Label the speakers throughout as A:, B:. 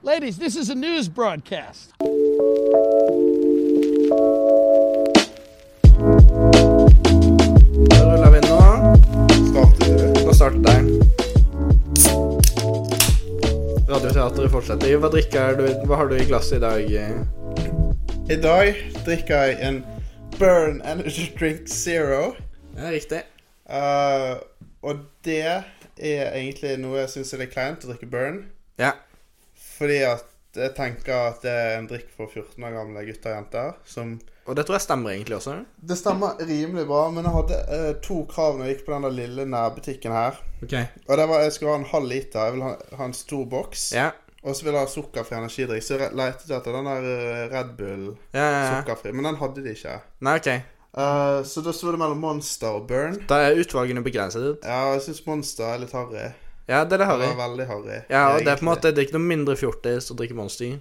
A: Ladies, this is a news broadcast.
B: Rulla vi nå. Nå starter den. Radioteatret fortsetter. Hva drikker er du Hva har du i glasset i dag?
C: I dag drikker jeg en Burn Energy Drink Zero.
B: Ja, riktig.
C: Eh, og det er egentlig noe jeg syns er litt kleint å drikke Burn.
B: Ja.
C: Fordi at jeg tenker at det er en drikk for 14 år gamle gutter og jenter. Som
B: Og det tror jeg stemmer egentlig også.
C: Det stemmer rimelig bra, men jeg hadde eh, to krav når jeg gikk på den der lille nærbutikken her.
B: Ok.
C: Og det var jeg skulle ha en halv liter. Jeg vil ha, ha en stor boks.
B: Ja.
C: Og så vil jeg ha sukkerfri energidrikk. Så jeg lette jeg etter den der eh, Red Bull
B: Ja, ja, ja.
C: sukkerfri, men den hadde de ikke.
B: Nei, ok.
C: Eh, så da sto det mellom Monster og Burn.
B: Da er utvalgene begrenset.
C: Ja, jeg syns Monster er litt harry.
B: Ja, det er det
C: Det
B: harry.
C: var veldig harry.
B: Ja, og det er på en
C: egentlig.
B: måte det er ikke noe mindre fjortis å drikke Monster.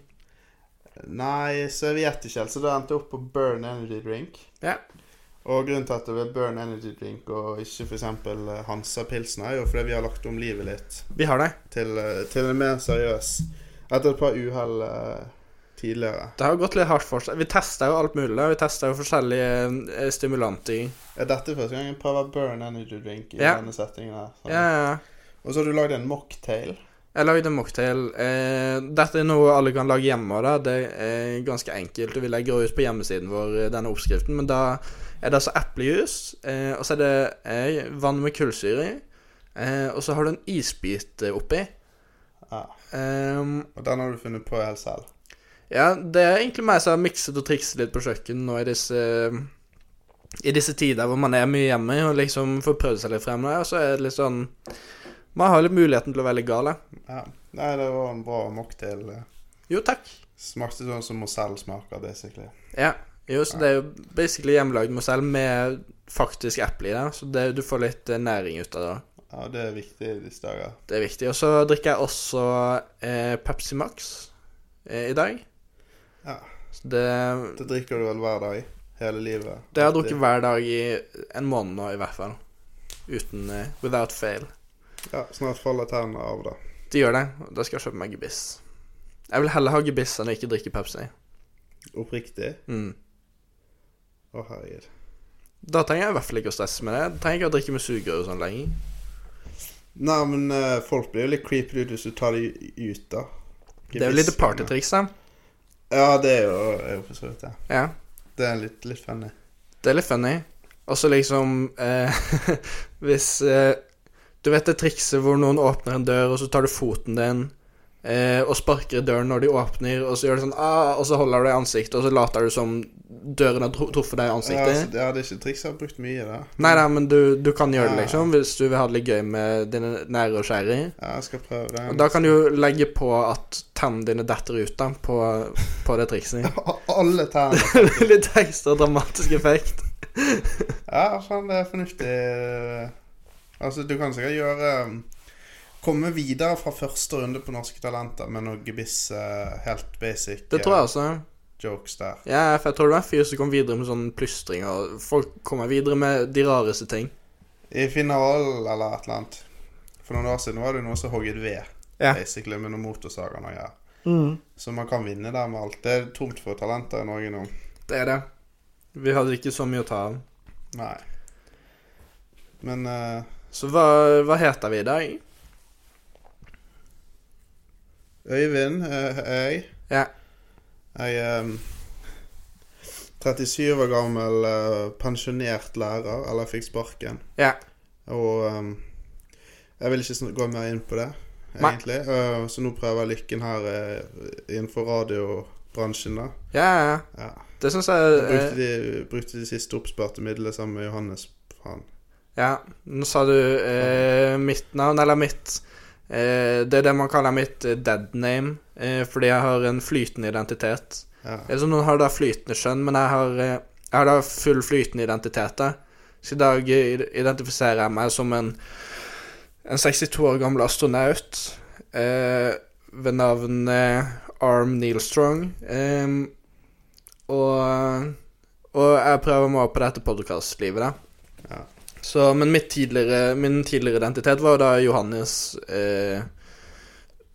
C: Nei, så jeg vet ikke helt. Så da endte jeg opp på Burn Energy Drink.
B: Ja.
C: Og grunnen til at det er Burn Energy Drink og ikke f.eks. Hansa Pilsen, er jo fordi vi har lagt om livet litt
B: Vi har det.
C: til, eh, til en mer seriøs etter et par uhell eh, tidligere.
B: Det har gått litt hardt for seg. Vi testa jo alt mulig. da. Vi testa jo forskjellige eh, stimulanter.
C: Er dette første gang jeg prøver Burn Energy Drink i
B: Ja.
C: denne settingen her? sånn?
B: Ja, ja, ja.
C: Og så har du lagd en mocktail.
B: Jeg lagde en mocktail. Eh, dette er noe alle kan lage hjemme. Da. Det er ganske enkelt. og Vi legger ut på hjemmesiden vår eh, denne oppskriften. Men da er det altså eplejus, eh, og så er det eh, vann med kullsyre i. Eh, og så har du en isbit eh, oppi.
C: Ja.
B: Eh,
C: Og den har du funnet på helt selv.
B: ja, det er egentlig meg som har mikset og trikset litt på kjøkkenet nå i disse I disse tider hvor man er mye hjemme og liksom får prøvd seg litt frem. Og så er det litt sånn Man har litt muligheten til å være litt gal. da.
C: Ja. Nei, det var en bra mocktail. eh.
B: Jo, takk.
C: Smakte sånn som Mozell smaker, basically.
B: Ja. Jo, så det er jo basically hjemmelagd Mozell med faktisk eple i det. Så det, du får litt eh, næring ut av det.
C: Ja, det er viktig i disse dager.
B: Det er viktig. Og så drikker jeg også eh, Pepsi Max eh, i dag.
C: Ja.
B: Så det,
C: Det drikker du vel hver dag? Hele livet?
B: det har jeg drukket hver dag i en måned nå, i hvert fall. Uten eh, Without fail.
C: Ja, Snart faller tennene av, da.
B: Det gjør det. og Da skal jeg kjøpe meg gebiss. Jeg vil heller ha gebiss enn å ikke drikke Pepsi.
C: Oppriktig?
B: Mm.
C: Å, herregud.
B: Da trenger jeg i hvert fall ikke å stresse med det. Jeg trenger ikke å drikke med sugerør og sånn lenger.
C: Nei, men eh, folk blir jo litt creepy ut hvis du tar de ut, da.
B: Det er jo litt partytriks, da.
C: Ja, det er jo, er jo for så vidt det.
B: Ja.
C: Det er litt, litt funny.
B: Det er litt funny. Og så liksom eh, Hvis eh, Du vet det trikset hvor noen åpner en dør, og så tar du foten din eh, og sparker i døren når de åpner, og så gjør du sånn ah, Og så holder du deg i ansiktet, og så later du som døren har tru- truffet deg i
C: Ja,
B: ansiktet.
C: altså, det er ikke triks jeg har brukt mye, da.
B: Nei da, men du, du kan gjøre det,
C: Ja.
B: liksom, hvis du vil ha det litt gøy med dine nære og kjære.
C: Ja, jeg skal prøve det.
B: Og da kan du jo legge på at tennene dine detter ut da, på, på det trikset.
C: Alle tennene.
B: litt ekstra dramatisk effekt.
C: Ja, faen, det er fornuftig. Altså, du kan sikkert gjøre um, Komme videre fra første runde på Norske Talenter med noe gebiss eh, helt basic
B: Det
C: eh,
B: tror jeg også.
C: jokes der.
B: Ja, for jeg tror det var en fyr som kom videre med sånn plystring, og folk kommer videre med de rareste ting.
C: I finalen eller et eller annet For noen år siden var det jo noe som hogget ved,
B: Ja.
C: basically, med noen motorsager og noe greier. Så man kan vinne der med alt. Det er tomt for talenter i Norge nå.
B: Det er det. Vi hadde ikke så mye å ta av.
C: Nei. Men eh,
B: Så hva, hva heter vi i dag?
C: Øyvind, eh, jeg
B: Ja.
C: Jeg er 37 år gammel, eh, pensjonert lærer, eller fikk sparken.
B: Ja.
C: Og eh, jeg vil ikke sn- gå mer inn på det,
B: Nei.
C: egentlig. Eh, så nå prøver jeg lykken her eh, innenfor radiobransjen, da.
B: Ja, ja.
C: Ja.
B: Det syns
C: Jeg
B: jeg
C: brukte
B: eh,
C: de, brukte de siste oppsparte midlene sammen med Johannes. Faen.
B: Ja. Nå sa du eh, mitt navn, eller mitt eh, Det er det man kaller mitt eh, dead name, eh, fordi jeg har en flytende identitet.
C: Ja.
B: Eller så noen Altså, har da flytende skjønn, men jeg har, eh, jeg har da full flytende identitet. da. Så i dag eh, identifiserer jeg meg som en, en 62 år gammel astronaut eh, ved navn eh, Arm Neil Strong. Eh, og, og jeg prøver meg på dette podkastlivet, da.
C: Ja.
B: Så, men mitt tidligere, min tidligere identitet var da Johannes eh,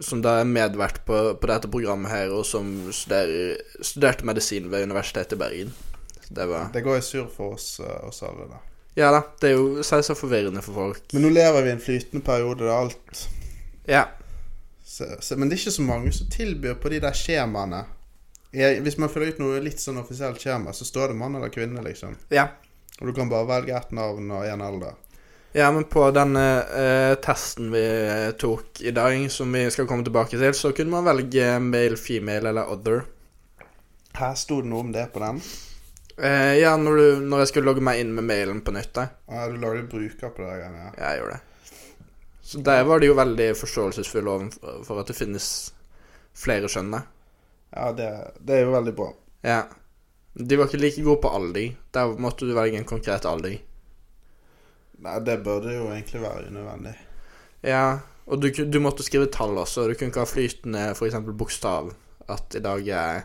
B: som da er medvert på, på dette programmet her, og som studerer, studerte medisin ved Universitetet i Bergen. Det var
C: Det går i surr for oss, eh, oss alle, da.
B: Ja da, det er jo selvsagt forvirrende for folk.
C: Men nå lever vi i en flytende periode der alt
B: Ja.
C: så, så, Men det er ikke så mange som tilbyr på de der skjemaene. Jeg, hvis man følger ut noe litt sånn offisielt skjema, så står det mann eller kvinne, liksom.
B: Ja.
C: Og du kan bare velge ett navn og én alder.
B: Ja, men på den eh, testen vi eh, tok i dag, som vi skal komme tilbake til, så kunne man velge male, female eller other.
C: Her sto det noe om det på den.
B: Eh, ja, når, du, når jeg skulle logge meg inn med mailen på nytt, da.
C: Ja, du lagde bruker på det der greiene. ja.
B: Ja, jeg gjorde det. Så der var de jo veldig forståelsesfulle overfor for at det finnes flere skjønn, da.
C: Ja, det, det er jo veldig bra.
B: Ja. De var ikke like gode på alder. Der måtte du velge en konkret alder.
C: Nei, det burde jo egentlig være unødvendig.
B: Ja, og du, ku- du måtte skrive tall også. Du kunne ikke ha flytende for eksempel bokstav. At i dag er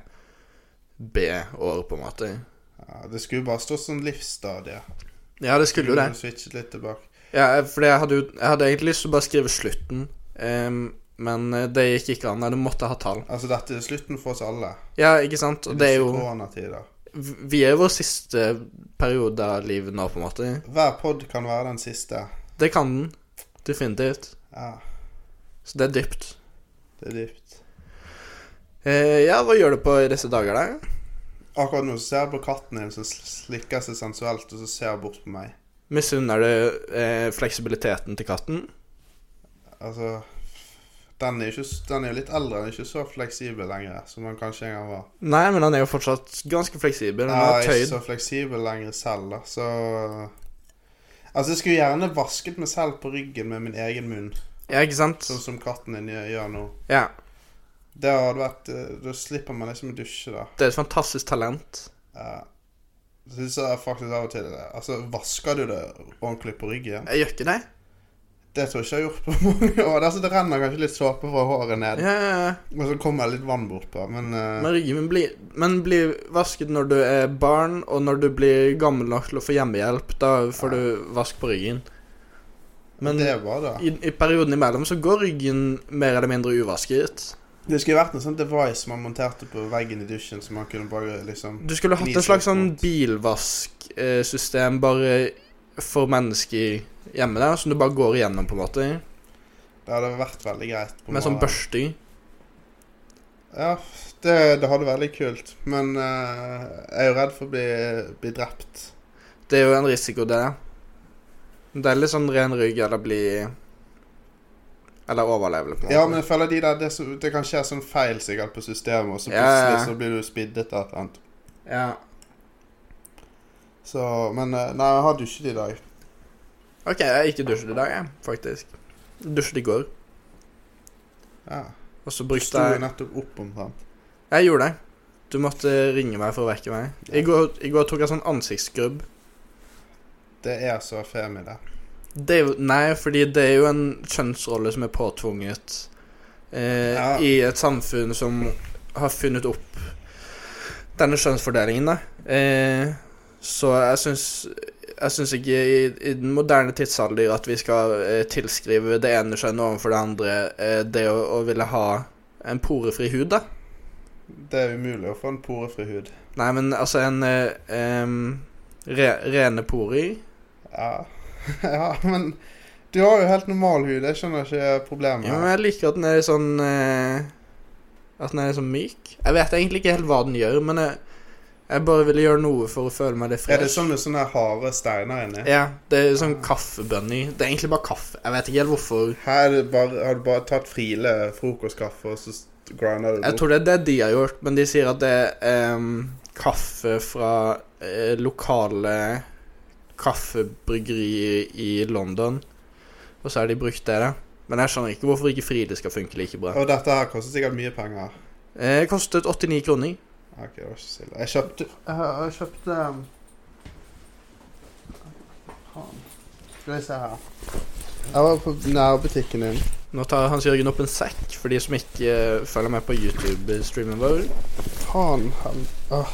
B: B-år, på en måte.
C: Ja, det skulle jo bare stå sånn livsstadie.
B: Ja, det skulle jo det.
C: Du switchet litt tilbake.
B: Ja, for jeg hadde, jo- jeg hadde egentlig lyst til å bare skrive slutten, em, men eh, det gikk ikke an. Nei, Du måtte ha tall.
C: Altså, dette er slutten for oss alle.
B: Ja, ikke sant? Og det er jo
C: Koronatider.
B: Vi er i vår siste periode av livet nå, på en måte.
C: Hver pod kan være den siste.
B: Det kan den. Definitivt.
C: Ja,
B: Så det er dypt.
C: det er dypt.
B: Eh, ja, hva gjør du på i disse dager, da?
C: Akkurat nå så ser jeg på katten din som sl- slikker seg sensuelt, og så ser jeg bort på meg.
B: Misunner du eh, fleksibiliteten til katten?
C: Altså Den er jo ikke s- den er jo litt eldre, den er ikke så fleksibel lenger som den kanskje en gang var.
B: Nei, men han er jo fortsatt ganske fleksibel. Han
C: Ja,
B: har
C: jeg er ikke
B: tøyd.
C: så fleksibel lenger selv, da, så Altså, jeg skulle gjerne vasket meg selv på ryggen med min egen munn,
B: Ja, ikke sant?
C: sånn som katten din gjør gjør nå.
B: Ja.
C: Det hadde vært eh, Da slipper man liksom å dusje, da.
B: Det er et fantastisk talent.
C: Ja. Syns jeg faktisk av og til det. Altså, vasker du det ordentlig på ryggen?
B: Jeg gjør ikke det.
C: Det tror jeg ikke jeg har gjort på mange år. Altså, det renner kanskje litt såpe fra håret ned,
B: Ja, ja, ja.
C: og så kommer det litt vann bortpå, men eh,
B: Men ryggen min blir, men blir vasket når du er barn, og når du blir gammel nok til å få hjemmehjelp. Da får du vask på ryggen. Men
C: det er bare det.
B: i, i perioden imellom så går ryggen mer eller mindre uvasket.
C: Det skulle vært en sånn device man monterte på veggen i dusjen, så man kunne bare liksom
B: Du skulle hatt
C: Gnise
B: en slags
C: opp
B: sånn
C: mot.
B: bilvasksystem eh, bare for mennesker hjemme der, som du bare går igjennom, på en måte.
C: Det hadde vært veldig greit. på
B: Med sånn
C: morgenen.
B: børste.
C: Ja, det, det hadde vært veldig kult, men eh, jeg er jo redd for å bli, bli drept.
B: Det er jo en risiko, det. Det er litt sånn ren rygg eller bli Eller overleve, på en måte.
C: Ja, men jeg føler de der, det, som- det kan skje sånn feil sikkert på systemet, og så
B: Ja, ja, ja.
C: plutselig så blir du spiddet av et eller annet.
B: ja.
C: Så, men eh, nei, jeg har dusjet i dag.
B: Ok, jeg har ikke dusjet i dag, jeg, faktisk. Jeg Dusjet i går.
C: Ja.
B: Og så
C: Du
B: brukte
C: sto jo
B: jeg
C: nettopp opp omtrent.
B: Jeg gjorde det. Du måtte ringe meg for å vekke meg. I
C: Ja.
B: går, i går tok jeg sånn ansiktsskrubb.
C: Det er så femi, det.
B: Det er jo Nei, fordi det er jo en kjønnsrolle som er påtvunget eh,
C: Ja.
B: i et samfunn som har funnet opp denne kjønnsfordelingen, da. Eh, så jeg syns jeg syns ikke i, i den moderne tidsalder at vi skal eh, tilskrive det ene kjønnet overfor det andre eh, det å, å ville ha en porefri hud, da.
C: Det er umulig å få en porefri hud.
B: Nei, men altså en eh, em, re, rene porer
C: Ja. ja, men du har jo helt normal hud, jeg skjønner ikke problemet.
B: Ja, men jeg liker at den er litt sånn eh, At den er litt sånn myk. Jeg vet egentlig ikke helt hva den gjør, men jeg, jeg bare ville gjøre noe for å føle meg litt
C: er det
B: fresh.
C: sånn med sånne harde steiner inni?
B: Ja, det er sånn kaffebunny. Det er egentlig bare kaffe. Jeg vet ikke helt hvorfor.
C: Her er det bare, har du bare tatt frile frokostkaffe, og så s- grinder du
B: Jeg tror det er det de har gjort, men de sier at det er em, kaffe fra eh, lokale kaffebryggerier i London. Og så har de brukt det, da. Men jeg skjønner ikke hvorfor ikke Fride skal funke like bra.
C: Og dette her koster sikkert mye penger.
B: Eh, kostet 89 kroner.
C: Ok, det var ikke så ille. Jeg kjøpte Jeg, jeg kjøpte um, faen. Skal vi se her. Jeg var på nærbutikken din.
B: Nå tar Hans Jørgen opp en sekk for de som ikke eh, følger med på YouTube-streamen vår.
C: Faen. han- Åh,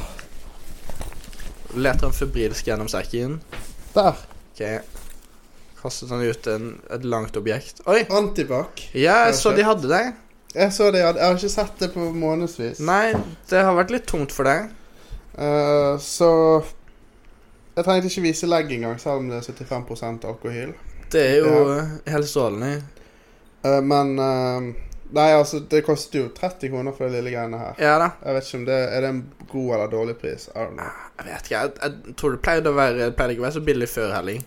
B: Leter han febrilsk gjennom sekken.
C: der.
B: Ok. Kastet han ut en, et langt objekt. Oi!
C: Antibac.
B: Ja, jeg så de hadde det.
C: Jeg så det, ja. jeg har ikke sett det på månedsvis.
B: Nei, det har vært litt tungt for deg.
C: Eh, så Jeg trengte ikke vise legg engang, selv om det er 75 alkohol.
B: Det er jo eh, helt strålende.
C: Eh, men eh, Nei, altså, det koster jo 30 kroner for de lille greiene her.
B: Ja da.
C: Jeg vet ikke om det Er det en god eller dårlig pris? I don't know.
B: Jeg vet ikke, jeg, jeg tror det pleide å være det pleide ikke å være så billig før helg.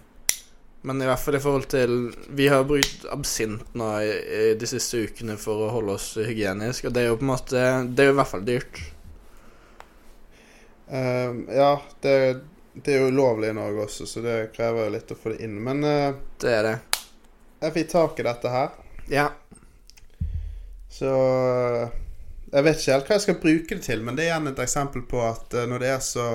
B: Men i hvert fall i forhold til Vi har brukt absint nå i, i de siste ukene for å holde oss hygienisk, og det er jo på en måte Det er jo i hvert fall dyrt.
C: Eh, ja, det, det er jo ulovlig i Norge også, så det krever jo litt å få det inn. Men eh,
B: Det er det.
C: jeg fikk tak i dette her,
B: Ja.
C: så eh, Jeg vet ikke helt hva jeg skal bruke det til, men det er igjen et eksempel på at eh, når det er så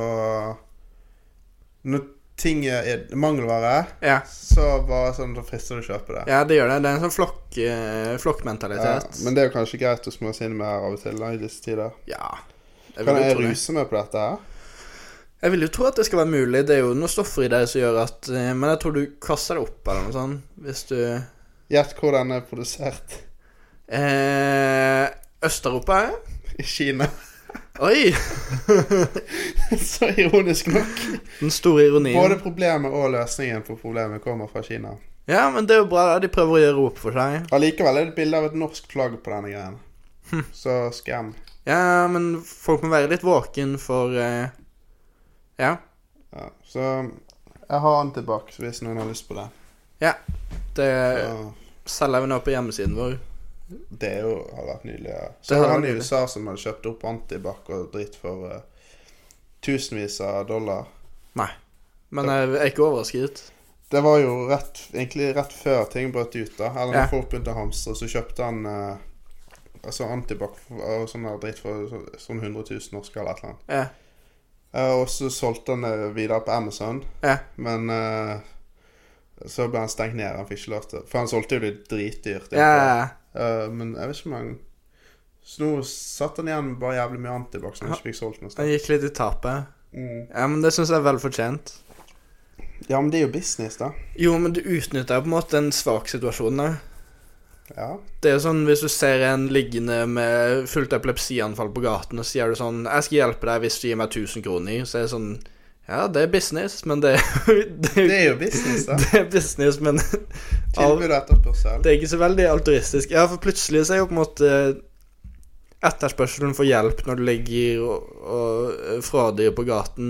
C: Når ting er mangelvare,
B: Ja,
C: så bare sånn, så frister det å kjøpe det.
B: ja det gjør det. Det er en sånn flokk, eh, flokkmentalitet.
C: men det er jo kanskje greit å smøre seg inn med her av og til da, i disse tider.
B: Ja. Jeg
C: Kan
B: vil,
C: jeg
B: jo tro det.
C: ruse meg på dette her?
B: jeg vil jo tro at det skal være mulig. Det er jo noen stoffer i det som gjør at eh, Men jeg tror du kaster det opp eller noe sånt, hvis du
C: Gjett hvor den er produsert.
B: eh, Øst-Europa?
C: I Kina.
B: Oi!
C: så ironisk nok.
B: Den store ironien.
C: Både problemet og løsningen på problemet kommer fra Kina.
B: Ja, men det er jo bra. da. De prøver å gjøre opp for seg.
C: Allikevel er det et bilde av et norsk flagg på denne greien.
B: Hm.
C: Så skam.
B: Ja, men folk må være litt våken for eh, Ja.
C: Ja, så jeg har den tilbake hvis noen har lyst på det.
B: Det
C: Så,
B: selger vi nå på hjemmesiden vår.
C: det er jo, hadde vært nydelig. Ja.
B: Det
C: Så
B: hadde
C: var han
B: vært
C: i
B: nydelig.
C: USA som hadde kjøpt opp antibac og dritt for eh, tusenvis av dollar.
B: Men jeg er ikke overrasket.
C: Det var jo rett, egentlig rett før ting brøt ut, da. Eller når
B: Ja.
C: folk begynte å hamstre, så kjøpte han eh, altså antibac og sånn der dritt for så- sånn 100 000 norske eller et eller annet.
B: Ja.
C: Eh, Og så solgte han det videre på Amazon,
B: Ja.
C: men eh, så ble han stengt ned. Han fikk ikke lov til For han solgte jo det dritdyrt.
B: ja.
C: egentlig. Eh, men jeg vet ikke om han Så nå satt han igjen med bare jævlig mye antibac som han ikke fikk solgt noe
B: Han
C: sted.
B: gikk litt i tapet.
C: Mm.
B: Ja, men det syns jeg er vel fortjent.
C: Ja, men det er jo business, da.
B: Jo, men du utnytter jo på en måte en svak situasjon der.
C: Ja.
B: Det er jo sånn hvis du ser en liggende med fullt epilepsianfall på gaten, og sier du sånn 'Jeg skal hjelpe deg hvis du gir meg 1000 kroner', så er det sånn Ja, det er business, men det, det er jo
C: Det er jo business, da.
B: Det er business, men av,
C: Tilbud og etterspørsel.
B: det er ikke så veldig altruistisk. Ja, for plutselig så er jo på en måte etterspørselen for hjelp når du ligger og, og fradyr på gaten,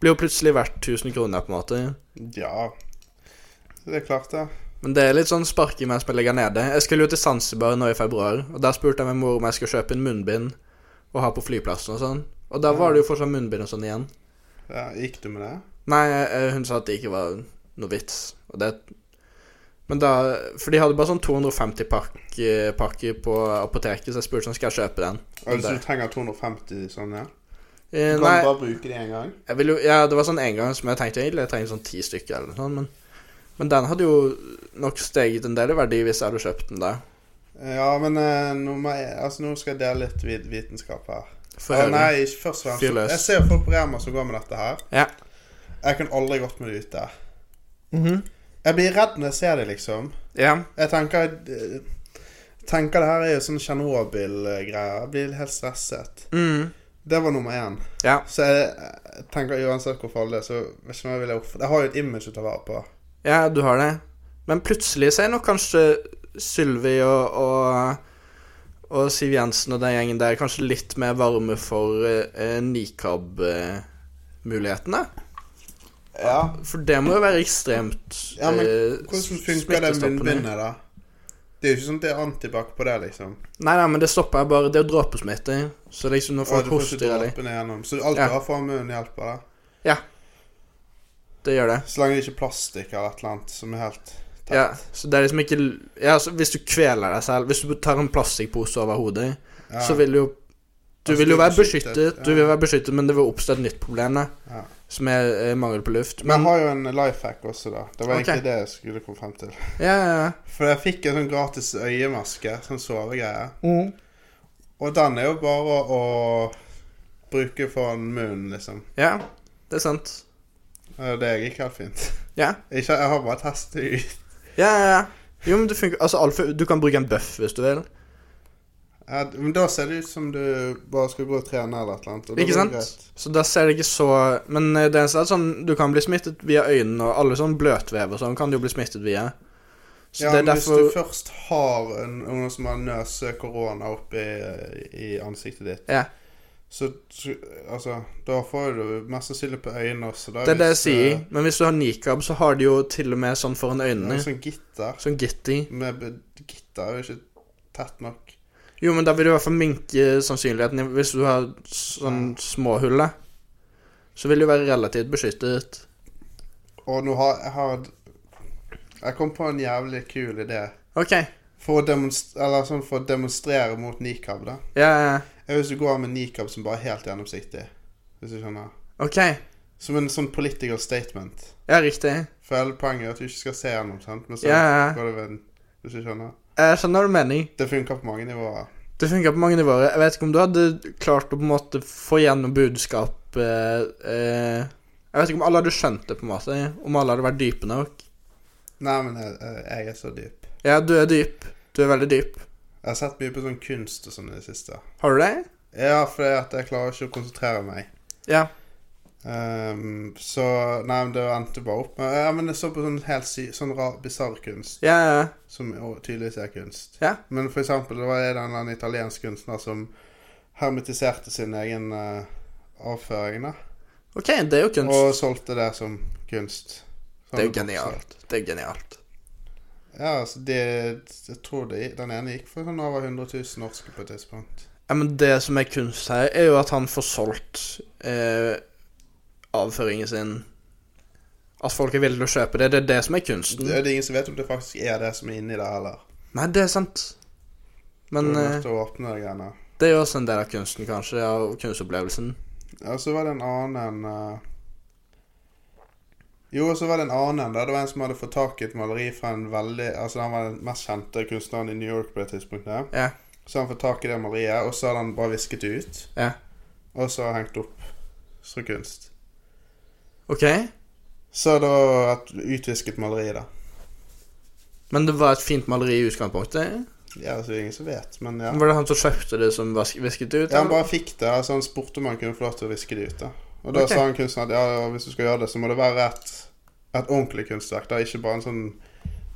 B: blir jo plutselig verdt 1000 kroner, på en måte.
C: Ja. Det er klart, det.
B: Men det er litt sånn sparking mens man ligger nede. Jeg skulle jo til Zanzibar nå i februar, og der spurte jeg min mor om jeg skulle kjøpe en munnbind og ha på flyplassen og sånn. Og da var det jo fortsatt munnbind og sånn igjen.
C: Ja, gikk du med det?
B: Nei, eh, hun sa at det ikke var noe vits. Og det Men da For de hadde bare sånn 250 pakk, eh, pakker på apoteket, så jeg spurte sånn, skal jeg kjøpe den.
C: Altså,
B: Det.
C: du trenger 250 sånn, ja?
B: Eh,
C: Du kan
B: nei,
C: bare bruke de én gang?
B: jeg ville jo Ja, det var sånn en gang som jeg tenkte egentlig jeg trenger sånn ti stykker eller noe sånt, men men den hadde jo nok steget en del i verdi hvis jeg hadde kjøpt den der.
C: Ja, men eh, nå, må jeg, altså, nå skal jeg dele litt vit- vitenskap her.
B: For
C: Å,
B: høyre.
C: Eh, nei, ikke først og fremst.
B: Fyr løs.
C: Jeg ser jo folk på Rema som går med dette her.
B: Ja.
C: Jeg kan aldri gått med det ute.
B: Mhm.
C: Jeg blir redd når jeg ser det, liksom.
B: ja.
C: Jeg tenker eh, tenker det her er jo sånn Tsjernobyl-greier. Jeg blir helt stresset.
B: Mm.
C: Det var nummer én.
B: Ja.
C: Så jeg, jeg tenker uansett hvor farlig det er, så vet ikke om jeg vil opp... Jeg har jo et image å ta vare på.
B: ja, du har det. Men plutselig så er nok kanskje Sylvi og, og, og Siv Jensen og den gjengen der kanskje litt mer varme for eh, nikab-mulighetene.
C: Ja.
B: For det må jo være ekstremt
C: Ja, men
B: eh,
C: Hvordan funker det
B: smittestoppende.
C: munnbindet, da? Det er jo ikke sånn at det er antibac på det, liksom.
B: Nei, nei, men det stopper jeg bare. Det er jo dråpesmitte. Så liksom når
C: Og
B: folk
C: du får ikke
B: hoster eller
C: dråpene igjennom. Så alt
B: Ja.
C: du har foran munnen, hjelper, da.
B: Det gjør det.
C: Så lenge det ikke er plastikk eller et eller annet som er helt tett.
B: Ja, så det er liksom ikke Ja, så hvis du kveler deg selv Hvis du tar en plastikkpose over hodet,
C: Ja.
B: så vil jo Du
C: Altså,
B: vil
C: du
B: jo
C: er
B: være
C: beskyttet,
B: beskyttet, du
C: ja.
B: vil være beskyttet, men det vil oppstå et nytt problem, da.
C: Ja.
B: Som er eh, mangel på luft.
C: Men jeg
B: Men
C: har jo en life hack også, da. Det var
B: Ok.
C: egentlig det jeg skulle komme frem til.
B: ja, ja, ja.
C: For jeg fikk en sånn gratis øyemaske, sånn sovegreie. Og den er jo bare å bruke foran munnen, liksom.
B: ja, det er sant.
C: Eh, Det gikk helt fint.
B: Ja.
C: Ikke, jeg har bare testet ut.
B: Ja, ja, ja. Jo, men det funker Altså, Alf, du kan bruke en bøff hvis du vil.
C: Ja, d- men da ser det ut som du bare skal gå og trene eller et eller annet. Og da
B: Ikke
C: går det
B: sant?
C: greit.
B: Så da ser det ikke så Men eh, det eneste er at sånn, du kan bli smittet via øynene, og alle sånn bløtvev og sånn kan du jo bli smittet via. Så
C: Ja,
B: det er
C: men
B: derfor
C: Hvis du først har en, noen som har nøst korona opp i, i ansiktet ditt,
B: Ja.
C: så, så altså, da får du mest sannsynlig på øynene også. Da,
B: Det er det jeg
C: hvis,
B: sier.
C: eh,
B: Men hvis du har nikab, så har de jo til og med sånn foran
C: det er
B: øynene.
C: en sånn gitter.
B: Sånn gitti.
C: Med be- gitter er jo ikke tett nok.
B: Jo, men da vil du i hvert fall minke sannsynligheten. Hvis du har sånn små hull, da, så vil du være relativt beskyttet.
C: Og nå har jeg har, Jeg kom på en jævlig kul idé.
B: OK.
C: For å, demonst- eller sånn for å demonstrere mot nikab, da.
B: Ja, ja,
C: Jeg Hvis du går med nikab som bare er helt gjennomsiktig. Hvis du skjønner.
B: OK.
C: Som en sånn political statement.
B: Ja, riktig.
C: For hele poenget er at du ikke skal se gjennom, sant? Men så
B: Ja, ja. Eh,
C: går det ved en- Hvis du skjønner.
B: Jeg skjønner hva du mener.
C: Det funker på mange nivåer.
B: Det funker på mange nivåer. Jeg vet ikke om du hadde klart å på en måte få gjennom budskap eh, eh, Jeg vet ikke om alle hadde skjønt det, på en måte. Om alle hadde vært dype nok.
C: Nei, men jeg, jeg er så dyp.
B: Ja, du er dyp. Du er veldig dyp.
C: Jeg har sett mye på sånn kunst og sånn i det siste.
B: Har du det?
C: Ja, fordi at jeg klarer ikke å konsentrere meg.
B: Ja.
C: Ehm, så Nei, men det endte bare opp med Ja, men jeg så på sånn helt sy sånn rar, bisarr kunst.
B: Ja, ja.
C: Som jo tydeligvis er kunst.
B: Ja.
C: Men for eksempel, det var en eller annen italiensk kunstner som hermetiserte sin egen eh, avføring, da.
B: OK, det er jo kunst.
C: Og solgte det som kunst. Sånn-
B: det er jo genialt. Det er genialt.
C: Ja, altså det, jeg tror det, den ene gikk for sånn over 100 000 norske på et tidspunkt.
B: Ja, men det som er kunst her, er jo at han får solgt eh, avføringen sin. At folk er villige til å kjøpe det. Det er det som er kunsten.
C: Det, det er ingen som vet om det faktisk er det som er inni der heller.
B: Nei, det er sant. Men
C: Men, du er
B: eh,
C: nødt til å åpne de greiene.
B: Det er jo også en del av kunsten, kanskje, av kunstopplevelsen.
C: Ja, så var det en annen eh, Jo, så var det en annen der. Det var en som hadde fått tak i et maleri fra en veldig Altså han var den mest kjente kunstneren i New York på det tidspunktet.
B: Ja.
C: Så han fått tak i det maleriet, og så hadde han bare visket det ut.
B: Ja.
C: Og så hengt opp som kunst.
B: Ok,
C: Så da et utvisket maleri, da.
B: men det var et fint maleri i utgangspunktet.
C: Ja, altså det er ingen som vet, men ja.
B: Var det han som kjøpte det, som vask- visket det ut?
C: Ja, han
B: eller?
C: bare fikk det. altså Han spurte om han kunne få lov til å viske det ut. da. Og da
B: Ok.
C: sa han kunstneren at ja, hvis du skal gjøre det, så må det være et, et ordentlig kunstverk. da, Ikke bare en sånn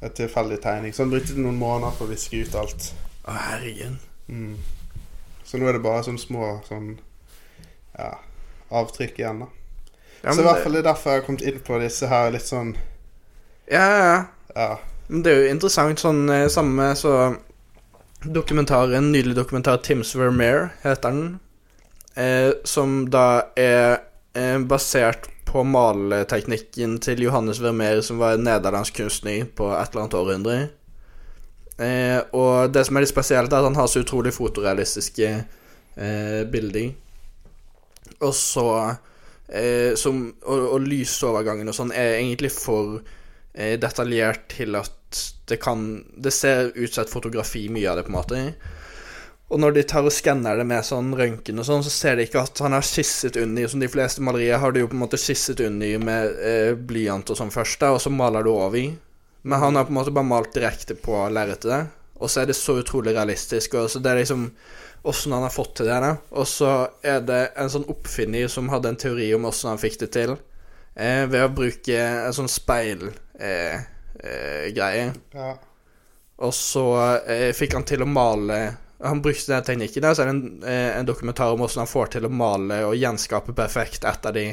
C: et tilfeldig tegning. Så han brukte noen måneder på å viske ut alt.
B: Å, herregud.
C: Mm. Så nå er det bare sånne små sånn ja, avtrykk igjen, da.
B: Ja,
C: så i
B: men
C: hvert
B: det-
C: fall det er derfor jeg har kommet inn på disse her litt sånn
B: Ja, ja, ja.
C: ja,
B: Men det er jo interessant, sånn eh, samme så Dokumentaren, nydelig dokumentar Tims Vermeer heter den, eh, som da er eh, basert på maleteknikken til Johannes Vermeer, som var en nederlandsk kunstner på et eller annet århundre. Eh, og det som er litt spesielt, er at han har så utrolig fotorealistiske eh, bilder. Og så eh, som, og, og lysovergangen og sånn er egentlig for eh, detaljert til at det kan Det ser ut som et fotografi, mye av det, på en måte. Og når de tar og skanner det med sånn røntgen og sånn, så ser de ikke at han har skisset under, som de fleste malerier har du jo på en måte skisset under med eh, blyant og sånn først, da, og så maler du over i. Men han har på en måte bare malt direkte på lerretet, og så er det så utrolig realistisk, og så det er liksom åssen han har fått til det, da. Og så er det en sånn oppfinner som hadde en teori om åssen han fikk det til, eh, ved å bruke en sånn speilgreie. Eh, eh, greie.
C: ja.
B: og så eh, fikk han til å male Han brukte den teknikken der, så er det en, eh, en dokumentar om åssen han får til å male og gjenskape perfekt et av de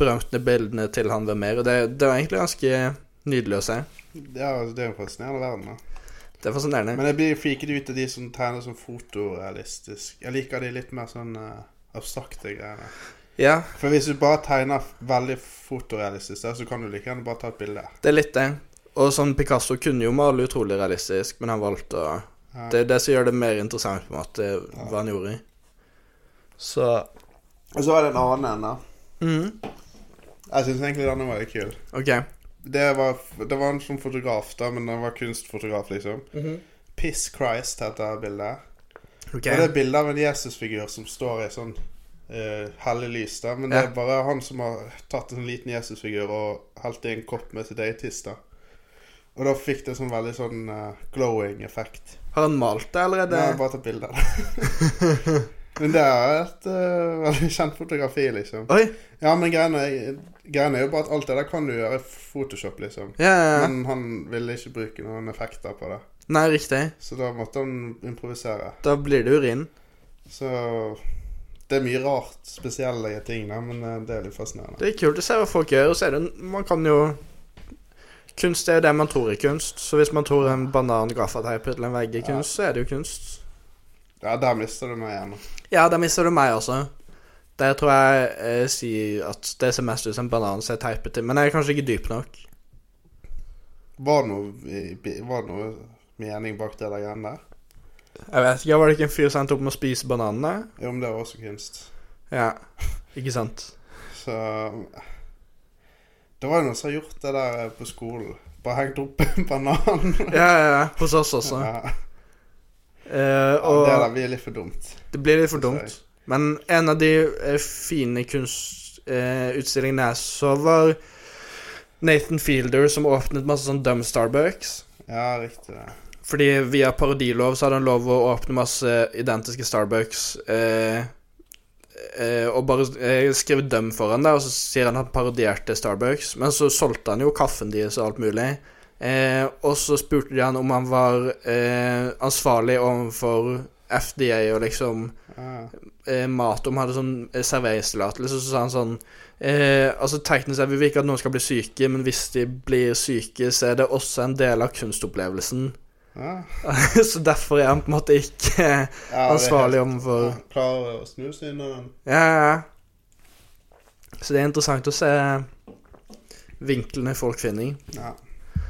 B: berømte bildene til han Vermeer. Og det, det var egentlig ganske nydelig å se.
C: ja altså, Det er jo fascinerende verden, da.
B: Det er fascinerende.
C: Men jeg blir freaket ut av de som tegner sånn fotorealistisk. Jeg liker de litt mer sånn eh, abstrakte greiene.
B: Ja,
C: For hvis du bare tegner f- veldig fotorealistisk, der, så kan du like gjerne bare ta et bilde.
B: det er litt det. Og sånn Picasso kunne jo male utrolig realistisk, men han valgte å
C: Ja.
B: Det er det som gjør det mer interessant, på en måte, hva han gjorde. Så
C: Og så var det en annen en, da.
B: mm,
C: Jeg syns egentlig denne var litt kul.
B: OK.
C: Det var, f- det var en sånn fotograf, da, men han var kunstfotograf, liksom. Piss Christ heter bildet.
B: ok.
C: Og det er bilde av en Jesusfigur som står i sånn uh, hellig lys, da. Men det
B: Ja.
C: er bare han som har tatt en sånn liten Jesusfigur og helt i en kopp med sitt eget tiss, da. Og da fikk det sånn veldig sånn eh, glowing effekt.
B: Har han malt det, eller er
C: Nei,
B: det
C: jeg bare tatt bilde av det. Men det er et eh, veldig kjent fotografi, liksom.
B: Oi!
C: Ja, men greien er, greien er jo bare at alt det der kan du gjøre i Photoshop, liksom.
B: Ja, ja, ja.
C: Men han ville ikke bruke noen effekter på det,
B: Nei, riktig.
C: så da måtte han improvisere.
B: Da blir det urin.
C: Så det er mye rart, spesielle ting, da, men eh, det er litt fascinerende.
B: Det er kult å se hva folk gjør. Og så er det, man kan jo Kunst er jo det man tror er kunst. Så hvis man tror en banan, gaffateip eller en vegg er kunst, så er det jo kunst.
C: Ja, der mister du meg igjen.
B: Ja, der mister du meg også. Der tror jeg jeg sier at det ser mest ut som en banan som er teipet til. Men jeg er kanskje ikke dyp nok.
C: Var det noe, i- var det noe mening bak det der greiene der?
B: Jeg vet ikke, Var det ikke en fyr som endte opp med å spise bananene?
C: Jo, men det var også kunst.
B: Ja. Ikke sant?
C: Så Det var jo noen som har gjort det der på skolen. Bare hengt opp en banan.
B: Ja, ja, ja. Hos oss også.
C: Ja,
B: Eh,
C: det der
B: og
C: blir litt for dumt.
B: det blir litt for
C: Sorry.
B: dumt. Men en av de eh, fine kunstutstillingene jeg så, var Nathan Fielder som åpnet masse sånn Dumb Starbucks.
C: Ja, riktig det.
B: Fordi via parodilov så hadde han lov å åpne masse identiske Starbucks eh, eh, og bare eh, skrive døm foran der, og så sier han at han parodierte Starbucks. Men så solgte han jo kaffen deres og alt mulig. Eh, og så spurte de han om han var eh, ansvarlig overfor FDA og liksom
C: Ja.
B: eh, mat om hadde sånn eh, serveringstillatelse, så sa han sånn eh, Altså teknisk sett vil vi ikke at noen skal bli syke, men hvis de blir syke, så er det også en del av kunstopplevelsen.
C: Ja.
B: Så derfor er han på en måte ikke
C: Ja,
B: ansvarlig
C: det er
B: overfor
C: helt- ja, Klarer å snu seg unna den.
B: Ja, ja. ja. Så det er interessant å se vinklene folk finner. i.
C: Ja.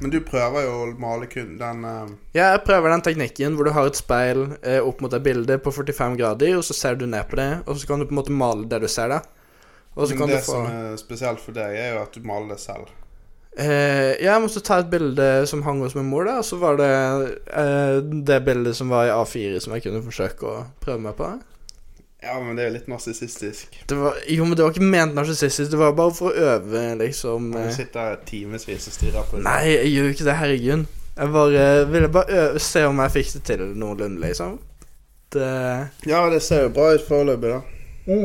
C: Men du prøver jo å male kun den eh,
B: Ja, jeg prøver den teknikken hvor du har et speil eh, opp mot et bilde på 45 grader, og så ser du ned på det, og så kan du på en måte male det du ser, da. Og så
C: Men
B: kan
C: det
B: du få
C: som er spesielt for deg, er jo at du maler det selv.
B: Eh, jeg måtte ta et bilde som hang hos min mor, da, og så var det eh, det bildet som var i A4 som jeg kunne forsøke å prøve meg på.
C: Ja, men det er jo litt narsissistisk.
B: Det var, jo, men det var ikke ment narsissistisk, det var bare for å øve, liksom.
C: Du
B: Eh.
C: sitter timevis og stirrer på det.
B: Nei, jeg gjør jo ikke det, herregud. Jeg bare ville bare øve, se om jeg fikk det til noenlunde, liksom. Det
C: Ja, det ser jo bra ut foreløpig, da.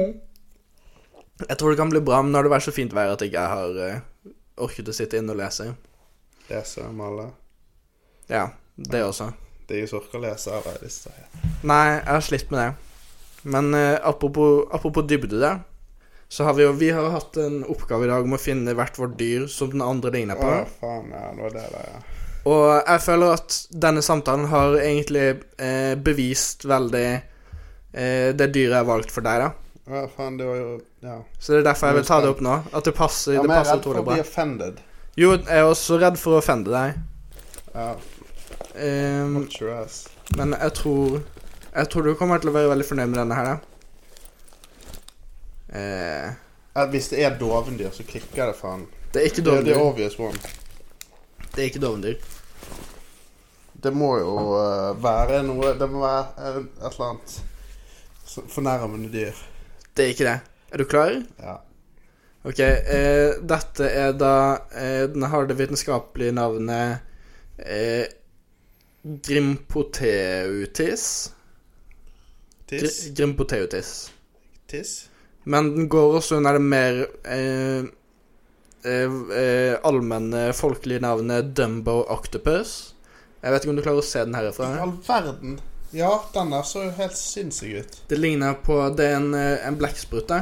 B: Jeg tror det kan bli bra, men nå har det vært så fint vær at jeg ikke har eh, orket å sitte inne og lese.
C: Lese, male.
B: Ja, det også.
C: Det er jo så orker å lese eller hvis det er-
B: Nei, jeg har slitt med det. Men eh, apropos, apropos dybde der, så har vi jo Vi har hatt en oppgave i dag om å finne hvert vårt dyr som den andre ligner på.
C: Å, faen, ja, det var det der, ja.
B: Og jeg føler at denne samtalen har egentlig eh, bevist veldig eh, det dyret jeg har valgt for deg, da.
C: Ja, faen, det var jo Ja.
B: Så det er derfor jeg vil ta det opp nå. At det passer,
C: ja men
B: det
C: jeg er
B: passer
C: redd for
B: utrolig
C: å
B: bra.
C: bli offended.
B: Jo, jeg er også redd for å offende deg.
C: Ja,
B: Ehm,
C: watch your ass.
B: men jeg tror Jeg tror du kommer til å være veldig fornøyd med denne her, da. Eh,
C: Ja, hvis det er dovendyr, så klikker det, faen.
B: det er ikke
C: Det,
B: dovendyr.
C: det er obvious one.
B: Det er ikke dovendyr.
C: Det må jo eh, være noe Det må være eh, et eller annet så- fornærmende dyr.
B: Det er ikke det. Er du klar?
C: Ja.
B: Ok, eh, dette er da eh, Den har det vitenskapelige navnet eh, Grimpoteutis.
C: Tiss?
B: Gr Grimpoteutis.
C: Tiss?
B: Men den går også under det mer eh, eh, eh, allmenne, folkelige navnet Dumbo octopus. Jeg vet ikke om du klarer å se den
C: I
B: herfra.
C: all verden. Ja, den der så jo helt sinnssyk ut.
B: Det ligner på Det er en, eh, en blekksprute,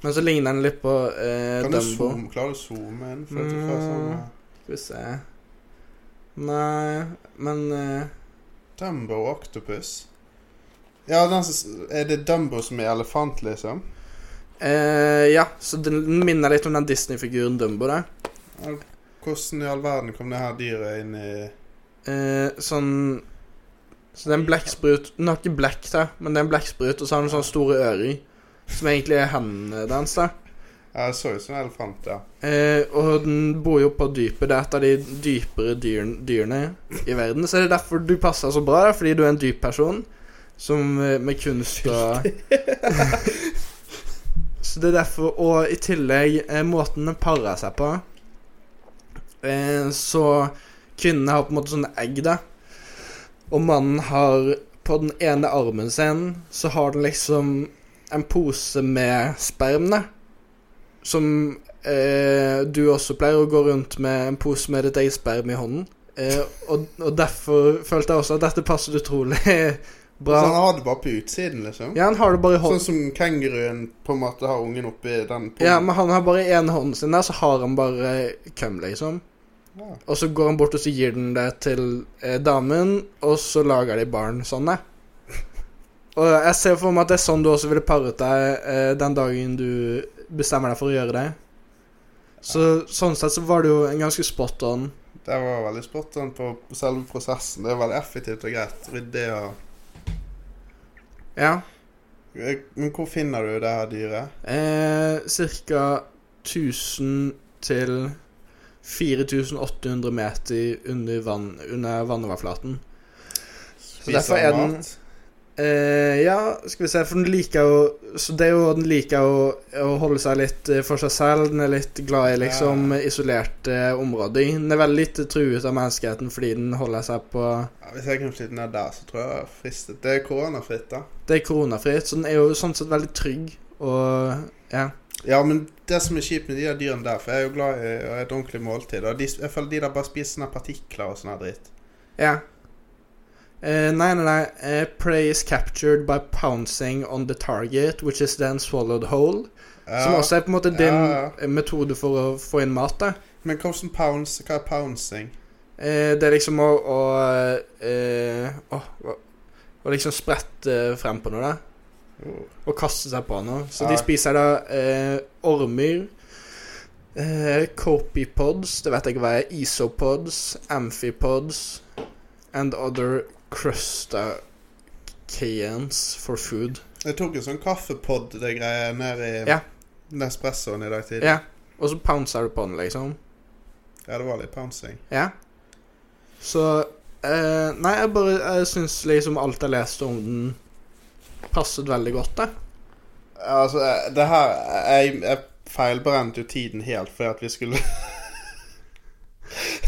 B: men så ligner den litt på eh,
C: Kan du
B: Dumbo.
C: zoome, klarer du å zoome inn? For at du får sånn
B: Mm. Skal vi se Nei, men eh,
C: Dumbo og Octopus? Ja, den som, er det Dumbo som er elefant, liksom?
B: eh, Ja, så den minner litt om den Disney-figuren Dumbo, da.
C: Hvordan i all verden kom det her dyret inn i
B: Eh, sånn Så det er en blekksprut Den har ikke blekk, da, men det er en blekksprut, og så har den sånne store ører som egentlig er hendene dens, da.
C: Ja, det så sånn ut som en elefant, ja.
B: Eh, og den bor jo på dypet. Det er et av de dypere dyrene, dyrene i verden. Så det er derfor du passer så bra, da, fordi du er en dyp person som, eh, med kunst og Så det er derfor Og i tillegg, eh, måten den parer seg på eh, Så kvinnene har på en måte sånne egg, da. Og mannen har På den ene armen sin så har den liksom en pose med sperm, da. Som eh, du også pleier å gå rundt med en pose med ditt eget sperm i hånden. Eh, og, og derfor følte jeg også at dette passet utrolig
C: Så han
B: bra.
C: har det bare på utsiden, liksom?
B: Ja, han har det bare i hånden.
C: Sånn som kenguruen på en måte har ungen oppi den pungen.
B: Ja, men han har bare én hånd sin der, så har han bare køm, liksom.
C: Ja.
B: Og så går han bort og så gir den det til eh, damen, og så lager de barn sånn, da. Og jeg ser for meg at det er sånn du også ville paret deg eh, den dagen du bestemmer deg for å gjøre det. Så sånn sett så var det jo en ganske spot on.
C: Det var veldig spot on på selve prosessen. Det er veldig effektivt og greit. Ryddig og
B: Ja.
C: Men hvor finner du det her dyret?
B: Eh, cirka 1000 til 4800 meter under, vann, under vannoverflaten.
C: Spiser
B: derfor er
C: han
B: den-
C: mat?
B: Eh, ja, skal vi se, for den liker jo Så det er jo den liker å, å holde seg litt eh, for seg selv. Den er litt glad i liksom
C: Ja.
B: isolerte områder. Den er veldig lite truet av menneskeheten fordi den holder seg på
C: Ja, hvis jeg kunne flytte ned der, så tror jeg jeg er fristet. Det er koronafritt, da.
B: Det er koronafritt, så den er jo sånn sett veldig trygg. Og ja.
C: Ja, men det som er kjipt med de der dyrene der, for jeg er jo glad i å ha et ordentlig måltid, og de, jeg føler de der bare spiser sånne partikler og sånn her dritt.
B: ja. Eh, nei, nei, nei. Eh, prey is captured by pouncing on the target, which is then swallowed whole. Som også er på en måte din
C: Ja,
B: eh, metode for å få inn mat, da.
C: Men hvordan pounds, hva er pouncing?
B: Eh, det er liksom å, å eh, å, å, å liksom sprette frem på noe, da.
C: Jo.
B: Og kaste seg på noe. Så
C: Ja.
B: de spiser da eh, ormer, eh, copepods, det vet jeg ikke hva er, isopods, amphipods and other crustaceans for food.
C: Jeg tok en sånn kaffepod, det greia, ned i
B: Ja.
C: Nespressoen i dag tidlig.
B: Ja. Og så pouncer du på den, liksom.
C: Ja, det var litt pouncing.
B: Ja. Så eh, Nei, jeg bare Jeg syns liksom alt jeg leste om den, passet veldig godt, da.
C: Altså, eh, det her Jeg, jeg feilbrente jo tiden helt fordi at vi skulle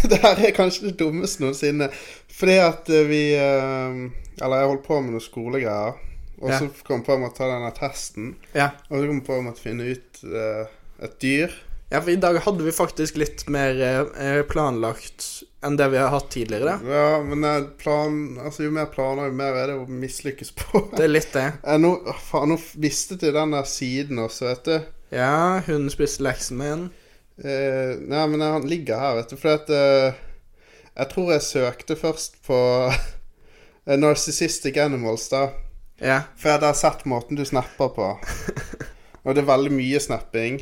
C: Det her er kanskje det dummeste noensinne. Fordi at eh, vi eh, Eller jeg holdt på med noen skolegreier. Og
B: Ja.
C: så kom jeg på med å ta denne testen.
B: Ja.
C: Og så kom jeg på med å finne ut eh, et dyr.
B: Ja, for i dag hadde vi faktisk litt mer eh, planlagt enn det vi har hatt tidligere. da.
C: Ja, men eh, plan, altså, jo mer planer, jo mer er det å mislykkes på.
B: Det er litt det.
C: Eh, Nå, faen, nå mistet jeg den der siden også, vet du.
B: Ja, hun spiste leksen min.
C: Eh, nei, men han ligger her, vet du. Fordi at eh, Jeg tror jeg søkte først på eh, Narcissistic Animals, da.
B: Ja.
C: For jeg hadde sett måten du snapper på. Og det er veldig mye snapping.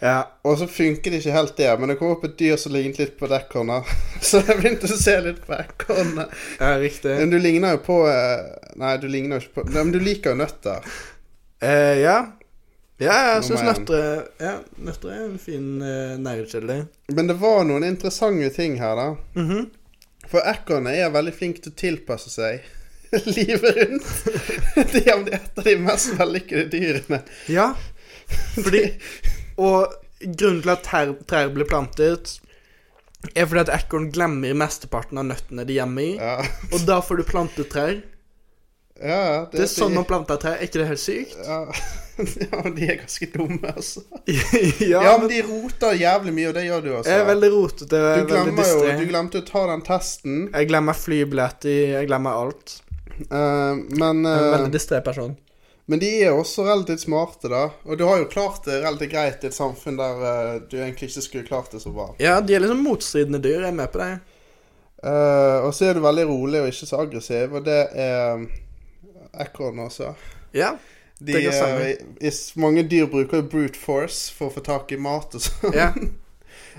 B: Ja.
C: Og så funker det ikke helt, det. Men det kom opp et dyr som lignet litt på ekornet. Så jeg begynte å se litt på ekornet.
B: ja riktig.
C: Men du ligner jo på eh, Nei, du ligner jo ikke på Nei, men du liker jo nøtter.
B: Eh, ja. Ja, jeg syns
C: Nummer én.
B: nøtter er- ja, nøtter er en fin uh, næringskilde.
C: Men det var noen interessante ting her, da.
B: Mhm.
C: For ekornet er veldig flink til å tilpasse seg livet rundt. De er et av de mest vellykkede dyrene.
B: Ja. Fordi Og grunnen til at ter- trær blir plantet, er fordi at ekorn glemmer mesteparten av nøttene de gjemmer i.
C: Ja,
B: Og da får du plantet trær.
C: ja
B: Det er sånn man planter trær. Er ikke det helt sykt?
C: ja. ja, men de er ganske dumme, altså.
B: ja,
C: Ja,
B: men
C: men de roter jævlig mye, og det gjør du også.
B: Jeg er veldig rotete og jeg
C: du
B: er veldig
C: glemmer jo,
B: distré.
C: du glemte å ta den testen,
B: Jeg glemmer flybilletter, jeg glemmer alt.
C: eh, men,
B: Jeg er en
C: eh,
B: veldig distré person.
C: men de er også relativt smarte, da. Og du har jo klart det relativt greit i et samfunn der eh, du egentlig ikke skulle klart det så bra.
B: Ja, de er liksom motstridende dyr. Jeg er med på det.
C: Eh, og så er du veldig rolig og ikke så aggressiv, og det er eh, ekorn også.
B: Ja.
C: De,
B: Det kan stemme.
C: eh, i- i- mange dyr bruker jo brute force for å få tak i mat og sånn.
B: ja.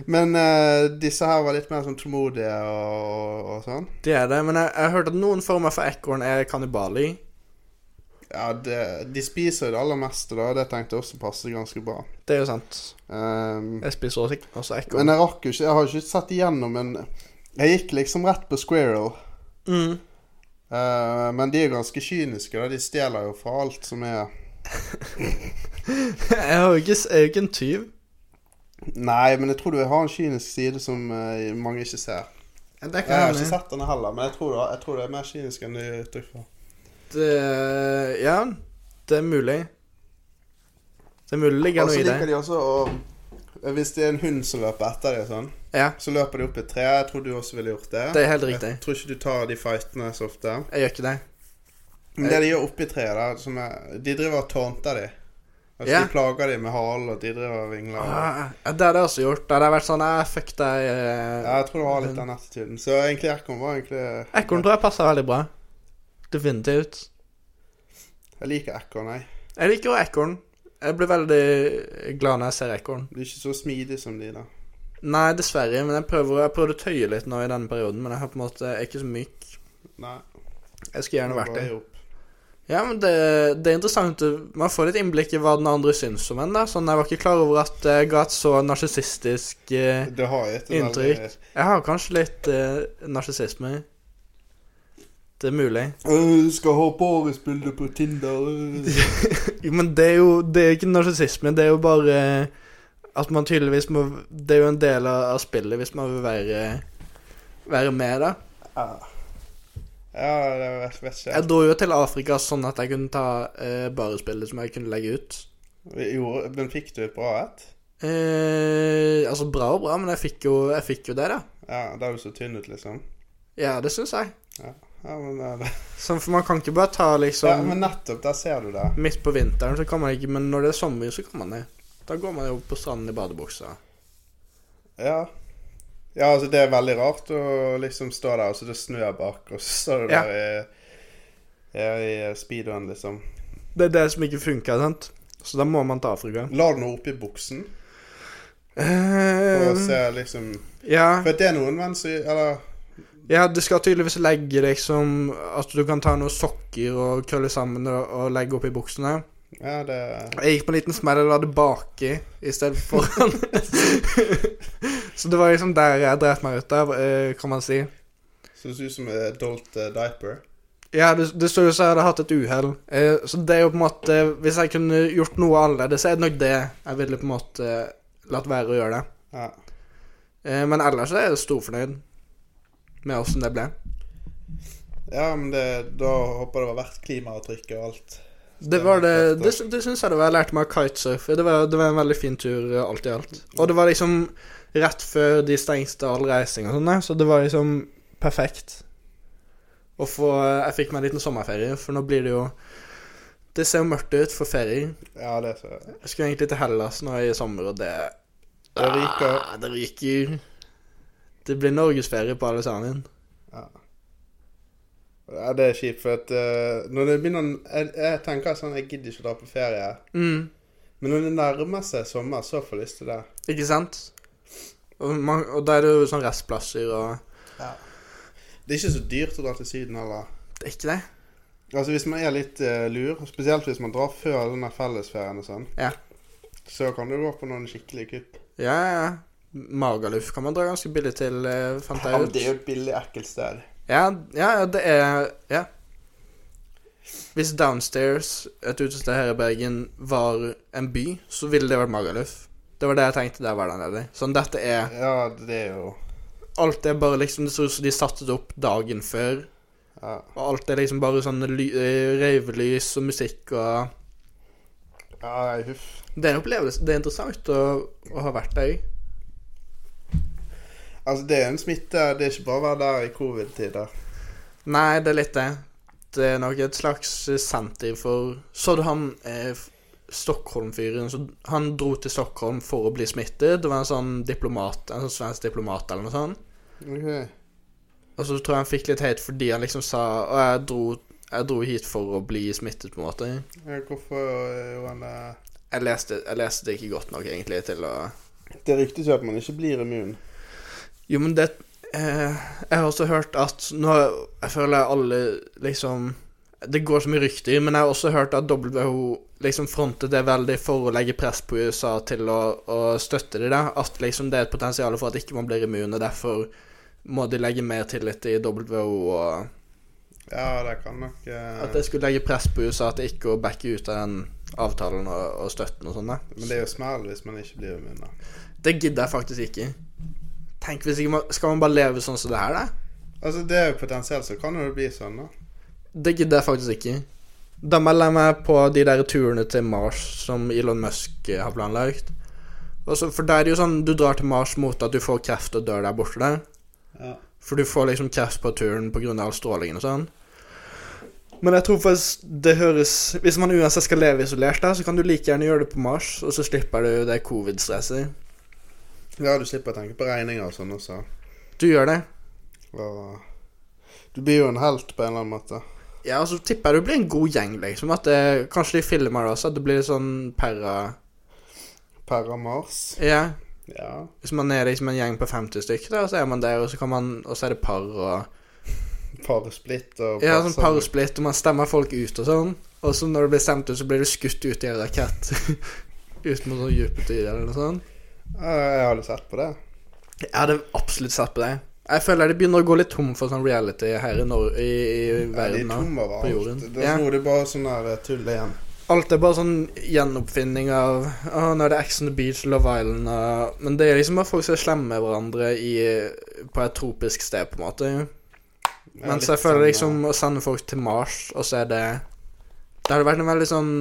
C: Men eh, disse her var litt mer sånn tålmodige og, og, og sånn.
B: De er det. Men jeg, jeg har hørt at noen former for ekorn er kannibaler.
C: Ja, det, De spiser jo det aller meste, da. og Det tenkte jeg også passer ganske bra.
B: Det er jo sant.
C: Ehm,
B: Jeg spiser også, også
C: men
B: ekorn.
C: jeg rakk jo ikke Jeg har jo ikke sett igjennom en Jeg gikk liksom rett på squirrel.
B: Mm.
C: Eh, men de er jo ganske kyniske, da. De stjeler jo fra alt som er
B: Jeg, har jo ikke, s- jeg er jo ikke en tyv.
C: Nei, men jeg tror du har en kynisk side som eh, mange ikke ser.
B: Det
C: Jeg har
B: kan
C: ikke
B: jeg.
C: sett denne heller, men jeg tror, det- jeg tror det er mer kynisk enn du gir uttrykk for.
B: Det, ja, det er mulig. Det er mulig det ligger
C: Og så
B: noe i det.
C: Altså, liker de også å Eh, Hvis det er en hund som løper etter deg, og sånn,
B: Ja,
C: så løper de opp i et tre. Jeg tror du også ville gjort det.
B: Det er helt riktig.
C: Jeg tror ikke du tar de fightene så ofte.
B: jeg gjør ikke det.
C: Men det de gjør oppi treet, da, som er, de driver og taunter de. Altså,
B: Ja.
C: De plager de med halen, og de driver og vingler. og-
B: Ah, ja, det hadde jeg også gjort. Det hadde vært sånn eh, Fuck deg. eh,
C: Ja, jeg tror du har litt den attituden. Så egentlig Ekorn var egentlig
B: Ekorn tror jeg passer veldig bra. Definitivt.
C: Jeg liker ekorn, jeg.
B: Jeg liker jo ekorn. Jeg blir veldig glad når jeg ser ekorn.
C: Du er ikke så smidig som de, da.
B: Nei, dessverre, men jeg prøver, jeg prøver å tøye litt nå i denne perioden, men jeg har på en måte jeg er ikke så myk.
C: Nei.
B: Jeg skulle gjerne vært det.
C: bare opp.
B: Ja, men det, det er interessant. Man får litt innblikk i hva den andre syns om en. da. Sånn, Jeg var ikke klar over at jeg ga et så narsissistisk eh,
C: Det har jeg et
B: inntrykk. Jeg har kanskje litt eh, narsissisme. Det er mulig.
C: «Øh, Du skal ha Boris-bilde på Tinder. øh».
B: Jo, men det er jo det er ikke narsissisme. Det er jo bare eh, at man tydeligvis må Det er jo en del av, av spillet hvis man vil være, være med, da.
C: Ja, Ja, det vet, vet ikke
B: Jeg
C: jeg.
B: dro jo til Afrika sånn at jeg kunne ta eh, barespillet som jeg kunne legge ut.
C: Vi gjorde- Men fikk du et bra et?
B: Eh, altså bra og bra, men jeg fikk jo, jeg fikk jo det, da.
C: Ja, da er du så tynn ut, liksom.
B: Ja, det syns jeg.
C: Ja, men, ja, det-
B: Sånn, for man kan ikke bare ta liksom
C: ja, men nettopp, der ser du det.
B: Midt på vinteren så kan man ikke, men når det er sommer, så kan man det. Da går man jo på stranden i badebuksa.
C: Ja. Ja, altså, det er veldig rart å liksom stå der, og så er det snø bak, og så står du
B: Ja.
C: der i, ja, i speedoen, liksom.
B: Det er det som ikke funker, sant? Så da må man til Afrika.
C: La du noe oppi buksen, for å
B: Eh,
C: se liksom
B: ja,
C: For det er noen menn som Eller
B: ja, du skal tydeligvis legge liksom At du kan ta noen sokker og krølle sammen og, og legge oppi buksene.
C: Ja, det
B: Jeg gikk på en liten smell og la det baki i stedet for foran. så det var liksom der jeg dreit meg ut av, eh, kan man si.
C: Synes ut som adult eh, diaper.
B: Ja, det, det står jo så jeg hadde hatt et uhell. Eh, så det er jo på eh, en måte Hvis jeg kunne gjort noe annerledes, så er det nok det jeg ville på eh, en måte latt være å gjøre det.
C: Ja.
B: Eh, men ellers så er jeg storfornøyd med åssen det ble.
C: ja, men det, da håper jeg det var verdt klimaavtrykket og alt.
B: Det var det Det, sy- det syns jeg det var. Jeg lærte meg å kitesurfe. Det var, det var en veldig fin tur, eh, alt i alt. Og det var liksom rett før de stengte all reising og sånn, der, så det var liksom perfekt. Og få eh, Jeg fikk meg en liten sommerferie, for nå blir det jo Det ser jo mørkt ut for ferier.
C: Ja, det er så
B: Jeg skulle egentlig til Hellas nå i sommer, og det
C: Det ryker.
B: Ah, det ryker. Det blir norgesferie på alle sammen.
C: Ja, det er kjipt, for at eh, når det begynner jeg, jeg tenker sånn Jeg gidder ikke å dra på ferie.
B: Mm,
C: Men når det nærmer seg sommer, så får jeg lyst til det.
B: ikke sant? Og, man, og da er det jo sånn restplasser og
C: Det er ikke så dyrt å dra til Syden heller.
B: Det er ikke det?
C: Altså Hvis man er litt eh, lur, og spesielt hvis man drar før denne fellesferien og sånn,
B: Ja.
C: så kan du gå på noen skikkelige kupp.
B: Ja, ja, ja. Magaluf kan man dra ganske billig til, eh, fant
C: Ja,
B: jeg
C: men
B: ut.
C: det er jo et billig, ekkelt sted.
B: Ja, ja, ja, det er Ja. Hvis Downstairs, et utested her i Bergen, var en by, så ville det vært Magaluf. Det var det jeg tenkte der var der nede. Sånn, dette er
C: Ja, det er jo
B: Alt er bare liksom Det ser ut som de satte det opp dagen før.
C: ja.
B: Og alt er liksom bare sånn ly- eh, røyvelys og musikk og
C: ja, nei, huff.
B: Det er en opplevelse. Det er interessant å, å ha vært der.
C: Altså, det er en smitte. Det er ikke bare å være der i covid-tider.
B: Nei, det er litt det. Det er nok et slags eh, senter for Så du han eh, f- Stockholm-fyren som- Han dro til Stockholm for å bli smittet. Det var en sånn diplomat, en sånn svensk diplomat eller noe sånt.
C: Ok.
B: Og så tror jeg han fikk litt hate fordi han liksom sa Og jeg dro, jeg dro hit for å bli smittet, på en måte.
C: Ja, Hvorfor eh, gjorde han det?
B: Jeg leste, jeg leste det ikke godt nok, egentlig, til å
C: Det ryktes jo at man ikke blir immun.
B: Jo, men det eh, Jeg har også hørt at Nå jeg føler alle liksom Det går så mye rykter, men jeg har også hørt at WHO liksom frontet det veldig for å legge press på USA til å, å støtte de der. At liksom det er et potensial for at ikke man blir immun, og derfor må de legge mer tillit i WHO. Og
C: Ja, det kan nok eh,
B: at jeg skulle legge press på USA til ikke å backe ut av den avtalen og, og støtten og sånn. da.
C: Men det er jo smell hvis man ikke blir immun. da.
B: Det gidder jeg faktisk ikke. Tenk hvis ikke man Skal man bare leve sånn som det her, da?
C: Altså, det er jo potensielt, så kan jo det bli sånn, da.
B: Det gidder jeg faktisk ikke. Da melder jeg meg på de der turene til Mars som Elon Musk eh, har planlagt. Og så- for da er det jo sånn du drar til Mars mot at du får kreft og dør der borte. der.
C: Ja.
B: For du får liksom kreft på turen pga. all strålingen og sånn. Men jeg tror faktisk det høres Hvis man uansett skal leve isolert, da, så kan du like gjerne gjøre det på Mars, og så slipper du det covid-stresset.
C: ja, du slipper å tenke på regninger og sånn også.
B: Du gjør det.
C: Og du blir jo en helt på en eller annen måte.
B: Ja, og så tipper jeg du blir en god gjeng, liksom. At det, kanskje de filmer det også, at det blir sånn perra
C: Perra Mars.
B: Ja.
C: Ja.
B: Hvis man er liksom en gjeng på 50 stykker, da, så er man der, og så, kan man, og så er det par og
C: Parsplitt og
B: Ja, sånn
C: parser-
B: parsplitt, og man stemmer folk ut og sånn. Og så når du blir stemt ut, så blir du skutt ut i en rakett. ut mot sånn Jupiter eller noe sånt.
C: Ja, jeg hadde sett på det.
B: Jeg hadde absolutt sett på det. Jeg føler det begynner å gå litt tom for sånn reality her i, Nor i, i
C: Ja, de er
B: verden. nå.
C: tomme over
B: på
C: alt.
B: jorden.
C: Det
B: Ja.
C: er nå det er bare sånn der eh, tull igjen.
B: Alt er bare sånn gjenoppfinning av Å, nå er det Ex on the Beach, Love Island og Men det er liksom bare folk som er slemme med hverandre i, på et tropisk sted, på en måte.
C: Ja,
B: Mens
C: litt
B: jeg føler
C: sånn,
B: liksom å sende folk til Mars, og så er det Det hadde vært en veldig sånn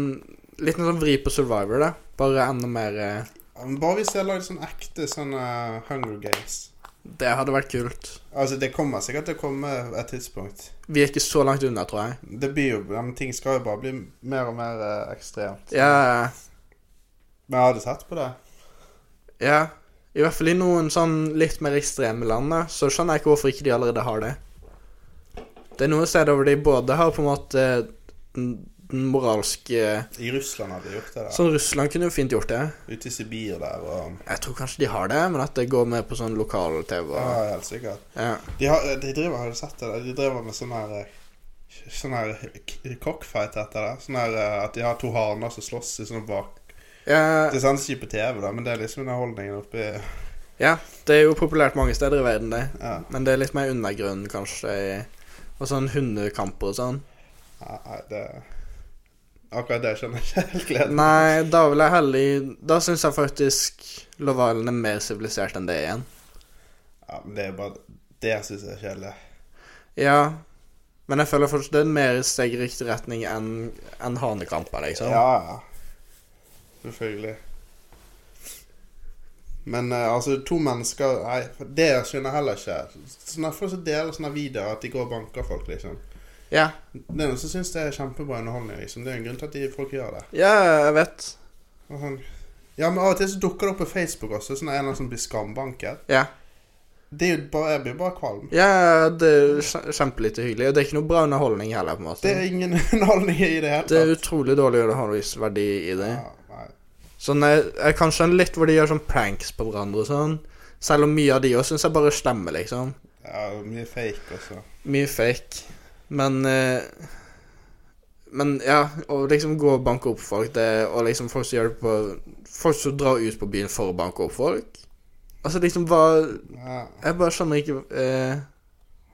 B: Litt en sånn vri på Survivor, da. Bare enda mer eh,
C: eh, men Bare hvis jeg lagde sånn ekte sånn eh, Hunger Games.
B: Det hadde vært kult.
C: Altså, det kommer sikkert til å komme et tidspunkt.
B: Vi er ikke så langt unna, tror jeg.
C: Det blir jo, ja, men Ting skal jo bare bli mer og mer eh, ekstremt.
B: Ja,
C: Men jeg hadde sett på det.
B: ja. I hvert fall i noen sånn litt mer ekstreme land, da, så skjønner jeg ikke hvorfor ikke de allerede har det. Det er noen steder hvor de både har på en måte den den moralske
C: I Russland hadde de gjort det. der.
B: eh, Sånn Russland kunne jo fint gjort det.
C: Ute i Sibir der og
B: Jeg tror kanskje de har det, men at det går med på sånn lokal-TV.
C: Ja,
B: og-
C: helt sikkert.
B: Ja.
C: De, har, de driver, har du sett det? der? De driver med sånn her eh, Sånn her k- cockfight heter det. Sånn her eh, at de har to haner som slåss i sånn bak...
B: Ja,
C: Det sendes ikke på TV, da, men det er liksom underholdningen oppi
B: ja, det er jo populært mange steder i verden, det.
C: ja.
B: Men det er litt mer undergrunn, kanskje. i- Og sånn hundekamper og sånn.
C: Nei, nei, det Akkurat det skjønner jeg ikke helt gleden.
B: Nei, da vil jeg heller Da syns jeg faktisk Love Island er mer sivilisert enn det igjen.
C: Ja, men det er bare Det syns jeg er kjedelig.
B: Ja. Men jeg føler fortsatt det er mer steg i riktig retning enn enn hanekamper, liksom.
C: Ja, ja. Selvfølgelig. Men eh, altså, to mennesker Nei, for det skjønner jeg heller ikke. Sånn at Folk som deler sånne videoer at de går og banker folk, liksom.
B: ja.
C: Det er noen som syns det er kjempebra underholdning, liksom. Det er jo en grunn til at de, folk gjør det.
B: Ja, jeg vet.
C: Og sånn, ja, men Av og til så dukker det opp på Facebook også, sånn en eller annen som blir skambanket.
B: Ja.
C: Det er jo bare, Jeg blir bare kvalm.
B: ja det er kjem- kjempelite hyggelig. Og det er ikke noe bra underholdning heller, på en måte.
C: Det er ingen underholdning i det hele
B: Det er
C: tatt.
B: utrolig dårlig underholdningsverdi i det.
C: Ja, nei.
B: Sånn er, er kanskje en litt hvor de gjør sånn pranks på hverandre og sånn. Selv om mye av de også syns jeg bare stemmer, liksom.
C: Ja, mye fake altså. også.
B: Mye fake. Men eh, Men ja, å liksom gå og banke opp folk, det, og liksom folk som gjør det på Folk som drar ut på byen for å banke opp folk. Altså liksom hva
C: Ja,
B: Jeg bare skjønner ikke eh,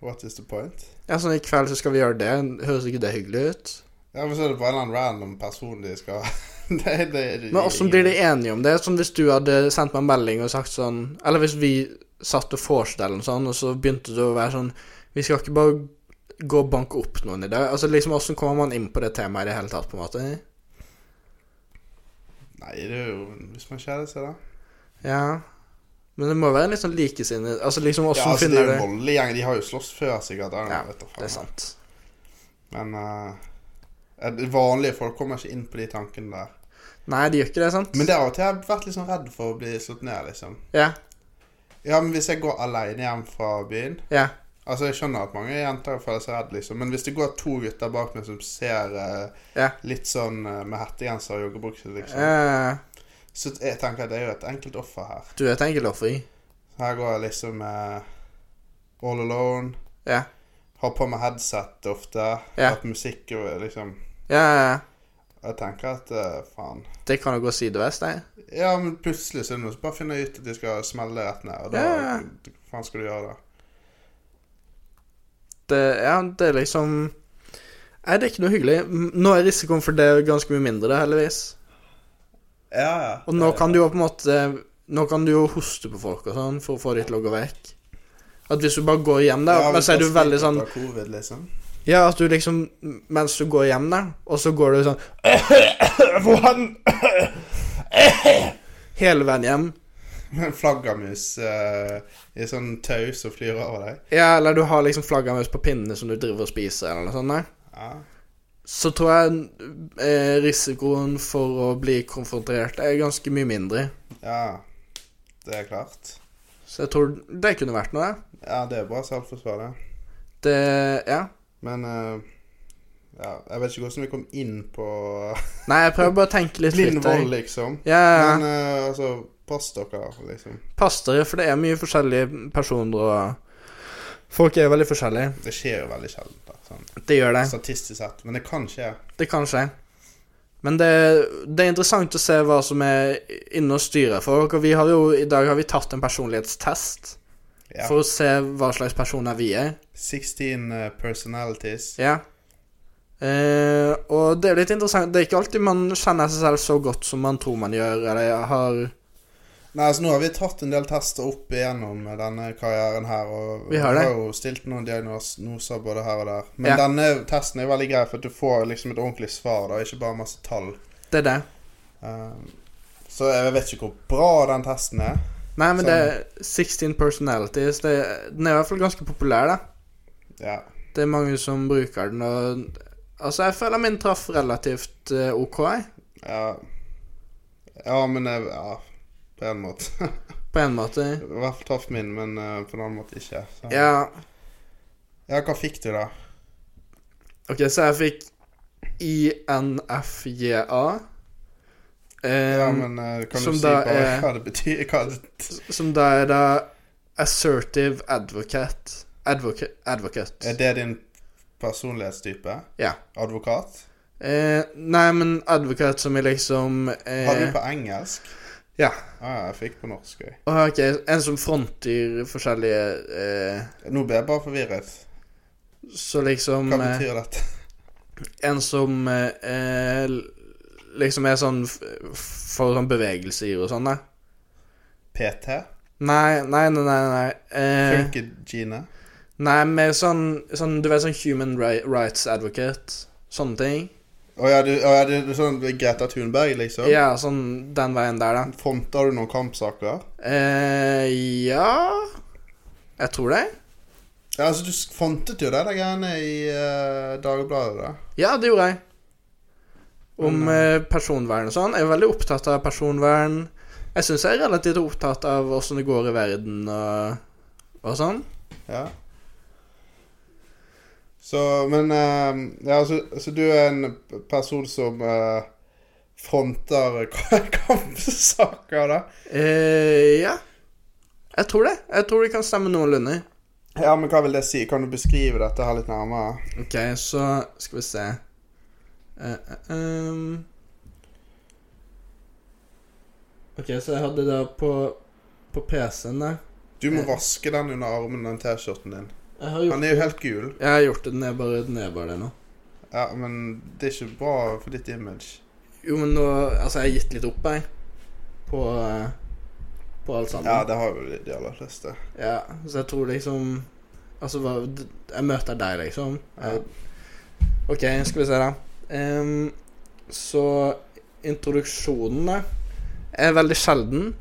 C: what is the point?
B: Ja, sånn i kveld så skal vi gjøre det. Høres ikke det hyggelig ut?
C: Ja, men så er det bare en eller annen random person de skal det, det, det,
B: Men hvordan blir de enige om det? Sånn hvis du hadde sendt meg en melding og sagt sånn Eller hvis vi satt og forestilte oss sånn, og så begynte det å være sånn Vi skal ikke bare gå og banke opp noen i dag. Altså liksom, Hvordan kommer man inn på det temaet i det hele tatt, på en måte?
C: Nei, det er jo Hvis man kjeder seg, da.
B: Ja. Men det må være litt sånn likesinnet Altså liksom,
C: Ja,
B: hvordan
C: altså, det
B: finner
C: er jo
B: det
C: en voldelig gjeng. De har jo slåss før, sikkert.
B: Ja,
C: Ja, vet da faen.
B: Det er sant.
C: Men eh, eh, vanlige folk kommer ikke inn på de tankene der.
B: Nei, de gjør ikke det, sant?
C: Men det har jeg har vært litt sånn redd for å bli slått ned, liksom.
B: Ja.
C: Ja, men hvis jeg går alene hjem fra byen
B: Ja.
C: Altså, jeg skjønner at mange jenter føler seg redd, liksom. Men hvis det går to gutter bak meg som ser eh,
B: Ja.
C: litt sånn eh, med hettegenser og joggebukse, liksom
B: Eh,
C: Så jeg tenker at det er jo et enkelt offer her.
B: du er et enkeltoffer, i.
C: Her går jeg liksom eh, all alone.
B: Ja.
C: Har på meg headset ofte.
B: Ja.
C: At musikk og liksom
B: Ja, ja, ja.
C: Jeg tenker at eh, faen
B: Det kan jo gå sidevest, det.
C: Ja, men plutselig så er det noen som bare finner ut at de skal smelle rett ned. Og da
B: Ja.
C: faen skal du gjøre det?
B: det, eh, ja, det er liksom Nei, det er ikke noe hyggelig. M- Nå er risikoen for det ganske mye mindre, heldigvis.
C: Ja, ja.
B: Og nå kan du jo på en måte Nå kan du jo hoste på folk og sånn for å få de til å gå vekk. At hvis du bare går hjem der,
C: Ja,
B: men
C: hvis
B: så er
C: jeg
B: du veldig sånn
C: smitter av COVID, liksom.
B: Ja, at du liksom Mens du går hjem der, og så går du sånn Hvordan Hele veien hjem.
C: En flaggermus eh, i sånn tau som flyr over deg.
B: Ja, eller du har liksom flaggermus på pinnene som du driver og spiser, eller noe sånt. der.
C: Ja.
B: så tror jeg eh, risikoen for å bli konfrontert er ganske mye mindre.
C: ja. Det er klart.
B: Så jeg tror det kunne vært noe. ja.
C: Ja, det er bra selvforsvar, det.
B: Det, ja.
C: Men eh, ja, jeg vet ikke hvordan vi kom inn på
B: Nei, jeg prøver bare å tenke litt
C: blind
B: fritt.
C: vold,
B: jeg.
C: liksom.
B: Ja, ja.
C: Men eh, altså, pass dere, liksom.
B: Pass dere, for det er mye forskjellige personer og Folk er veldig forskjellige.
C: Det skjer jo veldig sjelden, da, sånn
B: Det gjør det.
C: statistisk sett. Men det kan skje.
B: Det kan skje. Men det, det er interessant å se hva som er inne og styrer folk. Og vi har jo, i dag har vi tatt en personlighetstest
C: Ja.
B: for å se hva slags personer vi er.
C: 16 eh, personalities.
B: Ja. Eh, og det er jo litt interessant. Det er ikke alltid man kjenner seg selv så godt som man tror man gjør, eller har
C: Nei, altså Nå har vi tatt en del tester opp igjennom denne karrieren her. Og
B: Vi har det.
C: jo stilt noen diagnoser både her og der. Men
B: Ja.
C: denne testen er veldig grei, for at du får liksom et ordentlig svar, da, ikke bare masse tall.
B: Det er det.
C: Um, så jeg vet ikke hvor bra den testen er.
B: Nei, men det er 16 personalities. Det, den er i hvert fall ganske populær, da.
C: Ja.
B: Det er mange som bruker den, og Altså, jeg føler min traff relativt eh, OK, jeg.
C: Ja, ja men eh, Ja, på en måte.
B: På en måte.
C: I hvert fall traff min, men eh, på en annen måte ikke. Så.
B: Ja.
C: ja, hva fikk du, da?
B: OK, så jeg fikk INFJA. Eh,
C: Ja, men eh, Kan
B: som
C: du si
B: da
C: bare
B: er-
C: hva det betyr? Hva det...
B: Som da er da assertive advocate. Advocate. advocate.
C: Er det din personlighetstype?
B: Ja.
C: Advokat?
B: Eh, nei, men advokat som er liksom eh,
C: Har du på engelsk?
B: Ja.
C: Ah, jeg fikk på norsk òg.
B: Åh, ok, En som fronter forskjellige eh,
C: Nå ble jeg bare forvirret.
B: Så liksom
C: Hva
B: eh,
C: betyr dette?
B: En som eh, eh, liksom er sånn f- For sånn bevegelse i og sånn, da.
C: PT?
B: Eh. Nei, nei, nei, nei. Nei, eh,
C: Funkygine?
B: nei mer sånn, sånn Du vet sånn human ri- rights advocate. Sånne ting.
C: Å ja, du, å, ja, du, du sånn Greta Thunberg, liksom?
B: Ja, sånn den veien der, da.
C: Fronter du noen kampsaker?
B: Eh, ja Jeg tror det.
C: Ja, altså, du s- frontet jo det der greiene i eh, Dagbladet, da.
B: Ja, det gjorde jeg. Om
C: Men,
B: eh, personvern og sånn. Jeg er veldig opptatt av personvern. Jeg syns jeg er relativt opptatt av åssen det går i verden og, og sånn.
C: Ja. Så, men eh, Ja, altså, altså, du er en person som eh, fronter kampsaker, da?
B: Eh, ja. Jeg tror det. Jeg tror det kan stemme noenlunde.
C: Ja, men hva vil det si? Kan du beskrive dette her litt nærmere?
B: Ok, så skal vi se Eh, eh, ehm. Ok, så jeg hadde det på, på PC-en der.
C: Du må vaske den under armen, den T-skjorten din.
B: Jeg har gjort,
C: Den er jo helt gul.
B: jeg har gjort det. Den er bare, den er bare det nå.
C: Ja, men det er ikke bra for ditt image.
B: Jo, men nå Altså, jeg har gitt litt opp, jeg. På eh, På alt
C: Ja,
B: sammen.
C: det har jo de- de aller fleste.
B: Ja. så jeg tror liksom Altså, hva d- Jeg møter deg, liksom.
C: Ja.
B: Jeg, OK, skal vi se, da. Ehm, så introduksjonen, da, er veldig sjelden.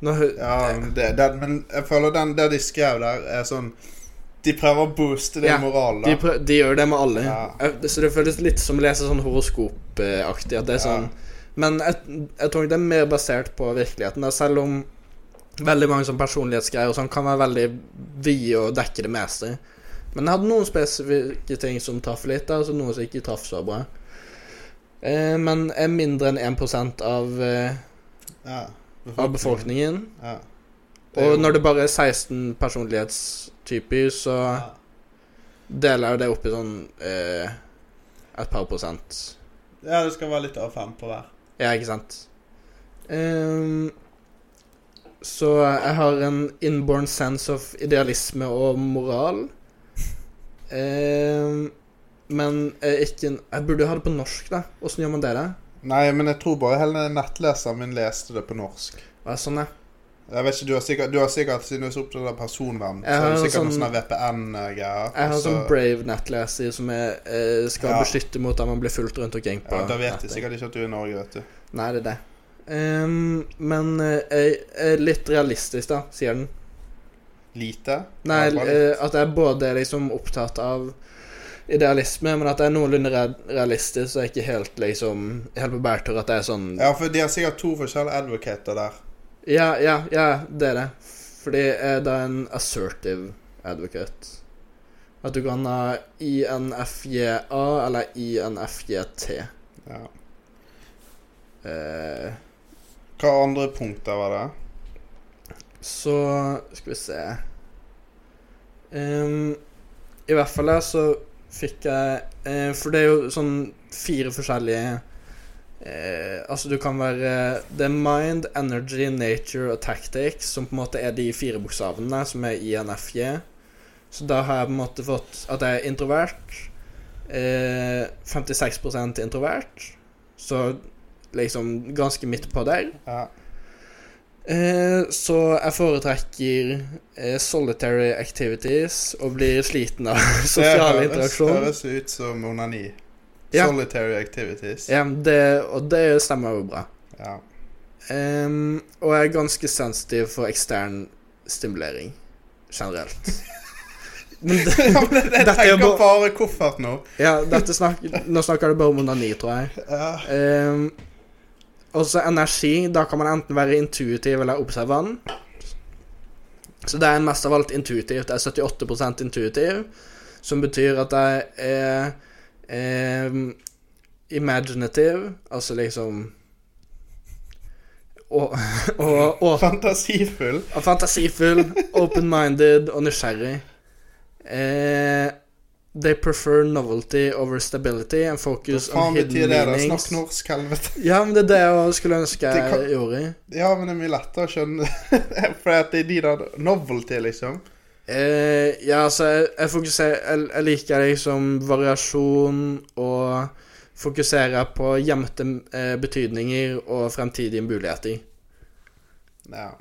B: Nå hø...
C: Ja, men det, den, men jeg føler den der de skrev der, er sånn De prøver å booste din
B: Ja,
C: moral, da.
B: De, prø de gjør det med alle.
C: Ja.
B: Jeg- Så det føles litt som å lese sånn horoskopaktig. At det er
C: Ja.
B: sånn Men jeg, jeg tror nok det er mer basert på virkeligheten. Da, selv om veldig mange sånn personlighetsgreier og sånn kan være veldig vide og dekke det meste. Men jeg hadde noen spesifikke ting som traff litt, da, og så noen som ikke traff så bra. Eh, men er mindre enn 1 av, eh,
C: ja,
B: av befolkningen.
C: Ja. Det er
B: Og
C: jo-
B: når det bare er 16 personlighetstyper, så
C: ja.
B: deler jo det opp i sånn eh, et par prosent.
C: ja, det skal være litt av fem på hver.
B: Ja, ikke sant? Ehm, så jeg har en inborn sense of idealisme og moral. Ehm, men er ikke en Jeg burde jo ha det på norsk, da. Åssen gjør man det, da?
C: Nei, men jeg tror bare hele nettleseren min leste det på norsk.
B: Og jeg er sånn, ja.
C: Jeg vet ikke, Du har sikkert, du har sikkert siden du er så opptatt av personvern, så
B: Jeg
C: har du
B: har
C: sikkert noen
B: sånn-
C: sånne VPN-greier.
B: Jeg har en
C: så-
B: sånn brave nettleser som jeg eh, skal
C: Altså- Ja.
B: beskytte mot at man blir fulgt rundt omkring på.
C: ja, Da vet de
B: nettet.
C: sikkert ikke at du er i Norge, vet du.
B: Nei, det er det. Ehm, men eh, jeg er litt realistisk, da, sier den.
C: Lite?
B: Nei,
C: Ja, bare litt.
B: eh, at jeg både er liksom opptatt av idealisme, men at jeg er noenlunde re- realistisk, så jeg er ikke helt liksom Helt på bærtur at jeg er sånn
C: Ja, for de har sikkert to forskjellige advocater der.
B: Ja, ja, ja, det er det. Fordi jeg er da en assertive advocate. At du kan ha INFJA eller INFJT.
C: Ja.
B: Eh,
C: Hva andre punkter var det?
B: Så skal vi se Ehm, I hvert fall her så fikk jeg eh, For det er jo sånn fire forskjellige eh, Altså du kan være Det er mind, energy, nature og tactics Som på en måte er de fire bokstavene Som er INFJ Så da har jeg på en måte fått At jeg er introvert eh, 56% introvert Så liksom ganske midt på der
C: Ja.
B: Eh, Så jeg foretrekker eh, solitary activities og blir sliten av sosial
C: Det høres-
B: interaksjon.
C: høres ut som onani.
B: Ja.
C: Solitary activities.
B: Ja, det, og det stemmer jo bra.
C: Ja.
B: Em, og jeg er ganske sensitiv for ekstern stimulering generelt. Men det,
C: Ja, men jeg
B: Dette er jo
C: tenker
B: bare-
C: bare koffert nå.
B: ja, dette snak, nå snakker du bare om onani, tror jeg.
C: Ja.
B: Um, og så energi. Da kan man enten være intuitiv eller observant. Så det er mest av alt intuitivt. Jeg er 78 intuitiv, som betyr at jeg er em, imaginative, altså liksom og, og, og
C: Fantasifull.
B: og Fantasifull, open-minded og nysgjerrig. Eh, they prefer novelty over stability and
C: Hva
B: focus on
C: faen betyr
B: hidden
C: det? da?
B: meanings.
C: Snakk norsk, helvete.
B: Ja, men det er det jeg skulle ønske
C: Det
B: jeg
C: kan-
B: gjorde.
C: Ja, men det er mye lettere å skjønne. For at det er de der novelty, liksom.
B: Eh, ja, altså, jeg, jeg fokuserer jeg, jeg liker liksom variasjon og fokuserer på gjemte eh, betydninger og fremtidige muligheter.
C: Ja.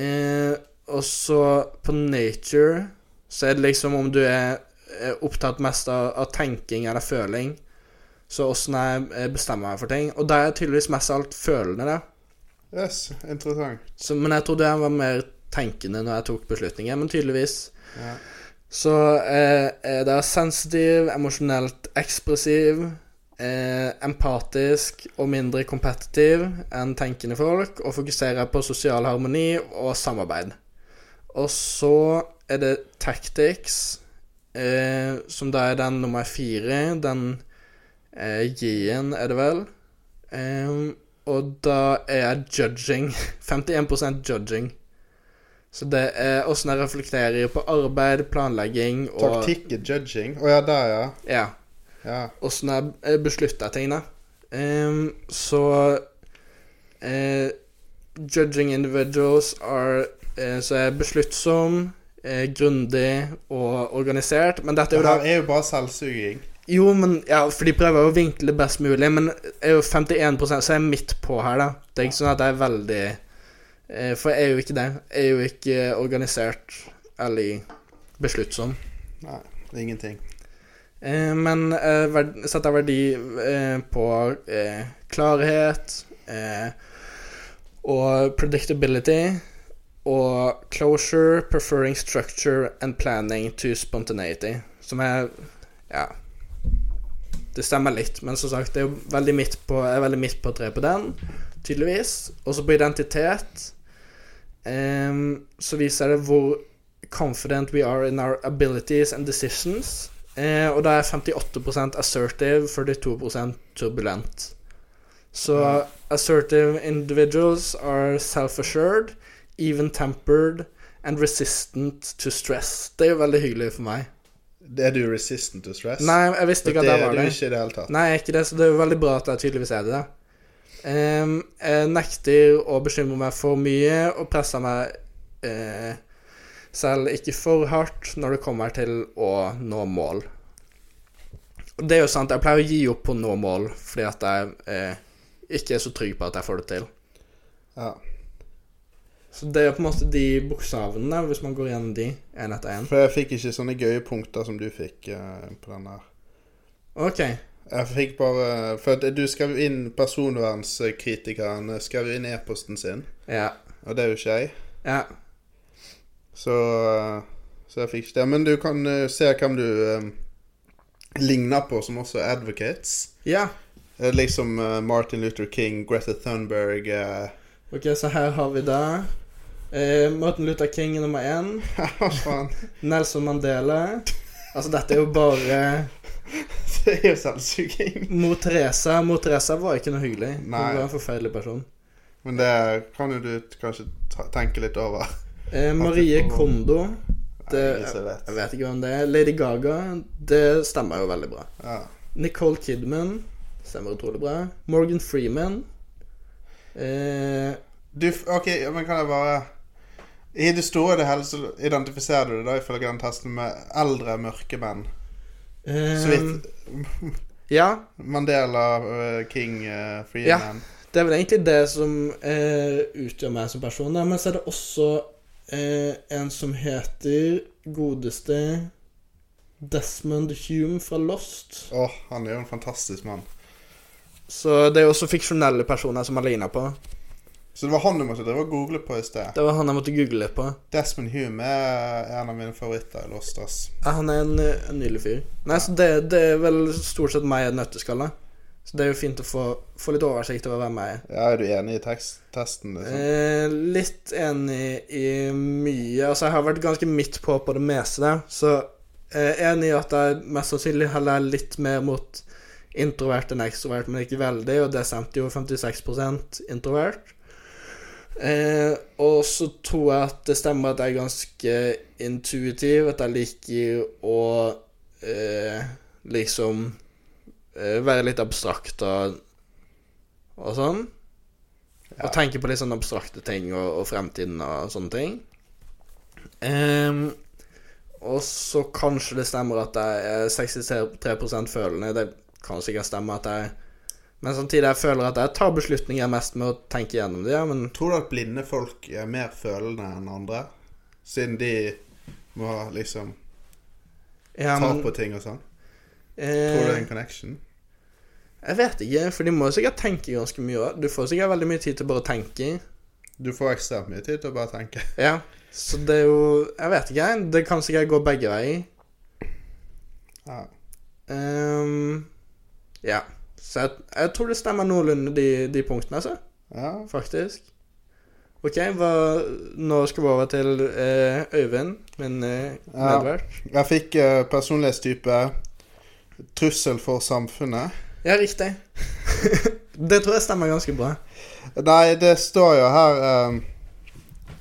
B: Eh, og så på nature så er det liksom om du er eh, opptatt mest av, av tenking eller føling. Så åssen jeg eh, bestemmer meg for ting. Og da er jeg tydeligvis mest av alt følende, da.
C: Yes, interessant.
B: Så, men jeg trodde jeg var mer tenkende når jeg tok beslutninger, men tydeligvis.
C: Ja.
B: Så eh, eh, det er sensitiv, emosjonelt ekspressiv, eh, empatisk og mindre kompetitiv enn tenkende folk, og fokuserer på sosial harmoni og samarbeid. Og så er det tactics, eh, som da er den nummer fire, den eh, J-en er det vel. Ehm, og da er jeg judging. 51 judging. Så det er åssen jeg reflekterer på arbeid, planlegging og
C: Taktikk er judging. Å ja, der, ja.
B: Ja.
C: ja.
B: Åssen jeg eh, beslutter ting, da. Ehm, så eh, Judging individuals are eh, Så er jeg besluttsom, eh, grundig og organisert. Men dette
C: Det
B: er jo da
C: her er jo bare selvsuging.
B: Jo, men ja, for de prøver jo å vinkle det best mulig, men jeg er jo 51 så jeg er midt på her, da. Det er ikke sånn at jeg er veldig eh, For jeg er jo ikke det. Jeg er jo ikke organisert eller besluttsom.
C: Nei, det er ingenting.
B: Eh, men eh, verd setter verdi eh, på eh, klarhet eh, og predictability og closure, preferring structure and planning to spontaneity, som er Ja. Det stemmer litt, men som sagt, det er jo veldig midt på, jeg er veldig midt på treet på den, tydeligvis. Og så på identitet ehm, så viser det hvor confident we are in our abilities and decisions. Eh, og da er 58 assertive, 42 turbulent. Så assertive individuals are self-assured, even-tempered and resistant to stress. Det er jo veldig hyggelig for meg.
C: Er du resistant to stress?
B: Nei, jeg visste
C: det,
B: ikke at jeg var
C: er
B: det.
C: du ikke i det hele tatt.
B: Nei, jeg er ikke det, så det er jo veldig bra at jeg tydeligvis er det. da. Ehm, jeg nekter å bekymre meg for mye og presser meg eh, selv ikke for hardt når det kommer til å nå mål. Og det er jo sant, jeg pleier å gi opp på å nå mål fordi at jeg eh, ikke er så trygg på at jeg får det til.
C: Ja.
B: Så det er på en måte de bokstavene, hvis man går gjennom de én etter én.
C: For jeg fikk ikke sånne gøye punkter som du fikk eh, på den her.
B: OK.
C: Jeg fikk bare For at du skrev inn personvernskritikeren skrev inn e-posten sin,
B: Ja.
C: og det er jo ikke jeg.
B: Ja.
C: Så, eh, så jeg fikk ikke det. Men du kan eh, se hvem du eh, ligner på som også er advocates.
B: ja.
C: Eh, Liksom eh, Martin Luther King, Greta Thunberg eh,
B: OK, så her har vi da eh, Martin Luther King nummer én.
C: Hva faen?
B: Nelson Mandela. Altså, dette er jo bare
C: Det er jo selvsuging.
B: Mor Teresa. Mor Teresa var ikke noe hyggelig. Hun
C: Nei.
B: var en forferdelig person.
C: Men det kan jo du t- kanskje ta- tenke litt over.
B: Eh, Marie Kondo. Det,
C: Nei, så
B: jeg
C: jeg vet.
B: vet ikke hvem det er. Lady Gaga. Det stemmer jo veldig bra.
C: Ja.
B: Nicole Kidman. Stemmer utrolig bra. Morgan Freeman. Eh,
C: Du, f- ok, ja, men kan jeg bare I det store og det hele så identifiserer du det da ifølge den testen med eldre mørke menn.
B: eh,
C: Så vidt
B: Ja,
C: Mandela, eh, King, eh,
B: Ja.
C: Freeman
B: det er vel egentlig det som eh, utgjør meg som person. da. Men så er det også eh, en som heter godeste Desmond Hume fra Lost.
C: Åh, han er jo en fantastisk mann.
B: Så det er jo også fiksjonelle personer som har ligna på.
C: Så det var han du måtte drive og google på i sted.
B: Det var han jeg måtte google litt på.
C: Desmond Hume er en av mine favoritter i Lost, ass.
B: Ja, han er en, eh, en nydelig fyr. Nei, så det, det er vel stort sett meg i et nøtteskall. da. Så det er jo fint å få, få litt oversikt over hvem jeg er.
C: Ja, er du enig i tekst, testen? Liksom?
B: Eh, litt enig i mye. Altså, jeg har vært ganske midt på på det meste, da. så eh, enig i at jeg mest sannsynlig heller er litt mer mot introvert enn ekstrovert, men ikke veldig, og det stemte jo 56 introvert. Eh, og så tror jeg at det stemmer at jeg er ganske intuitiv, at jeg liker å eh, liksom eh, være litt abstrakt og, og sånn.
C: Ja.
B: Og tenke på litt sånn abstrakte ting og, og fremtiden og sånne ting. Ehm, og så kanskje det stemmer at jeg er 63 følende. Det kan sikkert stemme at jeg Men samtidig jeg føler at jeg tar beslutninger mest med å tenke gjennom det, ja, men
C: Tror du at blinde folk er mer følende enn andre? Siden de må liksom
B: ja,
C: ta
B: men,
C: på ting og sånn? Tror du det er
B: eh,
C: en connection?
B: Jeg vet ikke, for de må jo sikkert tenke ganske mye også. Du får sikkert veldig mye tid til bare å tenke.
C: Du får ekstremt mye tid til å bare tenke.
B: Ja, Så det er jo Jeg vet ikke, jeg. Det kan sikkert gå begge veier.
C: Ja.
B: Ehm, ja. Så jeg, jeg tror det stemmer noenlunde, de, de punktene, altså.
C: ja.
B: Faktisk. OK, hva, nå skal vi over til eh, Øyvind, min eh,
C: Ja.
B: medvert.
C: Jeg fikk eh, personlighetstype trussel for samfunnet.
B: Ja, riktig. det tror jeg stemmer ganske bra.
C: Nei, det står jo her eh,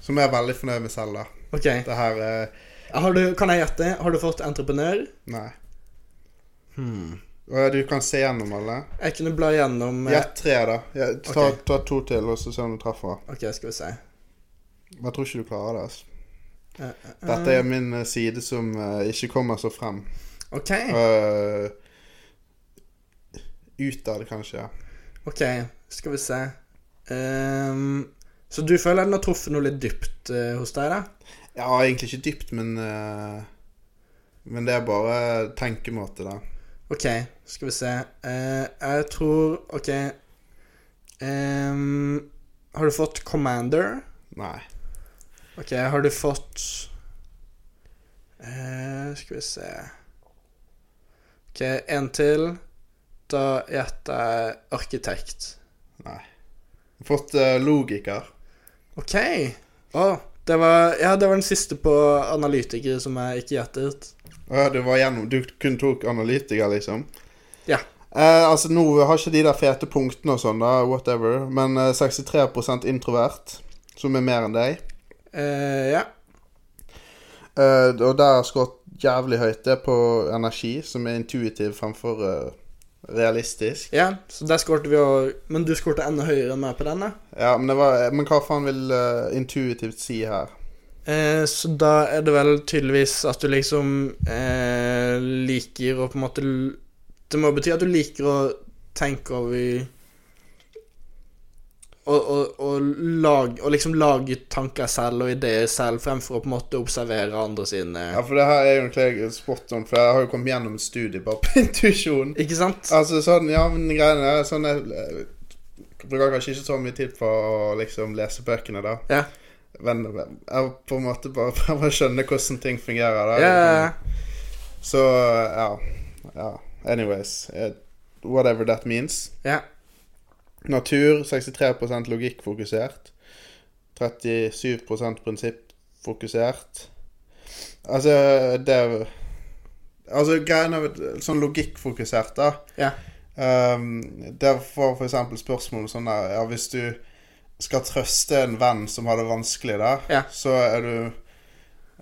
C: Som jeg er veldig fornøyd med selv, da.
B: OK.
C: Det her eh,
B: Har du, kan jeg gjette? Har du fått entreprenør?
C: Nei.
B: Hmm.
C: Og Du kan se gjennom alle.
B: Jeg kunne bla gjennom eh,
C: Gjett tre, da. Ja, ta,
B: Ok.
C: ta to til, og så se om du treffer.
B: OK, skal vi se.
C: Jeg tror ikke du klarer det. altså.
B: Eh, eh,
C: Dette er min eh, side som eh, ikke kommer så frem.
B: OK.
C: Uh, utad, kanskje.
B: ok, Skal vi se. Ehm, så du føler den har truffet noe litt dypt eh, hos deg, da?
C: Ja, egentlig ikke dypt, men eh, Men det er bare tenkemåte, da.
B: OK, skal vi se. Eh, jeg tror OK. Ehm, har du fått Commander?
C: Nei.
B: Ok, har du fått eh, Skal vi se Ok, en til. Da gjetter jeg arkitekt.
C: Nei. Fått eh, logiker.
B: Ok! Å, det var Ja, det var den siste på analytikere som jeg ikke gjettet.
C: Å ja, du var gjennom Du kun tok analytiker, liksom?
B: Ja.
C: Eh, altså, nå har ikke de der fete punktene og sånn, da, whatever, men eh, 63 introvert, som er mer enn deg.
B: Eh, ja.
C: Eh, og der har jeg skåret jævlig høyt. Det er på energi, som er intuitiv fremfor eh, realistisk.
B: ja, så der skårte vi jo Men du skårte enda høyere enn meg på den, da.
C: Ja, men, det var, men hva faen vil eh, intuitivt si her?
B: Eh, så da er det vel tydeligvis at du liksom eh, liker å på en måte l- Det må bety at du liker å tenke over og, og, og, lag, og liksom lage tanker selv og ideer selv, fremfor å på en måte observere andre sine
C: Ja, for det her er jo egentlig spot on, for jeg har jo kommet gjennom et studie bare på intuisjon.
B: Ikke sant?
C: Altså sånn, ja, men greiene er sånn Jeg jeg bruker kanskje ikke så mye tid på å liksom lese bøkene, da.
B: Ja.
C: Men eh, jeg på en måte bare prøver å skjønne hvordan ting fungerer, da.
B: Ja, ja,
C: Så eh, ja. ja. Anyways. eh, Whatever that means.
B: ja.
C: Natur 63 logikkfokusert. 37 prinsippfokusert. Altså, det Altså, greiene med sånn logikkfokusert, da.
B: Ja.
C: Um, der får for eksempel spørsmål sånn der Ja, hvis du skal trøste en venn som har det vanskelig, da,
B: Ja.
C: så er du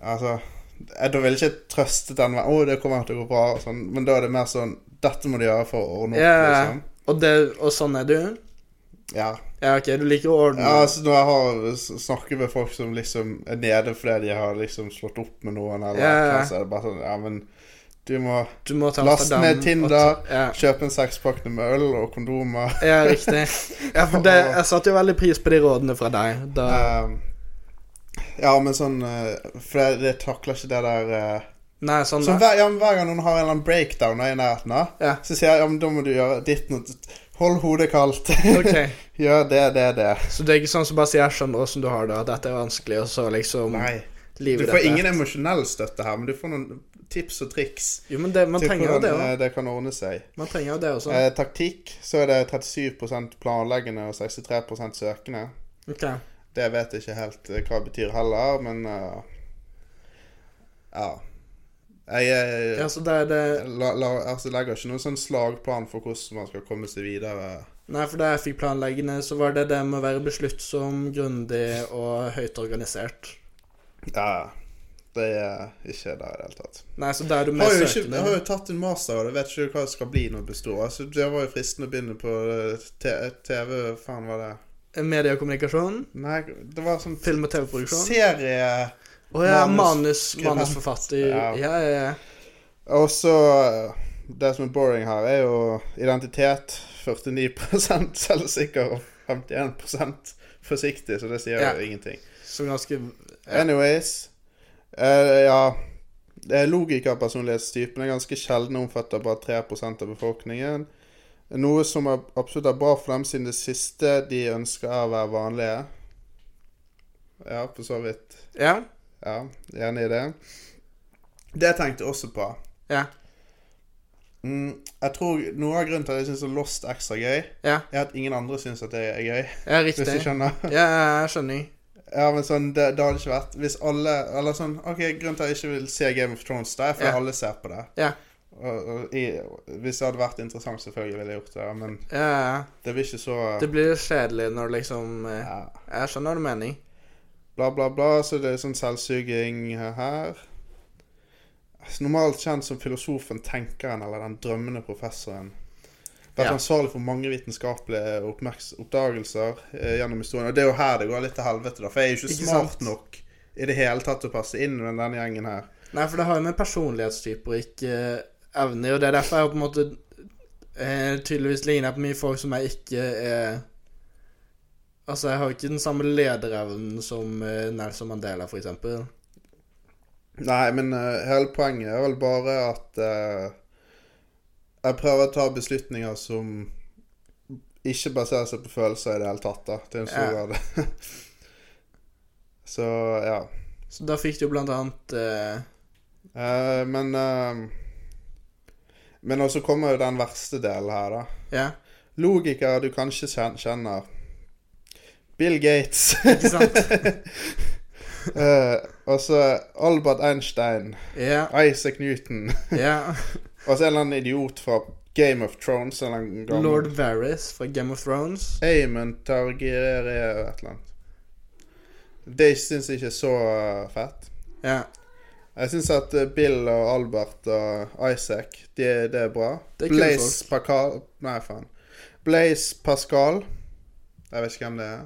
C: Altså jeg, Da ville jeg ikke trøstet den vennen. 'Å, det kommer til å gå bra', og sånn. Men da er det mer sånn 'Dette må du gjøre for å ordne opp',
B: Ja.
C: liksom.
B: Og, det, og sånn er du?
C: Ja.
B: Ja, ok, du liker å ordne
C: Ja, altså når jeg har snakker med folk som liksom er nede fordi de har liksom slått opp med noen, eller
B: Ja, ja, ja.
C: noe, så er det bare sånn Ja, men du må
B: Du må ta
C: Last
B: Amsterdam
C: ned
B: og
C: Tinder.
B: ta- Ja.
C: kjøpe en sekspakk med øl og kondomer.
B: ja, riktig. Ja, for det, jeg satte jo veldig pris på de rådene fra deg. Da,
C: Ehm, ja, men sånn eh, For jeg, jeg takler ikke det der eh.
B: nei, sånn
C: Så hver, ja, men hver gang noen har en eller annen breakdown og jeg er i nærheten, av,
B: Ja.
C: så sier jeg ja, men da må du gjøre ditt noe Hold hodet kaldt.
B: Ok.
C: Gjør det, det, det.
B: Så det er ikke sånn som bare sier 'jeg skjønner åssen du har det', at dette er vanskelig, og så liksom
C: Nei. Du
B: livet
C: får
B: dette.
C: ingen emosjonell støtte her, men du får noen tips og triks.
B: Jo, men det, man
C: til
B: trenger jo
C: hvordan,
B: det
C: eh,
B: òg.
C: det kan ordne seg.
B: Man trenger jo det også.
C: Eh, taktikk, så er det 37 planleggende og 63 søkende.
B: Ok.
C: Det vet jeg ikke helt eh, hva det betyr heller, men eh, Ja. Jeg eh,
B: Ja, så det er det
C: la, la, altså legger ikke noen sånn slagplan for hvordan man skal komme seg videre.
B: Nei, for da jeg fikk planleggende, så var det det med å være besluttsom, grundig og høyt organisert.
C: Ja, det er ikke der i det hele tatt.
B: Nei, så da er du
C: Jeg
B: mer
C: har jo, ikke, jeg har
B: søkende.
C: jo tatt en master, og jeg vet ikke hva det skal bli når det består. Altså, det var jo fristende å begynne på eh, te- TV Faen, var det
B: Medie og kommunikasjon.
C: Nei, det var sånn
B: Film- og TV-produksjon.
C: serie...
B: Og jeg er manus,
C: Manus-
B: manusforfatter.
C: Ja.
B: Ja, ja, ja.
C: Og så Det som er boring her, er jo identitet. 49 selvsikker og 51 forsiktig, så det sier
B: Ja.
C: jo ingenting.
B: Så ganske Ja.
C: Anyways eh, Ja. Eh, Logikerpersonlighetstypen er ganske sjelden og omfatter bare 3 av befolkningen. Noe som er absolutt er bra for dem, siden det siste de ønsker, er å være vanlige. Ja, for så vidt.
B: Ja.
C: Ja, enig i det. Det tenkte jeg også på.
B: Ja.
C: Mm, jeg tror Noe av grunnen til at jeg syns Lost er ekstra gøy,
B: Ja,
C: er at ingen andre syns at det er gøy.
B: ja
C: Hvis du
B: riktig.
C: skjønner.
B: Ja, jeg skjønner.
C: Ja, men sånn, det, det hadde ikke vært Hvis alle Eller sånn OK, grunnen til at jeg ikke vil se Game of Thrones, da, er fordi
B: Ja.
C: alle ser på det.
B: Ja.
C: Og, og, i, hvis det hadde vært interessant, selvfølgelig ville jeg gjort det, men
B: Ja, ja.
C: det blir ikke så
B: Det blir kjedelig når det liksom eh,
C: ja.
B: Jeg skjønner hva du mener.
C: Bla, bla, bla. Så det er sånn selvsuging her. Altså, Normalt kjent som filosofen, tenkeren eller den drømmende professoren. Vært
B: Ja.
C: ansvarlig for mange vitenskapelige oppmerks- oppdagelser eh, gjennom historien. Og det er jo her det går litt til helvete, da. For jeg er jo ikke,
B: Ikke
C: smart
B: sant?
C: nok i det hele tatt til å passe inn med denne gjengen her.
B: Nei, for det har jo med personlighetstyper og ikke eh, evner Og det er derfor jeg på en måte eh, tydeligvis ligner på mye folk som jeg ikke er Altså, jeg har jo ikke den samme lederevnen som eh, Nelson Mandela, for eksempel.
C: Nei, men eh, hele poenget er vel bare at eh, jeg prøver å ta beslutninger som ikke baserer seg på følelser i det hele tatt, da. Til en stor
B: Ja.
C: grad. Så ja.
B: Så da fikk du jo blant annet eh,
C: Eh, men eh, Men også kommer jo den verste delen her, da.
B: Ja,
C: Logikere du kanskje kjen- kjenner. Bill Gates.
B: ikke sant?
C: Eh, Og så Albert Einstein.
B: Ja,
C: Isaac Newton.
B: ja.
C: Og så en eller annen idiot fra Game of Thrones. En eller annen gammel
B: Lord Varys fra Game of Thrones.
C: Amon Targaryen et eller annet. Det syns jeg ikke er så eh, fett.
B: Ja.
C: Jeg syns at eh, Bill og Albert og Isaac, det, det er bra.
B: Det er kule
C: Blaze Pascal Nei, faen. Blaze Pascal. Jeg vet ikke hvem det er.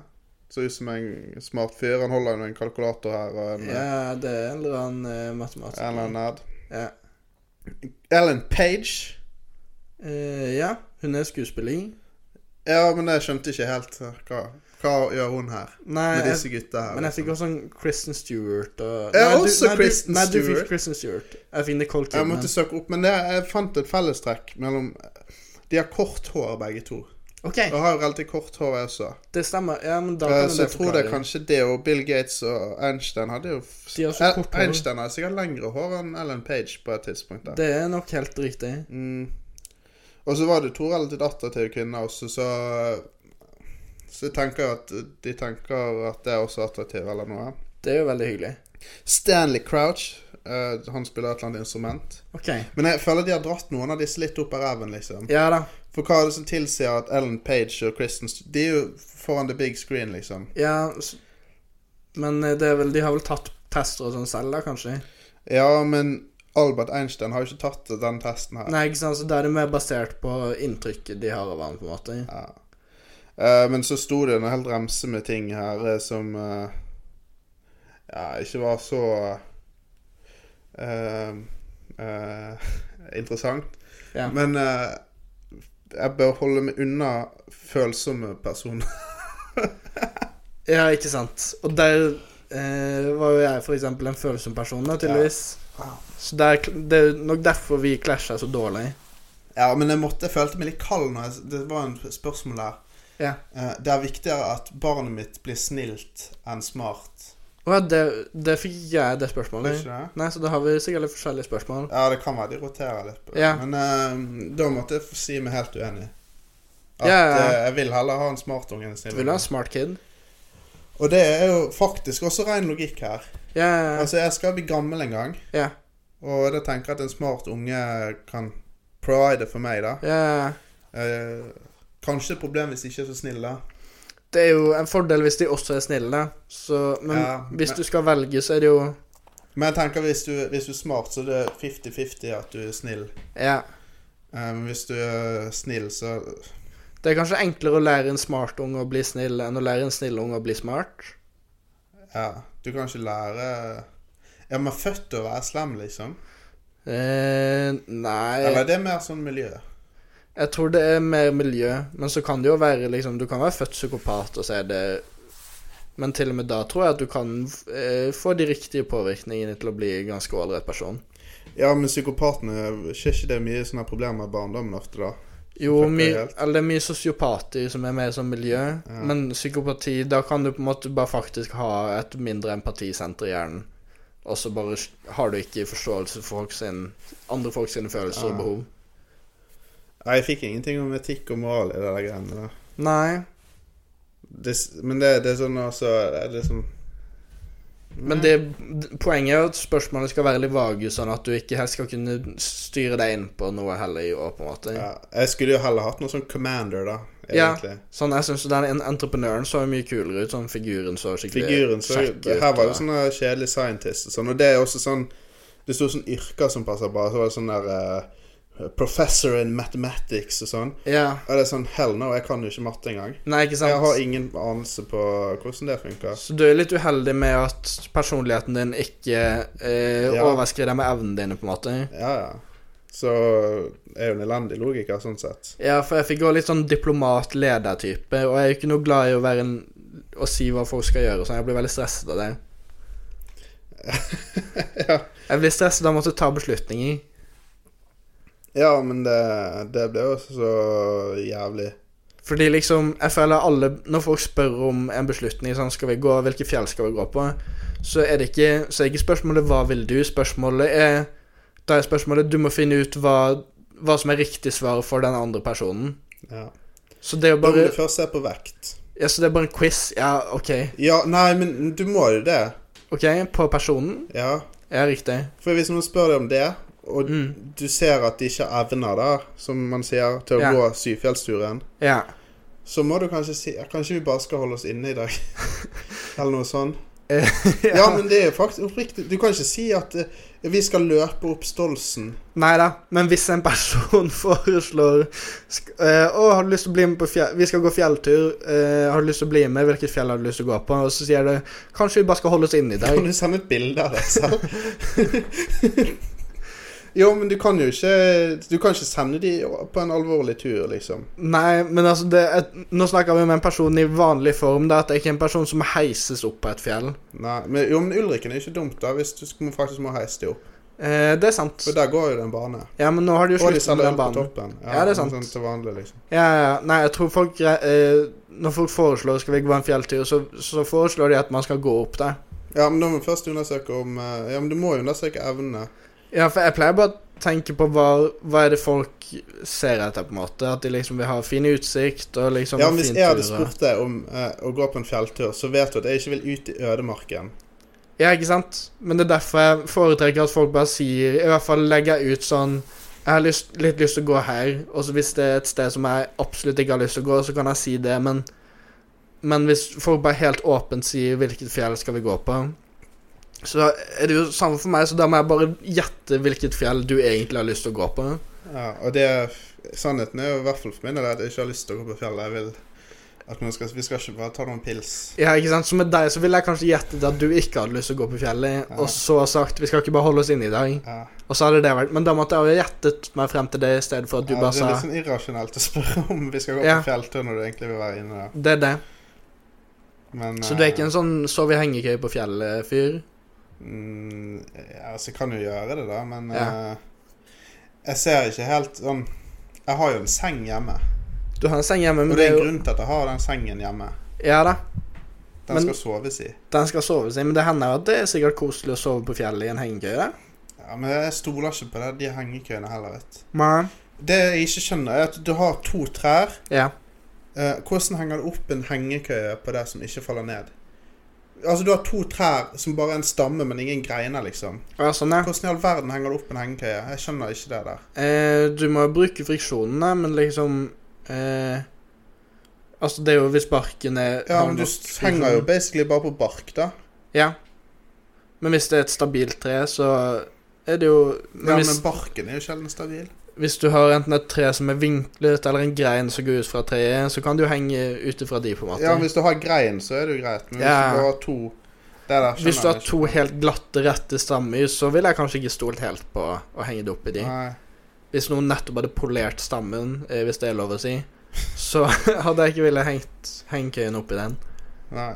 C: Ser ut som en smart fyr. Han holder jo en kalkulator her og en, eh,
B: Ja, det er en eller annen eh, matematiker.
C: en eller annen nerd.
B: Ja.
C: Ellen Page.
B: Eh, ja, hun er skuespiller.
C: Ja, men jeg skjønte ikke helt eh, hva, hva Hva gjør hun her?
B: Nei,
C: Med disse
B: jeg,
C: gutta her.
B: men jeg
C: liksom.
B: fikk også en Kristen Stewart og
C: Ja,
B: Nei, du-
C: også
B: nei, du-
C: Kristen
B: Nei, du
C: Stewart.
B: fikk Kristen Stewart. Jeg fikk Nicole
C: Jeg
B: Kidman.
C: måtte søke opp, men det, jeg fant et fellestrekk mellom De har kort hår, begge to.
B: OK,
C: Og har jo relativt kort hår, jeg også.
B: det stemmer. Ja, men da
C: Eh,
B: kan
C: Så jeg tror det er
B: forklare.
C: kanskje det, og Bill Gates og Einstein hadde jo
B: De har så
C: Eh,
B: kort hår.
C: Einstein hadde sikkert lengre hår enn Ellen Page på et tidspunkt. der.
B: Det er nok helt riktig.
C: Mm. Og så var det to relativt attraktive kvinner også, så Så jeg tenker at de tenker at det er også attraktivt, eller noe.
B: Det er jo veldig hyggelig.
C: Stanley Crouch. eh, han spiller et eller annet instrument.
B: OK.
C: Men jeg føler de har dratt noen av disse litt opp av ræven, liksom.
B: Ja da.
C: For hva er det som tilsier at Ellen Page og Kristen St- De er jo foran the big screen, liksom.
B: Ja, s- men eh, det er vel, de har vel tatt tester og sånn selv, da, kanskje?
C: Ja, men Albert Einstein har jo ikke tatt den testen her.
B: Nei, ikke sant, så da er det mer basert på inntrykket de har av ham, på en måte.
C: Ja. Eh, men så sto det en hel remse med ting her eh, som eh, Ja, ikke var så eh, eh, interessant.
B: Ja.
C: Men eh, jeg bør holde meg unna følsomme personer.
B: Ja, ikke sant. Og der eh, var jo jeg for eksempel en følsom person, da, tydeligvis.
C: Ja.
B: Så det er, kl- det er nok derfor vi clasher så dårlig.
C: Ja, men jeg, måtte, jeg følte meg litt kald når jeg Det var en spørsmål der.
B: Ja.
C: Eh, det er viktigere at barnet mitt blir snilt enn smart.
B: Og ja, det, det fikk jeg det
C: Er det
B: spørsmålet.
C: ikke det?
B: Nei, så da har vi sikkert litt forskjellige spørsmål.
C: Ja, det kan være de roterer litt på det.
B: Ja.
C: Men eh, da måtte jeg si meg helt uenig. At
B: Ja, ja, ja.
C: eh, jeg vil heller ha en smartunge enn en
B: Du
C: snill
B: vil ha en
C: unge.
B: smart kid?
C: Og det er jo faktisk også ren logikk her.
B: Ja, ja, ja.
C: Altså, jeg skal bli gammel en gang,
B: ja.
C: og da tenker jeg at en smart unge kan provide for meg, da.
B: ja, ja.
C: Eh, kanskje et problem hvis de ikke er så snille, da.
B: Det er jo en fordel hvis de også er snille, da. Så, men
C: Ja,
B: hvis
C: men-
B: du skal velge, så er det jo
C: Men jeg tenker hvis du, hvis du er smart, så er det 50-50 at du er snill.
B: Ja.
C: Eh, Men hvis du er snill, så
B: Det er kanskje enklere å lære en smart unge å bli snill enn å lære en snill unge å bli smart.
C: Ja. Du kan ikke lære Er man født til å være slem, liksom?
B: Eh,
C: Eller
B: nei
C: er det mer sånn miljø?
B: Jeg tror det er mer miljø, men så kan det jo være liksom Du kan være født psykopat, og så er det Men til og med da tror jeg at du kan eh, få de riktige påvirkningene til å bli ganske ålreit person.
C: Ja, men psykopatene Skjer ikke det mye sånne problemer i barndommen ofte, da?
B: Jo,
C: Fucker
B: my,
C: helt.
B: eller det er mye sosiopater som er mer som miljø,
C: Ja.
B: men psykopati Da kan du på en måte bare faktisk ha et mindre empatisenter i hjernen. Og så bare s- har du ikke forståelse for folk sin, andre folk sine følelser og
C: Ja.
B: behov.
C: Nei, jeg fikk ingenting om etikk og moral i det der greiene der.
B: Nei,
C: Det, s- men det, det er sånn altså Det er liksom
B: men det,
C: Mm.
B: d- poenget er jo at spørsmålene skal være litt vage, sånn at du ikke helst skal kunne styre deg inn på noe heller i år, på en måte.
C: ja, Jeg skulle jo heller hatt noe sånn commander, da.
B: Ja.
C: Egentlig.
B: Sånn, Jeg syns den en- entreprenøren så mye kulere ut, sånn figuren så skikkelig
C: Figuren så
B: kjekk ut.
C: Her var sånn-
B: og-
C: det sånne kjedelige scientist og sånn, og det er også sånn Det sto sånn yrker som passer bra. Så var det sånn der eh, Professor in mathematics og sånn.
B: Ja.
C: Og det er sånn Hell no, jeg kan jo ikke matte engang.
B: Nei, ikke sant?
C: Jeg har ingen anelse på hvordan det funker.
B: Så du er litt uheldig med at personligheten din ikke eh,
C: Ja.
B: overskrider med evnene dine, på en måte.
C: Ja, ja. Så er jo en elendig logiker, sånn sett.
B: Ja, for jeg fikk også litt sånn diplomat-leder-type, og jeg er jo ikke noe glad i å være en Å si hva folk skal gjøre, så jeg blir veldig stresset av det.
C: ja.
B: Jeg blir stresset av å måtte ta beslutninger.
C: ja, men det, det ble jo også så jævlig.
B: Fordi liksom, jeg føler alle Når folk spør om en beslutning, sånn skal vi gå, hvilke fjell skal vi gå på, så er det ikke, så er ikke spørsmålet 'hva vil du?' Spørsmålet er Da er spørsmålet 'du må finne ut hva, hva som er riktig svar for den andre personen'.
C: Ja.
B: Så det er jo
C: Bare... Om
B: bare
C: det først er på vekt.
B: Ja, så det er bare en quiz. Ja, OK.
C: Ja, nei, men du må jo det.
B: Ok, På personen?
C: Ja.
B: Ja, riktig.
C: For hvis noen spør deg om det, og
B: Mm.
C: du ser at de ikke har evner, da, som man sier, til å
B: Ja.
C: gå syfjellsturen,
B: Ja.
C: så må du kanskje si ja, Kanskje vi bare skal holde oss inne i dag? Eller noe sånt.
B: Eh,
C: ja. men det er jo faktisk oppriktig. Du kan ikke si at eh, vi skal løpe opp Stolsen.
B: Nei da, men hvis en person foreslår sk eh, 'Å, har du lyst til å bli med på fjell... Vi skal gå fjelltur. eh, har du lyst til å bli med? Hvilket fjell har du lyst til å gå på?' Og så sier du 'Kanskje vi bare skal holde oss inne i
C: Kan
B: dag'.
C: du sende et bilde av deg selv? Jo, men du kan jo ikke Du kan ikke sende de på en alvorlig tur, liksom.
B: Nei, men altså det er, Nå snakker vi om en person i vanlig form. Det er at det er ikke en person som heises opp på et fjell.
C: Nei, men, jo, men Ulriken er ikke dumt, da, hvis du sk- faktisk må heise de opp.
B: Eh, det er sant.
C: For der går jo det en bane.
B: Ja, men nå har de jo
C: Og de
B: sluttet med den
C: selger øl på
B: banen.
C: toppen.
B: Ja, det er sant.
C: Sånn til vanlig, liksom.
B: Ja, ja, ja. Nei, jeg tror folk eh, Når folk foreslår skal vi gå på en fjelltur, så, så foreslår de at man skal gå opp der.
C: Ja, men da må vi først undersøke om eh, Ja, men du må jo undersøke evnene.
B: Ja, for jeg pleier bare å tenke på hva, hva er det folk ser etter, på en måte. At de liksom vil ha fin utsikt og liksom
C: Ja, men Hvis
B: fin
C: jeg hadde
B: tur og-
C: spurt deg om eh, å gå på en fjelltur, så vet du at jeg ikke vil ut i ødemarken.
B: Ja, ikke sant? Men det er derfor jeg foretrekker at folk bare sier I hvert fall legger jeg ut sånn Jeg har lyst, litt lyst til å gå her, og så hvis det er et sted som jeg absolutt ikke har lyst til å gå, så kan jeg si det, men Men hvis folk bare helt åpent sier hvilket fjell skal vi gå på, så er det jo samme for meg, så da må jeg bare gjette hvilket fjell du egentlig har lyst til å gå på.
C: Ja, og det Sannheten er jo i hvert fall for min del at jeg ikke har lyst til å gå på fjellet. Jeg vil at man skal, Vi skal ikke bare ta noen pils.
B: Ja, ikke sant? Så med deg så ville jeg kanskje gjettet at du ikke hadde lyst til å gå på fjellet,
C: Ja.
B: og så sagt vi skal ikke bare holde oss inne i dag.
C: Ja.
B: Og så hadde det vært Men da måtte jeg jo gjettet meg frem til det i stedet for at du
C: ja,
B: bare
C: det er
B: sa
C: litt sånn irrasjonelt å spørre om vi skal gå
B: Ja.
C: på fjelltur når du egentlig vil være inne der.
B: Det er det.
C: Men,
B: Så du er ikke en sånn sov i hengekøye på fjellet-fyr?
C: Mm, ja, altså, jeg kan jo gjøre det, da, men
B: Ja.
C: eh, Jeg ser ikke helt sånn Jeg har jo en seng hjemme.
B: Du har en seng hjemme, men
C: og det er en
B: jo
C: grunn til at jeg har den sengen hjemme.
B: Ja da,
C: Den
B: Men-
C: skal soves i.
B: den skal soves i, men det hender jo at det er sikkert koselig å sove på fjellet i en hengekøye. da.
C: Ja, Men jeg stoler ikke på det, de hengekøyene heller, vet du.
B: Men-
C: Det jeg ikke skjønner, er at du har to trær.
B: Ja.
C: Eh, hvordan henger du opp en hengekøye på det som ikke faller ned? Altså, du har to trær som bare er en stamme, men ingen greiner, liksom.
B: Ja, sånn, ja.
C: Hvordan i all verden henger du opp en hengekøye? Jeg skjønner ikke det der.
B: Eh, du må jo bruke friksjonen, da, men liksom eh, Altså, det er jo hvis barken er
C: Ja,
B: har
C: men du
B: nok
C: s-
B: friksjon.
C: henger jo basically bare på bark, da.
B: Ja. Men hvis det er et stabilt tre, så er det jo Men,
C: Ja,
B: hvis,
C: men barken er jo sjelden stabil.
B: hvis du har enten et tre som er vinklet, eller en grein som går ut fra treet, så kan du henge ut ifra de, på en måte.
C: Ja, men hvis du har grein, så er det jo greit. Men
B: Ja.
C: hvis du bare har to Det der
B: Hvis du
C: skjønner
B: har
C: jeg ikke.
B: to helt glatte, rette stammer, så ville jeg kanskje ikke stolt helt på å henge det opp i de.
C: Nei.
B: Hvis noen nettopp hadde polert stammen, eh, hvis det er lov å si, så hadde jeg ikke ville hengt hengekøyen oppi den.
C: Nei.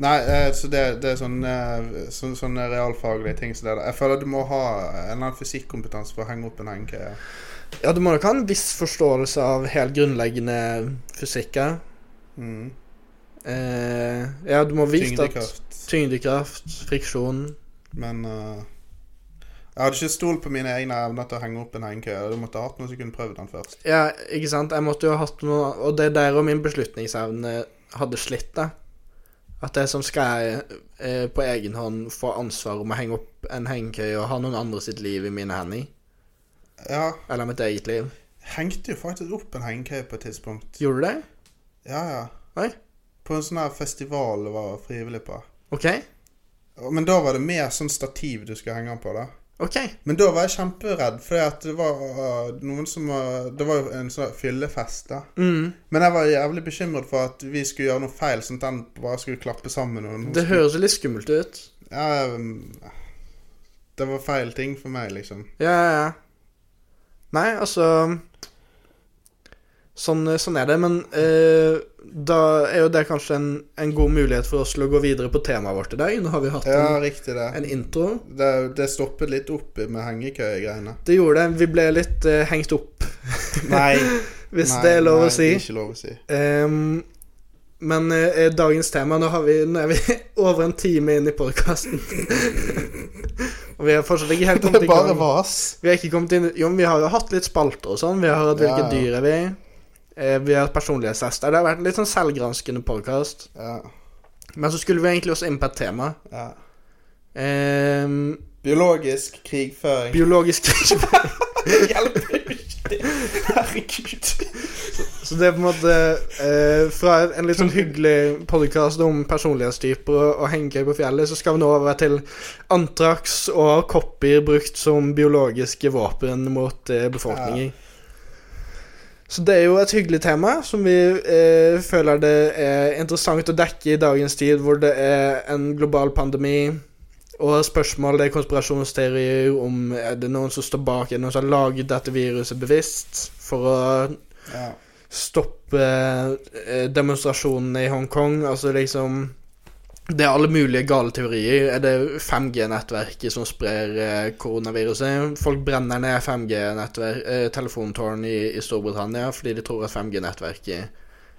C: Nei, eh, så det, det er sånne, sånne, sånne realfaglige ting som det der. Jeg føler at du må ha en eller annen fysikkompetanse for å henge opp en hengekøye.
B: Ja, du må nok ha en viss forståelse av helt grunnleggende fysikker.
C: Mm.
B: Eh, ja, du må vite at
C: Tyngdekraft.
B: Tyngdekraft, friksjon
C: Men eh, jeg hadde ikke stolt på mine egne evner til å henge opp en hengekøye. Du måtte ha hatt noen som kunne prøvd den først.
B: Ja, ikke sant. Jeg måtte jo ha hatt noe Og det er der og min beslutningsevne hadde slitt, da. At det er sånn skal jeg eh, på egen hånd få ansvar om å henge opp en hengekøye og ha noen andre sitt liv i mine hender?
C: Ja,
B: Eller mitt eget liv.
C: hengte jo faktisk opp en hengekøye på et tidspunkt.
B: Gjorde du det?
C: Ja, ja.
B: Oi.
C: På en sånn her festival det var frivillig på.
B: OK.
C: Men da var det mer sånn stativ du skulle henge den på, da.
B: OK.
C: Men da var jeg kjemperedd, for det var øh, noen som øh, Det var jo en sånn fyllefest, da.
B: Mm.
C: Men jeg var jævlig bekymret for at vi skulle gjøre noe feil, sånn at den bare skulle klappe sammen. Og noen
B: Det høres jo litt skummelt ut.
C: skulle- ja, øh, Det var feil ting for meg, liksom.
B: Ja, ja, ja. Nei, altså Sånn, sånn er det, men eh, da er jo det kanskje en, en god mulighet for oss til å gå videre på temaet vårt i dag. Nå har vi hatt en
C: Ja, riktig det.
B: en intro.
C: Det, det stoppet litt opp med hengekøyegreiene.
B: Det gjorde det. Vi ble litt eh, hengt opp,
C: Nei,
B: hvis
C: nei,
B: det er lov
C: nei,
B: å si.
C: Det er ikke lov å si.
B: Ehm, men eh, dagens tema Nå, har vi, nå er vi over en time inn i podkasten. og vi har fortsatt ikke helt
C: Det
B: kommet
C: er
B: i gang.
C: bare vas.
B: Vi har ikke kommet inn Jo, men vi har jo hatt litt spalter og sånn. Vi har hatt hvilke
C: Ja, ja.
B: dyr er vi? Eh, vi har hatt personlighetstester. Det har vært en litt sånn selvgranskende podkast.
C: Ja,
B: Men så skulle vi egentlig også inn på et tema.
C: ja.
B: Ehm,
C: Biologisk krigføring.
B: biologisk
C: Hjelper jo ikke det. Herregud.
B: Så det er på en måte eh, Fra en litt sånn hyggelig podkast om personlighetstyper og, og hengekøye på fjellet, så skal vi nå over til antrax og kopper brukt som biologiske våpen mot eh, befolkningen. Så det er jo et hyggelig tema som vi eh, føler det er interessant å dekke i dagens tid, hvor det er en global pandemi, Og spørsmål, det er konspirasjonsteorier om er det noen som står bak, er det noen som har laget dette viruset bevisst for å
C: Ja.
B: stoppe eh, demonstrasjonene i Hongkong. Altså liksom Det er alle mulige gale teorier. Er det 5G-nettverket som sprer eh, koronaviruset? Folk brenner ned 5G-telefontårn i, i Storbritannia fordi de tror at 5G-nettverket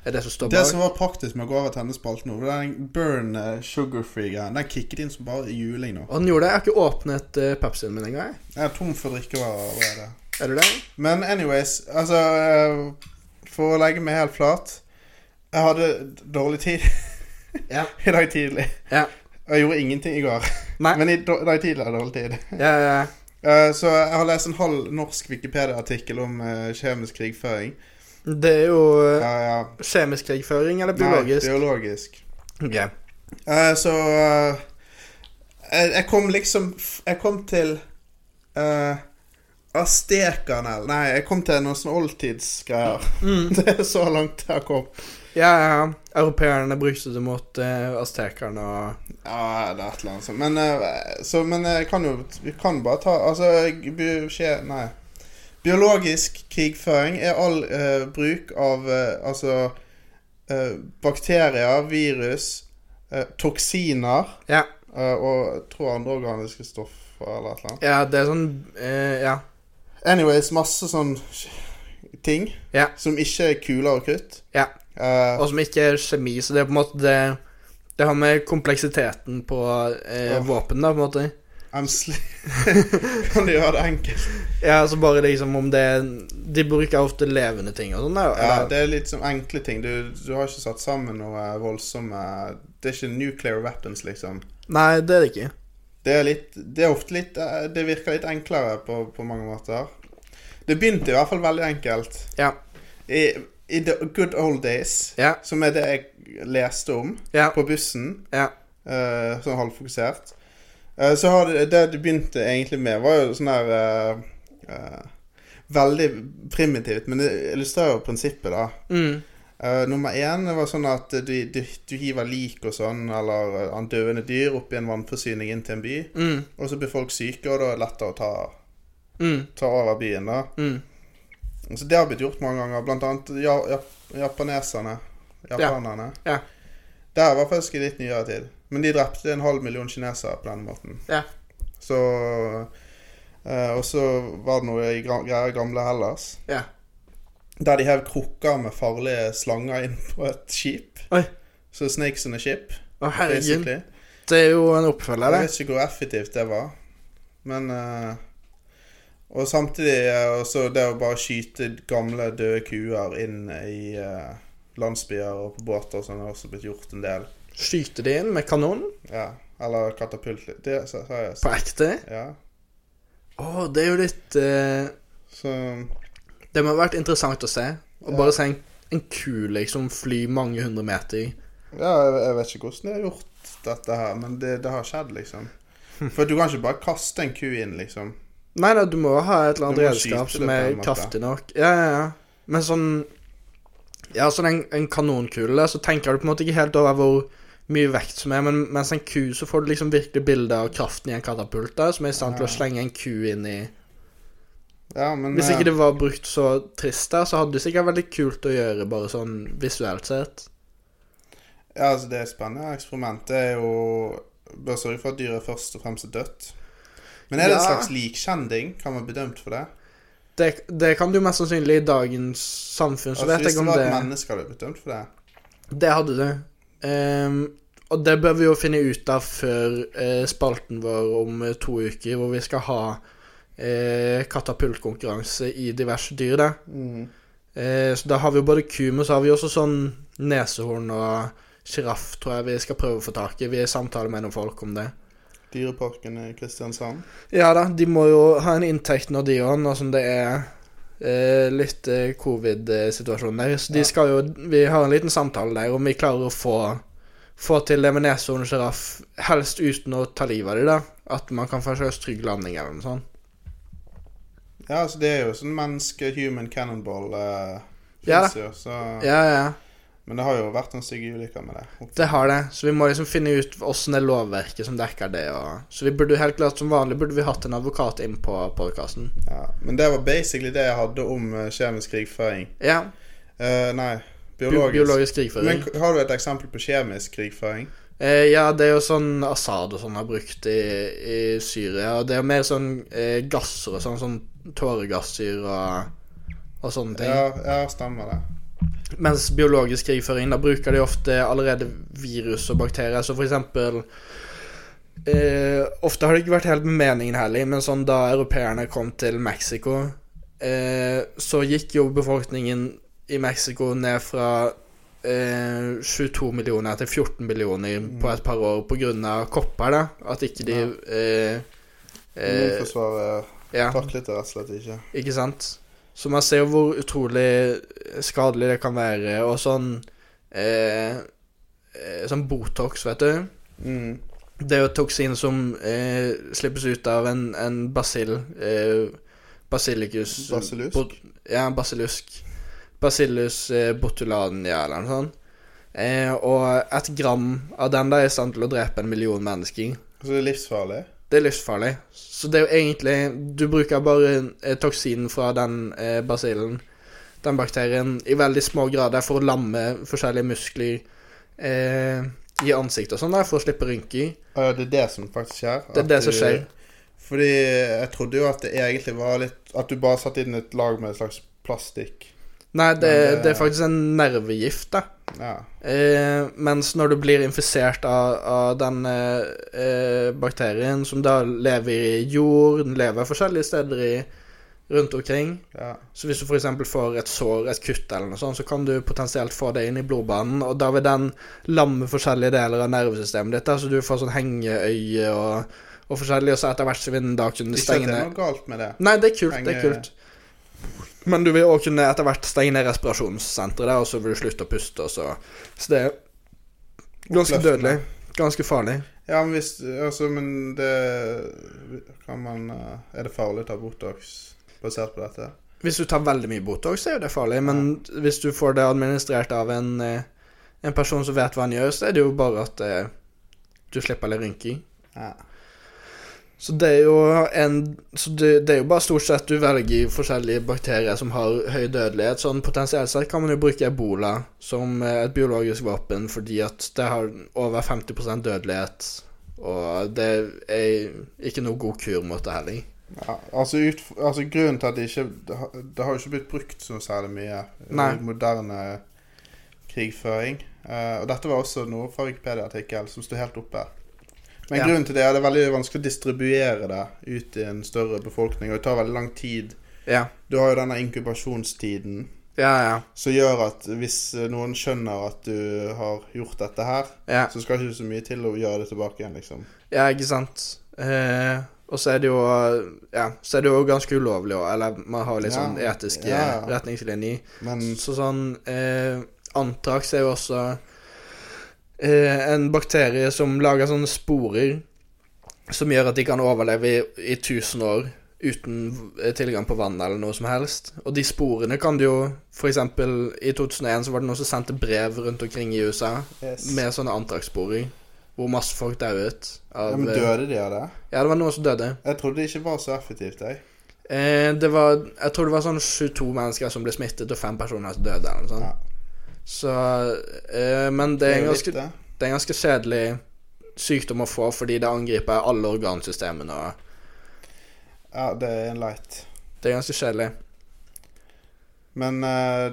B: er det som står
C: Det
B: bak.
C: som var praktisk med å gå over tennisspalten nå, var den Burn eh, Sugar Free-greien. Den kicket inn som bare juling nå.
B: Og den gjorde det. Jeg har ikke åpnet eh, Pepsien min engang. jeg.
C: Jeg er tom for drikkevarer allerede.
B: Er du det?
C: Men anyways, altså eh, For å legge meg helt flat Jeg hadde dårlig tid
B: Ja.
C: i dag tidlig.
B: Ja.
C: Og jeg gjorde ingenting i går.
B: Nei.
C: Men i do- i dag tidlig hadde jeg dårlig tid.
B: Ja, ja, ja.
C: Eh, Så jeg har lest en halv norsk Wikipedia-artikkel om eh, kjemisk krigføring.
B: Det er jo eh,
C: Ja, ja.
B: kjemisk krigføring eller
C: Nei,
B: biologisk?
C: biologisk.
B: Ok.
C: Eh, så eh, jeg, jeg kom liksom f- Jeg kom til uh, Astekanel Nei, jeg kom til noen sånne oldtidsgreier. Det er så langt jeg kom.
B: Ja, ja. ja. Europeerne brukte det mot eh, aztekerne og
C: Ja, det er et eller annet sånt. Men, eh, så, men jeg kan jo Vi kan bare ta Altså, bi- skje... Nei. Biologisk krigføring er all eh, bruk av eh, altså eh, bakterier, virus, eh, toksiner
B: Ja.
C: eh, og jeg tror andre organiske stoffer eller et eller annet.
B: Ja, det er sånn eh, Ja.
C: Anyways, masse sånn ting
B: Ja.
C: som ikke er kuler og krutt.
B: Ja.
C: Eh,
B: Og som ikke er kjemi, så det er på en måte det Det har med kompleksiteten på eh,
C: Åh.
B: våpen, da, på en måte.
C: I'm sli... kan du gjøre det enkelt?
B: Ja, altså bare liksom om det er De bruker ofte levende ting og sånn, da.
C: Ja,
B: eller-
C: det er litt sånn enkle ting. Du, du har ikke satt sammen noe voldsomme Det er ikke nuclear weapons, liksom.
B: Nei, det er det ikke.
C: Det er, litt, det er ofte litt eh, Det virker litt enklere på, på mange måter. Det begynte i hvert fall veldig enkelt.
B: Ja.
C: I, i the good old days,
B: Ja.
C: som er det jeg leste om
B: Ja.
C: på bussen,
B: Ja.
C: eh, sånn halvfokusert, eh, så har det, det det begynte egentlig med, var jo sånn her eh, eh, Veldig primitivt, men det illustrerer jo prinsippet, da.
B: Mm.
C: Eh, nummer én var sånn at du, du, du hiver lik og sånn, eller eh, an- døende dyr, oppi en vannforsyning inn til en by.
B: Mm.
C: Og så blir folk syke, og da er det lettere å ta,
B: Mm.
C: ta over byen, da.
B: Mm.
C: Så det har blitt gjort mange ganger, blant annet ja, ja, japaneserne. Japanerne.
B: Ja.
C: Der var faktisk i litt nyere tid. Men de drepte en halv million kinesere på den måten.
B: Ja.
C: Så eh, Og så var det noe i gra- greier i gamle Hellas.
B: Ja.
C: Der de hev krukker med farlige slanger inn på et skip.
B: Oi.
C: Så Snakes on a ship,
B: Å, herregud.
C: basically.
B: Det er jo en
C: Jeg
B: oppfølger, det.
C: vet ikke hvor effektivt det var. Men eh, Og samtidig eh, også det å bare skyte gamle, døde kuer inn i eh, landsbyer og på båter og sånn har også blitt gjort en del.
B: Skyter de inn med kanon?
C: Ja. Eller katapult. Det sa sa jeg.
B: På ekte?
C: Ja.
B: Å, det er jo litt eh,
C: Så
B: Det må ha vært interessant å se. Å
C: Ja.
B: bare se en, en ku liksom fly mange hundre meter.
C: Ja, jeg jeg vet ikke hvordan de har gjort dette her, men det, det har skjedd, liksom. For du kan ikke bare kaste en ku inn, liksom.
B: Nei da, du må ha et eller
C: Du
B: annet
C: må
B: redskap
C: skyte
B: som
C: det på
B: er
C: en måte.
B: kraftig nok. Ja, ja, ja. Men sånn Ja, sånn en, en kanonkule, så tenker du på en måte ikke helt over hvor mye vekt som er, men mens en ku, så får du liksom virkelig bilde av kraften i en katapult, da, som er i stand til å
C: Ja.
B: slenge en ku inn i
C: Ja, men
B: Hvis
C: eh,
B: ikke det var brukt så trist, da, så hadde det sikkert vært litt kult å gjøre, bare sånn visuelt sett.
C: Ja, altså Det er et spennende eksperiment. Det er jo Bør sørge for at dyret først og fremst er dødt. Men er det en
B: Ja.
C: slags likkjending? Kan man bli dømt for det?
B: Det, det kan du mest sannsynlig i dagens samfunn, så
C: Altså,
B: vet
C: hvis
B: jeg
C: det
B: ikke om
C: var
B: det
C: et menneske, hadde du blitt dømt for det?
B: Det hadde du. Ehm, og det bør vi jo finne ut av før eh, spalten vår om eh, to uker, hvor vi skal ha eh, katapultkonkurranse i diverse dyr. Da. Eh, så da har vi jo både ku, men så har vi også sånn nesehorn og sjiraff, tror jeg vi skal prøve å få tak i. Vi er i samtale med noen folk om det.
C: Dyreparken i Kristiansand?
B: Ja da, de må jo ha en inntekt når de òg, nå som det er eh, litt eh, covid-situasjon der. Så de
C: Ja.
B: skal jo Vi har en liten samtale der om vi klarer å få, få til det med nese og en sjiraff, helst uten å ta livet av dem, da. At man kan få en slags trygg landing eller noe sånt.
C: Ja, altså det er jo sånn menneske-human cannonball eh,
B: Ja da.
C: finnes jo, så
B: Ja, ja.
C: Men det har jo vært noen stygge ulykker med det. Og-
B: Det har det, så vi må liksom finne ut åssen er lovverket som dekker det. Og... Så vi burde jo helt klart som vanlig burde vi hatt en advokat inn på podkasten.
C: Ja. Men det var basically det jeg hadde om eh, kjemisk krigføring.
B: Ja,
C: Eh, nei,
B: biologisk,
C: biologisk.
B: biologisk krigføring.
C: Men k- har du et eksempel på kjemisk krigføring?
B: Eh, ja, det er jo sånn Assad og sånn har brukt i, i Syria. Og det er jo mer sånn eh, gasser og sånn, sånn tåregasser og, og sånne ting.
C: Ja, ja, stemmer det.
B: Mens biologisk krigføring, da bruker de ofte allerede virus og bakterier. Så for eksempel eh, Ofte har det ikke vært helt med meningen heller, men sånn da europeerne kom til Mexico, eh, så gikk jo befolkningen i Mexico ned fra eh, 22 millioner til 14 millioner på et par år på grunn av kopper, da. At ikke de eh, eh,
C: Immunforsvaret
B: ja.
C: taklet det rett og slett ikke.
B: Ikke sant? Så man ser jo hvor utrolig eh, skadelig det kan være, og sånn eh, eh, Sånn Botox, vet du.
C: Mm.
B: Det er jo et toksin som eh, slippes ut av en, en basill eh, Basilicus
C: Basilisk?
B: bot- ja, basilusk. Basillus eh, botulania, eller noe sånt. Eh, og et gram av den der er i stand til å drepe en million mennesker.
C: Så det er livsfarlig?
B: Det er livsfarlig. Så det er jo egentlig Du bruker bare eh, toksinen fra den eh, basillen, den bakterien, i veldig små grader for å lamme forskjellige muskler eh, i ansiktet og sånn, der, for å slippe rynker.
C: Ah, ja, det er det som faktisk skjer?
B: Det er
C: At
B: det som
C: du-
B: skjer.
C: Fordi jeg trodde jo at det egentlig var litt At du bare satte inn et lag med et slags plastikk.
B: Nei, det,
C: Men det-
B: det er faktisk en nervegift, da.
C: Ja.
B: Eh, mens når du blir infisert av, av den eh, eh, bakterien, som da lever i jord, den lever forskjellige steder i, rundt omkring,
C: ja.
B: Så hvis du f.eks. får et sår, et kutt eller noe sånt, så kan du potensielt få det inn i blodbanen, og da vil den lamme forskjellige deler av nervesystemet ditt, da, så du får sånn hengeøye og, og forskjellig, og så etter hvert så vil den da kunne
C: Ikke at
B: stenge
C: det er noe
B: ned
C: galt med det.
B: Nei, det er kult, det er
C: Henge-
B: kult. Men du vil òg kunne etter hvert stenge ned respirasjonssenteret, der, og så vil du slutte å puste, og så Så det er ganske
C: Oppløftende.
B: dødelig. Ganske farlig.
C: Ja, men hvis Altså, men det Kan man eh, Er det farlig å ta Botox basert på dette?
B: Hvis du tar veldig mye Botox, så er jo det farlig, men hvis du får det administrert av en, eh, en person som vet hva han gjør, så er det jo bare at eh, du slipper litt rynking.
C: Ja.
B: Så det er jo en Så det, det er jo bare stort sett du velger forskjellige bakterier som har høy dødelighet. Sånn potensielt sett kan man jo bruke ebola som eh, et biologisk våpen fordi at det har over 50 dødelighet, og det er ikke noe god kur mot det heller.
C: ja altså, ut, altså, grunnen til at det ikke Det har- det har jo ikke blitt brukt så særlig mye
B: Nei.
C: i moderne krigføring. Eh, og dette var også noe fra Wikipedia-artikkel som sto helt oppe. Men
B: Ja.
C: grunnen til det er det er veldig vanskelig å distribuere det ut i en større befolkning, og det tar veldig lang tid.
B: Ja.
C: Du har jo denne inkubasjonstiden
B: Ja, ja.
C: som gjør at hvis eh, noen skjønner at du har gjort dette her,
B: ja.
C: Så skal ikke så mye til å gjøre det tilbake igjen, liksom.
B: Ja, ikke sant. Eh, og så er det jo Ja, så er det jo ganske ulovlig òg, eller man har litt
C: Ja,
B: sånn etiske
C: ja, Mm. ja.
B: retningslinjer.
C: Men
B: Så sånn eh, Antrax er jo også eh, en bakterie som lager sånne sporer som gjør at de kan overleve i, i 1000 år uten eh, tilgang på vann eller noe som helst. Og de sporene kan du jo For eksempel i 2001 så var det noen som sendte brev rundt omkring i USA med sånne antrax-sporer. Hvor masse folk dauet. Av, eh,
C: ja, men døde de av det?
B: Ja, det var noen som døde.
C: Jeg trodde det ikke var så effektivt, jeg.
B: Eh, det var, jeg tror det var sånn 22 mennesker som ble smittet, og fem personer som døde. Eller noe sånt.
C: Ja.
B: Så, eh, men det er, en
C: jo litt
B: ganske,
C: eh. det.
B: det er en ganske kjedelig sykdom å få, fordi det angriper alle organsystemene. Og
C: Ja, det er en light.
B: det er ganske kjedelig.
C: Men eh,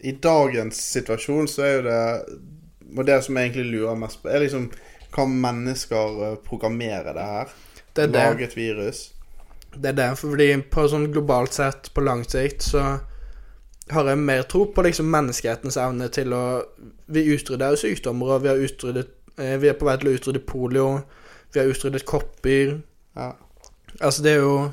C: i dagens situasjon så er jo det Og det som jeg egentlig lurer mest på, er liksom Kan mennesker eh, programmere det her?
B: Det er det.
C: Lage et virus?
B: Det er det, fordi på sånn globalt sett, på lang sikt, så har jeg mer tro på liksom menneskehetens evne til å Vi utrydder jo sykdommer, og vi, har utryddet, eh, vi er på vei til å utrydde polio. Vi har utryddet kopper.
C: Ja.
B: Altså, det er jo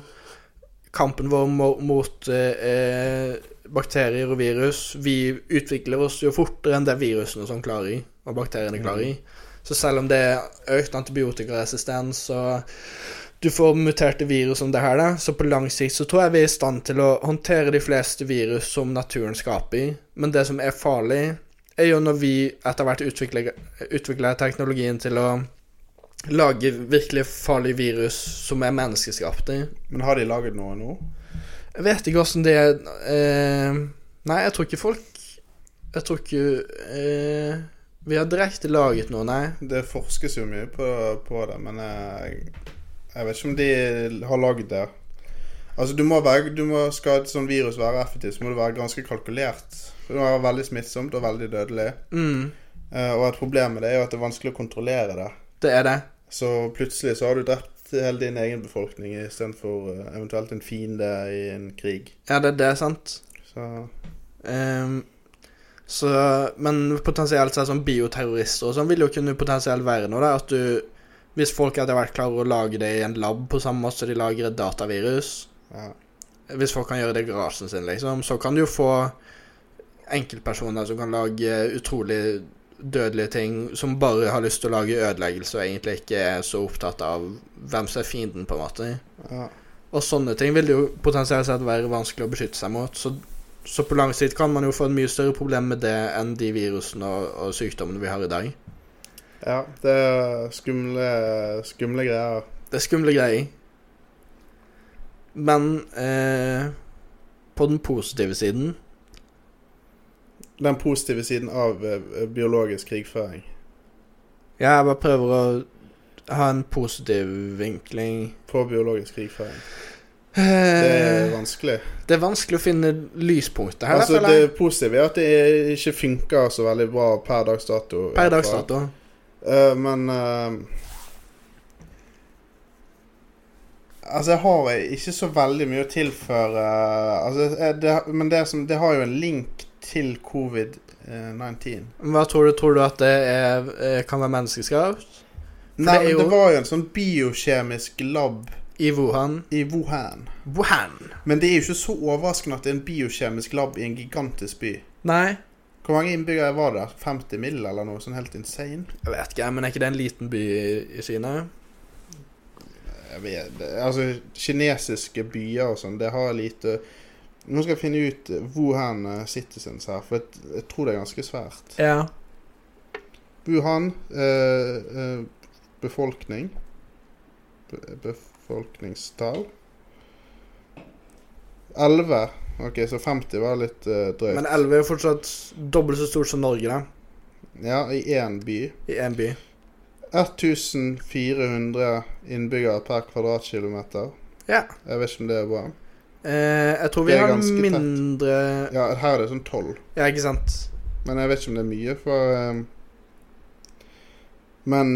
B: kampen vår mo- mot eh, eh, bakterier og virus. Vi utvikler oss jo fortere enn det virusene som klarer i, og bakteriene klarer i. Så selv om det er økt antibiotikaresistens og du får muterte virus som det her, da, så på lang sikt så tror jeg vi er i stand til å håndtere de fleste virus som naturen skaper. Men det som er farlig, er jo når vi etter hvert utvikler, utvikler teknologien til å lage virkelig farlige virus som er menneskeskapte.
C: Men har de laget noe nå?
B: Jeg vet ikke åssen det er eh, Nei, jeg tror ikke folk Jeg tror ikke eh, Vi har direkte laget noe, nei.
C: Det forskes jo mye på, på det, men jeg, jeg vet ikke om de har lagd det. Altså, du må være, du må, skal et sånt virus være effektivt, så må det være ganske kalkulert. Det må være veldig smittsomt og veldig dødelig.
B: Mm,
C: Eh, og et problem med det er jo at det er vanskelig å kontrollere det.
B: det er det.
C: Så plutselig så har du drept hele din egen befolkning istedenfor uh, eventuelt en fiende i en krig.
B: Ja, det, det er sant.
C: Så
B: Ehm, så, men potensielt sett sånn bioterrorister og sånn vil jo kunne potensielt være noe. Da, at du, hvis folk hadde vært klarer å lage det i en lab på samme måte som de lager et datavirus
C: ja.
B: Hvis folk kan gjøre det i garasjen sin, liksom, så kan du jo få enkeltpersoner som kan lage utrolig dødelige ting, som bare har lyst til å lage ødeleggelse og egentlig ikke er så opptatt av hvem som er fienden, på en måte.
C: ja.
B: Og sånne ting vil det jo potensielt sett være vanskelig å beskytte seg mot. Så, så på lang sikt kan man jo få et mye større problem med det enn de virusene og, og sykdommene vi har i dag.
C: ja. Det er skumle, skumle greier.
B: Det er skumle greier. Men eh, på den positive siden
C: Den positive siden av eh, biologisk krigføring.
B: Ja, jeg bare prøver å ha en positiv vinkling.
C: På biologisk krigføring. Det er
B: Eh,
C: vanskelig.
B: det er vanskelig å finne lyspunktet her,
C: Altså,
B: altså, føler jeg.
C: det positive er at det ikke funker så veldig bra per dags dato. i
B: Per
C: hvert
B: dags
C: fall.
B: dato.
C: Eh, men eh, Altså, jeg har ikke så veldig mye å tilføre altså, jeg- det, Men det, som, det har jo en link til eh, covid-19.
B: Hva tror du? Tror du at det er, eh, kan være menneskeskapt?
C: Nei,
B: det er
C: men det
B: jo-
C: var jo en sånn biokjemisk lab
B: I Wuhan?
C: i Wuhan.
B: Wuhan!
C: Men det er jo ikke så overraskende at det er en biokjemisk lab i en gigantisk by.
B: Nei.
C: Hvor mange innbyggere var det? 50 mill. eller noe sånn helt insane?
B: Jeg vet ikke, men er ikke det en liten by i- i Kina?
C: Jeg vet, det- altså, kinesiske byer og sånn, det har lite Nå skal jeg finne ut Wuhan eh, Citizens her, for jeg, jeg tror det er ganske svært.
B: Ja.
C: Wuhan eh, eh, befolkning Be- Befolkningstall 11. Ok, så 50 var litt eh, drøyt.
B: Men 11 er jo fortsatt dobbelt så stort som Norge, da.
C: Ja, i én by.
B: I én by.
C: 1400 innbyggere per kvadratkilometer.
B: Ja.
C: Jeg vet ikke om det er bra.
B: Eh, jeg tror vi
C: Det er
B: har
C: ganske tett.
B: mindre
C: Ja, her er det sånn 12,
B: Ja, ikke sant?
C: men jeg vet ikke om det er mye, for ehm, Men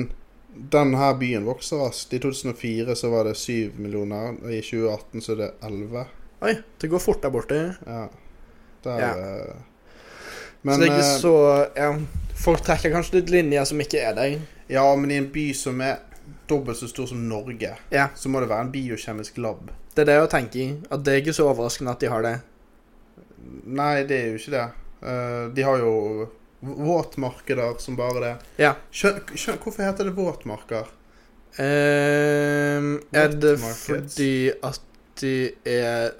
C: den her byen vokser raskt. I 2004 så var det 7 millioner, og i 2018 så er det 11.
B: Oi, det går fort der borte.
C: Ja. Der,
B: Ja.
C: eh,
B: så
C: Men
B: det er ikke
C: eh,
B: så Ja, folk trekker kanskje litt linjer som ikke er der.
C: Ja, men i en by som er dobbelt så stor som Norge,
B: Ja.
C: så må det være en biokjemisk lab.
B: Det er det jeg tenker i. At det er ikke så overraskende at de har det.
C: Nei, det er jo ikke det. Eh, de har jo v- våtmarkeder som bare det.
B: Ja.
C: Skjøn, skjøn, hvorfor heter det våtmarker?
B: Eh, er det
C: Markeds.
B: fordi at de er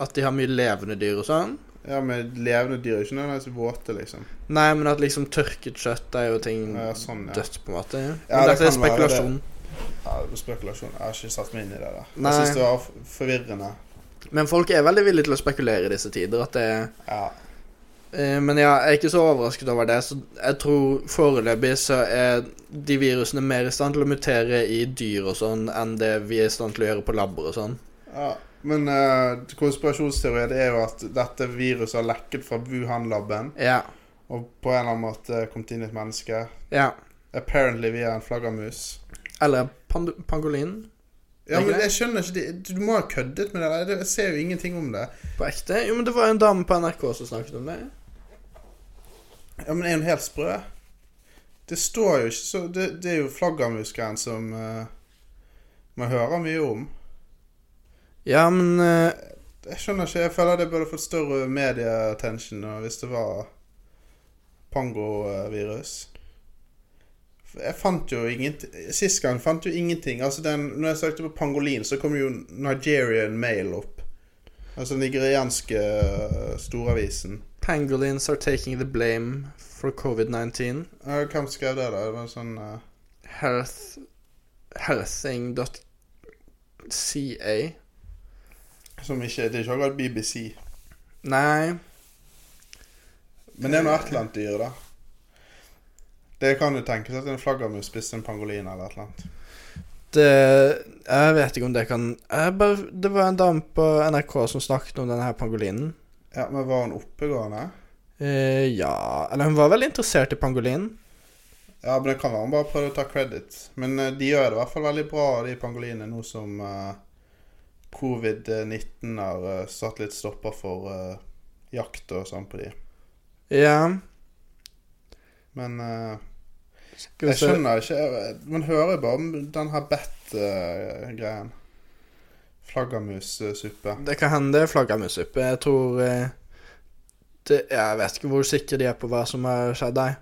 B: At de har mye levende dyr og sånn?
C: Ja, med levende dyr. Ikke nødvendigvis våte, liksom.
B: Nei, men at liksom tørket kjøtt er jo ting
C: Ja, sånn, ja.
B: dødt, på en måte. Men
C: Ja, det
B: dette er
C: kan være det.
B: spekulasjon.
C: ja spekulasjon. Jeg har ikke satt meg inn i det der.
B: Nei.
C: Jeg syns det var f- forvirrende.
B: Men folk er veldig villige til å spekulere i disse tider. At det,
C: Ja.
B: eh, men ja, jeg er ikke så overrasket over det. Så jeg tror foreløpig så er de virusene mer i stand til å mutere i dyr og sånn enn det vi er i stand til å gjøre på labber og sånn.
C: ja. Men eh, konspirasjonsteorien det er jo at dette viruset har lekket fra Wuhan-laben
B: Ja.
C: og på en eller annen måte kommet inn i et menneske.
B: ja.
C: Apparently via en flaggermus.
B: Eller pand pangolin.
C: Ja,
B: Ikke
C: men
B: det?
C: jeg skjønner ikke det. Du må ha køddet med det. der. Jeg ser jo ingenting om det.
B: På ekte. Jo, men det var en dame på NRK som snakket om det.
C: Ja, men er hun helt sprø? Det står jo ikke så Det, det er jo flaggermusgreiene som eh, man hører mye om.
B: Ja, men eh,
C: Jeg skjønner ikke. Jeg føler det burde fått større medieattention og hvis det var pangovirus. For Jeg fant jo ingenting Sist gang fant jo ingenting. Altså den, når jeg søkte på pangolin, så kom jo Nigerian Mail opp. Altså den nigerianske eh, storavisen.
B: Pangolins are taking the blame for covid-19.
C: Eh, Hvem skrev det, da? Det var sånn eh,
B: Health, healthing.ca.
C: som ikke Det er ikke akkurat BBC.
B: Nei,
C: Men det er noe atlantdyr, da. Det kan jo tenkes at en flaggermus spiste en pangolin eller et eller annet.
B: det Jeg vet ikke om det kan jeg bare, Det var en dame på NRK som snakket om denne her pangolinen.
C: Ja, Men var hun oppegående?
B: Eh, ja Eller hun var veldig interessert i pangolinen.
C: Ja, men det kan være han bare prøvde å ta credit. Men eh, de gjør det i hvert fall veldig bra, de pangolinene, nå som eh, covid-19 har eh, satt litt stopper for eh, jakt og sånn på de.
B: Ja.
C: Men eh,
B: Skal vi
C: jeg
B: se.
C: skjønner ikke jeg- Man hører jo bare om den her bett-greien. Flaggermussuppe.
B: Det kan hende det er flaggermussuppe. Jeg tror eh, det, Jeg vet ikke hvor sikre de er på hva som har skjedd der.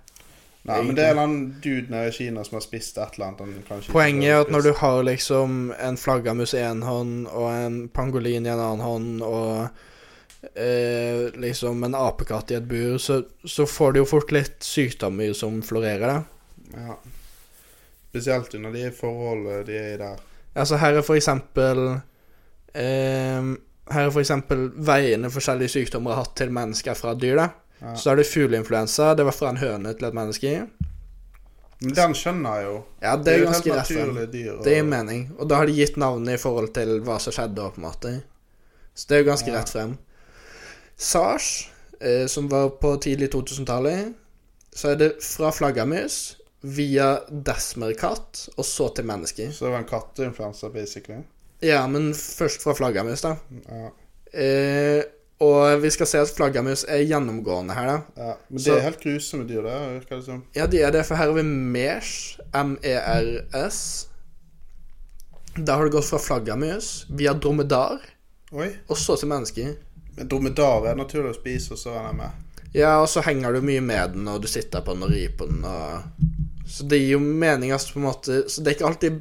C: Nei, men det er en eller annen dude nede i Kina som har spist et eller annet. Han kanskje ikke
B: Poenget er
C: burde
B: at når du
C: spist.
B: har liksom en flaggermus i en hånd, og en pangolin i en annen hånd, og eh, liksom en apekatt i et bur, så, så får du jo fort litt sykdommer som florerer, da.
C: ja. Spesielt under de forholdene de er i der.
B: Altså, her er for eksempel eh, Her er for eksempel veiene forskjellige sykdommer har hatt til mennesker fra dyr, da.
C: Ja.
B: Så er det fugleinfluensa. Det var fra en høne til et menneske.
C: Men den skjønner jeg jo.
B: Ja, det er
C: jo et
B: ganske
C: helt
B: reffen.
C: naturlig dyr. og-
B: Det gir mening. Og da har de gitt navnet i forhold til hva som skjedde, på en måte. Så det er jo ganske
C: Ja.
B: rett frem. SARS, eh, som var på tidlig 2000-tallet, så er det fra flaggermus via desmerkatt og så til mennesker.
C: Så det var en katteinfluensa, basically.
B: Ja, men først fra flaggermus, da.
C: Ja,
B: Eh, og vi skal se at flaggermus er gjennomgående her, da.
C: ja. Men det
B: Så-
C: er helt grusomme dyr, det virker det som.
B: Ja, de er det, for her har vi MERS, M-E-R-S. Da har det gått fra flaggermus via dromedar
C: Oi.
B: og så til mennesker.
C: Men dromedar er naturlig å spise, og så er den med.
B: Ja, og så henger du mye med den, og du sitter på den og rir på den, og Så det gir jo mening, altså, på en måte Så det er ikke alltid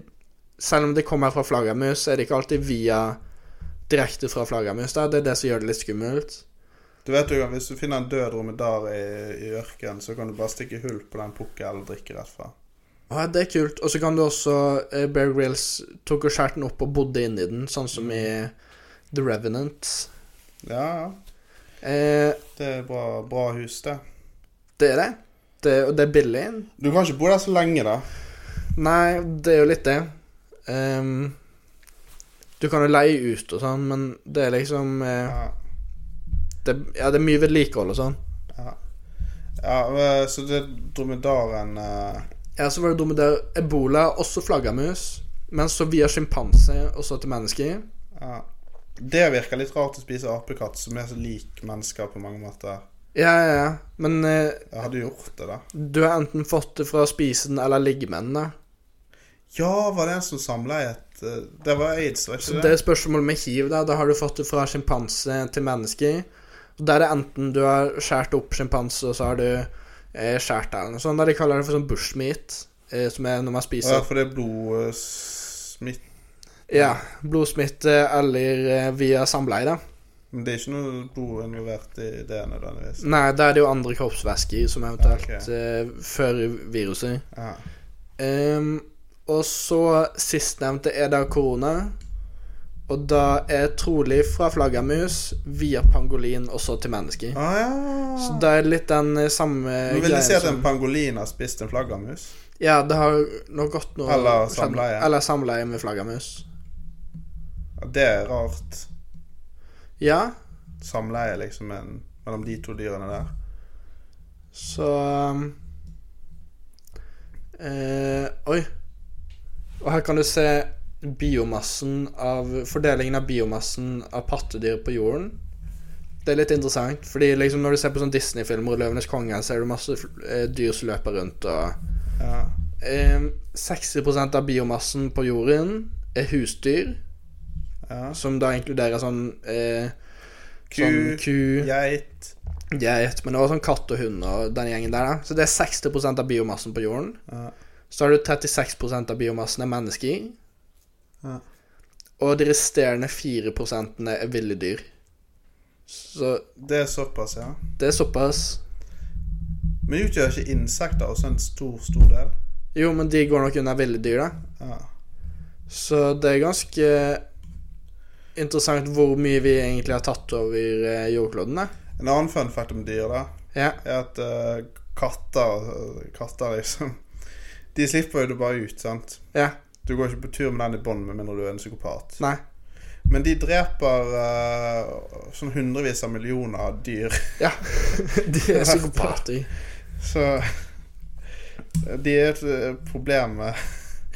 B: Selv om det kommer fra flaggermus, så er det ikke alltid via Direkte fra flaggermus, da. Det er det som gjør det litt skummelt.
C: Du vet jo, Hvis du finner en død dromedar i, i ørkenen, så kan du bare stikke hull på den pukkelen og drikke rett fra.
B: Ja, det er kult. Og så kan du også eh, Bear Grylls tok og skjærte den opp og bodde inni den, sånn som i The Revenant.
C: Ja, ja.
B: Eh,
C: Det er bra, bra hus, det.
B: det er det. det. Og det er billig.
C: Du kan ikke bo der så lenge, da.
B: Nei, det er jo litt det. Ehm, du kan jo leie ut og sånn, men det er liksom eh,
C: Ja.
B: det, Ja, det er mye vedlikehold og sånn.
C: Ja, men- så det dromedaren eh,
B: Ja, så var det dumme der ebola, også flaggermus, men så via sjimpanse og så til mennesker.
C: ja. Det virker litt rart å spise apekatt, som er så lik mennesker på mange måter.
B: Ja, ja, ja. Men eh,
C: Jeg hadde gjort det, da.
B: du har enten fått det fra å spise den eller ligge med den, da.
C: Ja, var det en som samleiet eh, Det var aids, var
B: Så det
C: ikke det?
B: er spørsmålet med hiv, da. Da har du fått det fra sjimpanse til mennesker. Og Der er det enten du har skåret opp sjimpanse, og så har du eh, skåret der eller noe sånt. Da de kaller det for sånn bushmeat, eh, som er når man
C: Å, ja,
B: spiser
C: for det er blodsmitt
B: Ja. Blodsmitte eller eh, via samleie, da.
C: Men det er ikke noe blod involvert i det nødvendigvis.
B: Nei, da er det jo andre kroppsvæsker som eventuelt
C: Ok.
B: eh, fører viruset.
C: Ja.
B: Ehm, og så sistnevnte er da korona. Og da er trolig fra flaggermus via pangolin og så til mennesker.
C: Ah,
B: Så
C: ja.
B: da er det litt den eh, samme
C: Men vil det si at en
B: som-
C: pangolin har spist en flaggermus?
B: Ja, det har nok gått noe
C: Eller
B: skjedd-
C: samleie.
B: Eller samleie med flaggermus.
C: Ja, Det er rart.
B: Ja,
C: Samleie, liksom, en, mellom de to dyrene der.
B: så eh, Oi. Og her kan du se biomassen av Fordelingen av biomassen av pattedyr på jorden. Det er litt interessant, fordi liksom når du ser på sånn Disney-filmer og 'Løvenes konge', så er det masse eh, dyr som løper rundt og
C: Ja.
B: eh, 60 av biomassen på jorden er husdyr.
C: ja.
B: Som da inkluderer sånn eh,
C: Ku,
B: sånn ku
C: Geit.
B: geit, men også sånn katt og hund og den gjengen der. da Så det er 60 av biomassen på jorden.
C: Ja.
B: Så har du 36 av biomassen er mennesker.
C: Ja.
B: Og de resterende 4 er ville dyr. Så
C: Det er såpass, ja.
B: det er såpass.
C: Men utgjør ikke insekter også en stor, stor del?
B: Jo, men de går nok unna ville dyr, da.
C: Ja.
B: Så det er ganske interessant hvor mye vi egentlig har tatt over eh, jordkloden, da.
C: En annen fun fact om dyr, da,
B: Ja.
C: er at eh, katter Katter, liksom De slipper jo det bare ut, sant?
B: Ja.
C: Du går ikke på tur med den i bånd med mindre du er en psykopat.
B: Nei.
C: Men de dreper eh, sånn hundrevis av millioner av dyr.
B: Ja. De er psykopater.
C: Så de er et eh, problem. eh.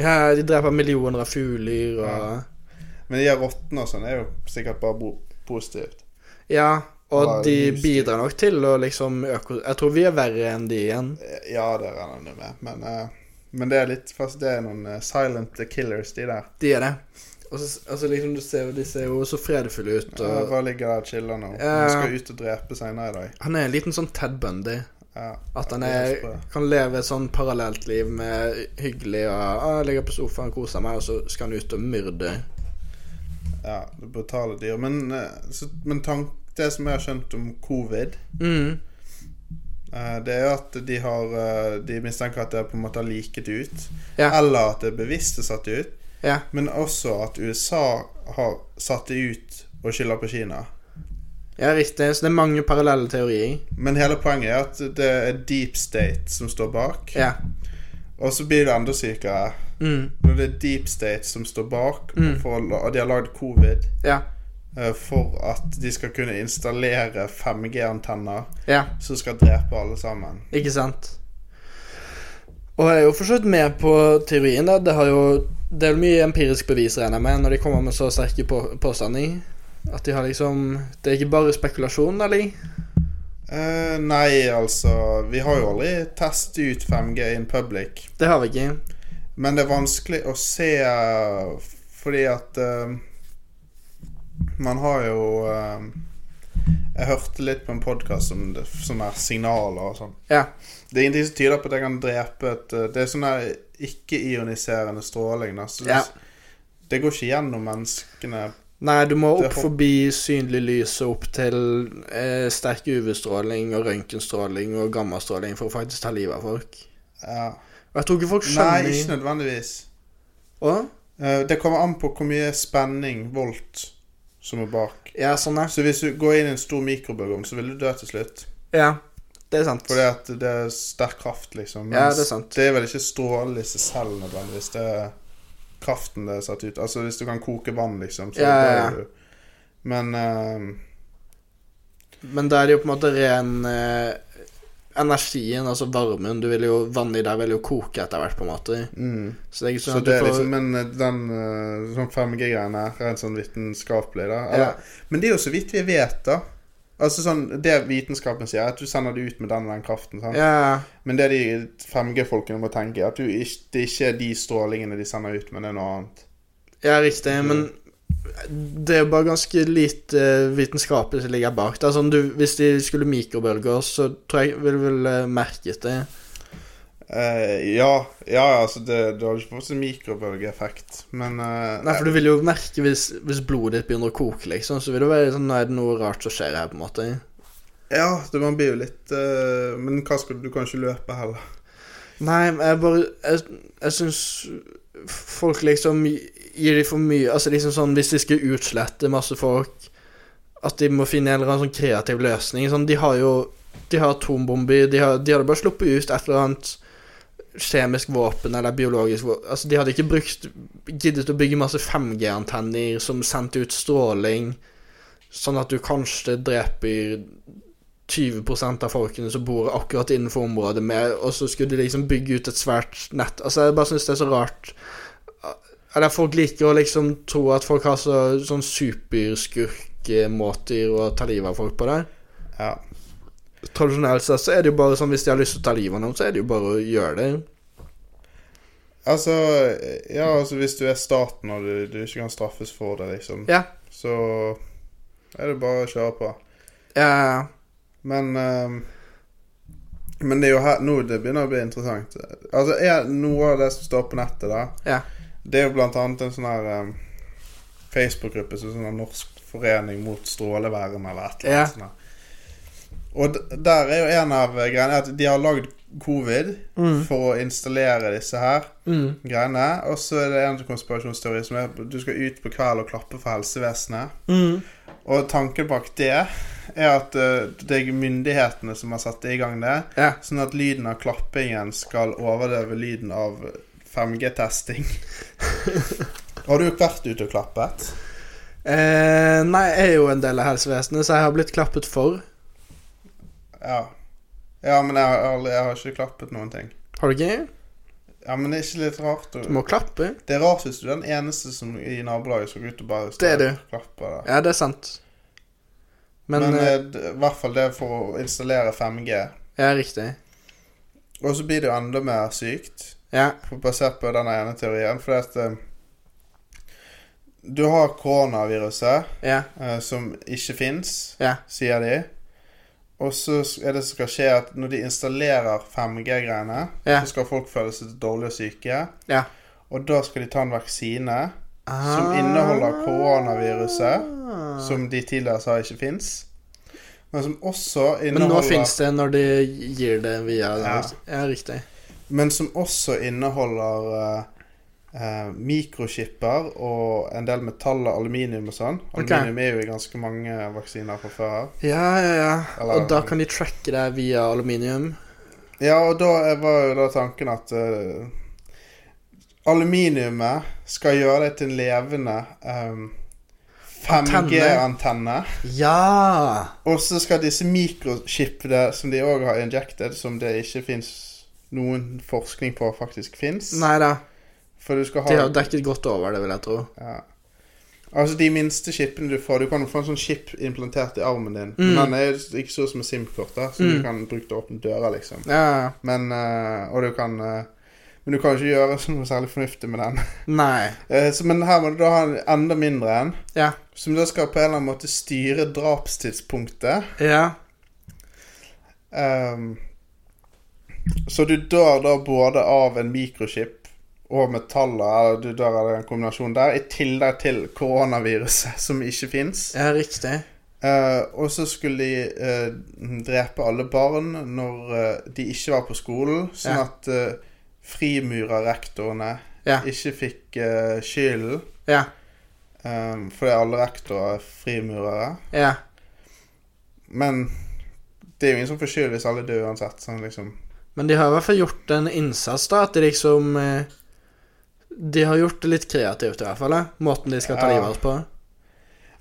B: Ja, de dreper millioner av fugler og
C: Men de er råtne og sånn. Det er jo sikkert bare bo positivt.
B: Ja,
C: Bare
B: og de
C: husdyr.
B: bidrar nok til å liksom øko... Jeg tror vi er verre enn de igjen.
C: Eh, Ja, det regner jeg med. Men, eh, men det er litt fast, Det er noen eh, silent killers, de der.
B: De er det. Og så altså, liksom, du ser jo, de ser jo så fredfulle ut.
C: Så
B: Og...
C: bare Eh, ligger der og chiller nå.
B: Ja.
C: Han skal ut og drepe senere i dag.
B: Han er en liten sånn Ted Bundy.
C: Ja.
B: At han
C: Ja, det
B: er,
C: er sprø.
B: kan leve et sånn parallelt liv med hyggelig og ah, 'Ligger på sofaen, koser meg', og så skal han ut og myrde.
C: ja det er brutale dyr. Men, eh, så, men tank, det som jeg har skjønt om covid,
B: Mm.
C: eh, det er at de har eh, De mistenker at det på en måte har liket ut.
B: Ja.
C: Eller at det er bevisst er satt ut.
B: Ja.
C: Men også at USA har satt det ut og skylder på Kina.
B: ja, riktig. Så det er mange parallelle teorier.
C: Men hele poenget er at det er deep state som står bak.
B: Ja.
C: Og så blir det enda sykere
B: Mm.
C: når det er deep state som står bak,
B: Mm.
C: for, å la- og de har lagd covid
B: Ja.
C: eh, for at de skal kunne installere 5G-antenner
B: Ja.
C: som skal drepe alle sammen.
B: Ikke sant? Og jeg er jo forstått med på teorien, da. Det, har jo, det er vel mye empirisk bevis, regner jeg med, når de kommer med så sterke på, påstander. At de har liksom Det er ikke bare spekulasjon, eller?
C: Eh, nei, altså Vi har jo aldri testet ut 5G in public.
B: Det har vi ikke.
C: Men det er vanskelig å se eh, fordi at eh, Man har jo eh, Jeg hørte litt på en podkast om det, sånne her signaler og sånn.
B: Ja.
C: Det er ingenting som tyder på at jeg kan drepe et eh, Det er sånn her ikke-ioniserende stråling. Da, så
B: Ja.
C: Det går ikke gjennom menneskene.
B: Nei, du må
C: Det
B: opp
C: hop-
B: forbi synlig lys og opp til eh, sterk UV-stråling og røntgenstråling og gammastråling for å faktisk ta livet av folk.
C: Ja.
B: Og jeg tror ikke folk skjønner
C: Nei, ikke nødvendigvis.
B: Å?
C: Eh, Det kommer an på hvor mye spenning, volt, som er bak.
B: Ja, sånn er
C: Så hvis du går inn i en stor mikrobølgeovn, så vil du dø til slutt.
B: Ja, det er sant.
C: Fordi at det er sterk kraft, liksom.
B: Ja,
C: Mens
B: det er sant.
C: Det er vel ikke strålen i seg selv nødvendigvis. Det er kraften det er satt ut. Altså hvis du kan koke vann, liksom, så
B: Ja, ja, ja.
C: dør du. Men eh,
B: Men da er det jo på en måte ren eh, energien, altså varmen. Du vil jo, vannet i deg vil jo koke etter hvert, på en måte.
C: mm.
B: Så det er ikke
C: Så
B: sånn at
C: det
B: du
C: er
B: får
C: liksom Men eh, den eh, sånn 5G-greiene er rent sånn vitenskapelig, da.
B: Ja.
C: Eller, Men det er jo så vidt vi vet, da. Altså sånn, Det vitenskapen sier, er at du sender det ut med den og den kraften. sant?
B: Ja,
C: Men det de 5G-folkene må tenke, er at du, ikke- det er ikke de strålingene de sender ut, men det er noe annet.
B: ja, riktig. Men det er jo bare ganske lite eh, vitenskapelig som ligger bak. Det er sånn, du, hvis de skulle mikrobølger, så tror jeg ville vel eh, merket det.
C: Eh, ja, ja, altså det, Du har ikke fått en mikrobølgeeffekt, men eh,
B: Nei, for du vil jo merke hvis, hvis blodet ditt begynner å koke, liksom. Så vil det være sånn Nå er det noe rart som skjer her, på en måte.
C: Ja, det, man blir jo litt eh, Men hva skal du Du kan ikke løpe heller.
B: Nei, men jeg bare Jeg, jeg syns folk liksom gir de for mye Altså liksom sånn hvis de skal utslette masse folk At de må finne en eller annen sånn kreativ løsning. Sånn, de har jo De har atombomber. De, har, de hadde bare sluppet ut et eller annet kjemisk våpen eller biologisk våpen Altså, de hadde ikke brukt giddet å bygge masse 5G-antenner som sendte ut stråling, sånn at du kanskje dreper 20 av folkene som bor akkurat innenfor området med, og så skulle de liksom bygge ut et svært nett. Altså, jeg bare syns det er så rart. Eller folk liker å liksom tro at folk har så, sånn superskurkemåter å ta livet av folk på der.
C: Ja.
B: Tradisjonelt sett så er det jo bare sånn hvis de har lyst til å ta livet av noen, så er det jo bare å gjøre det.
C: Altså, ja, altså hvis du er staten og du, du ikke kan straffes for det, liksom,
B: Ja.
C: så er det bare å kjøre på.
B: Eh,
C: Men eh, Men det er jo her Nå det begynner å bli interessant. Altså, er noe av det som står på nettet, da
B: Ja.
C: Det er jo blant annet en sånn her eh, Facebook-gruppe som er sånn her Norsk forening mot strålevernet eller et eller annet.
B: Ja.
C: sånt her. Og d- der er jo en av greiene at de har lagd covid for å installere disse her
B: Mm.
C: greiene. Og så er det en konspirasjonsteori som er at du skal ut på kveld og klappe for helsevesenet.
B: Mm.
C: Og tanken bak det er at eh, det er myndighetene som har satt i gang det.
B: Ja.
C: Sånn at lyden av klappingen skal overdøve lyden av 5G-testing. har du vært ute og klappet?
B: Eh, nei, jeg er jo en del av helsevesenet, så jeg har blitt klappet for.
C: Ja. Ja, men jeg har, aldri, jeg har ikke klappet noen ting.
B: Har du ikke?
C: Ja, men det er ikke litt rart å
B: Du må klappe.
C: Det er rart hvis du er den eneste som i nabolaget som går ut og bare
B: Det er du.
C: klapper. Da.
B: Ja, det er sant. Men,
C: Men,
B: eh,
C: eh, d- i hvert fall det er for å installere 5G.
B: Ja, riktig.
C: Og så blir det jo enda mer sykt.
B: Ja.
C: på- basert på den ene teorien. Fordi at eh, Du har koronaviruset,
B: Ja.
C: eh, som ikke fins,
B: Ja.
C: sier de. Og så s- er det som skal skje, at når de installerer 5G-greiene,
B: Ja.
C: så skal folk føle seg dårlige og syke.
B: Ja.
C: Og da skal de ta en vaksine Som inneholder
B: Ah.
C: koronaviruset,
B: Som
C: som de tidligere sa ikke fins. Men som også
B: Men nå
C: inneholder
B: fins det når de gir det via
C: Ja.
B: Ja, riktig.
C: Men som også inneholder eh, eh, mikrochipper og en del metaller, aluminium og sånn.
B: Ok.
C: Aluminium er jo i ganske mange vaksiner fra før av.
B: Ja, ja, ja.
C: Eller-
B: Og da kan de tracke deg via aluminium.
C: Ja, og da er- var jo da tanken at eh, aluminiumet skal gjøre deg til en levende eh, 5G-antenne.
B: Ja!
C: Og så skal disse mikrochipene som de òg har injected, som det ikke fins noen forskning på faktisk fins
B: Nei da.
C: For du skal ha
B: De har dekket godt over det, vil jeg tro.
C: Ja. Altså de minste chipene du får Du kan jo få en sånn chip implantert i armen din. Men den er jo ikke så som et SIM-kort, da så du
B: Mm.
C: kan bruke til å åpne dører, liksom.
B: Ja, ja.
C: Men eh, Og du kan eh, Men du kan jo ikke gjøre så noe særlig fornuftig med den.
B: Nei.
C: Eh, så, men her må du da ha en enda mindre en,
B: Ja.
C: som da skal på en eller annen måte styre drapstidspunktet.
B: Ja.
C: Ehm, så du dør da både av en mikrochip og metaller, eller du dør av en kombinasjon der, i tillegg til koronaviruset, som ikke fins.
B: Ja, riktig.
C: Eh, og så skulle de eh, drepe alle barn når eh, de ikke var på skolen, sånn
B: Ja.
C: at eh, frimurerrektorene
B: Ja.
C: ikke fikk eh, skylden.
B: Ja.
C: eh, fordi alle rektorer er frimurere.
B: Ja.
C: Men det er jo ingen som får skyld hvis alle dør uansett. Sånn liksom.
B: Men de har i hvert fall gjort en innsats, da. At de liksom eh, De har gjort det litt kreativt, i hvert fall. da. Måten de skal ta
C: Ja.
B: livet av oss på.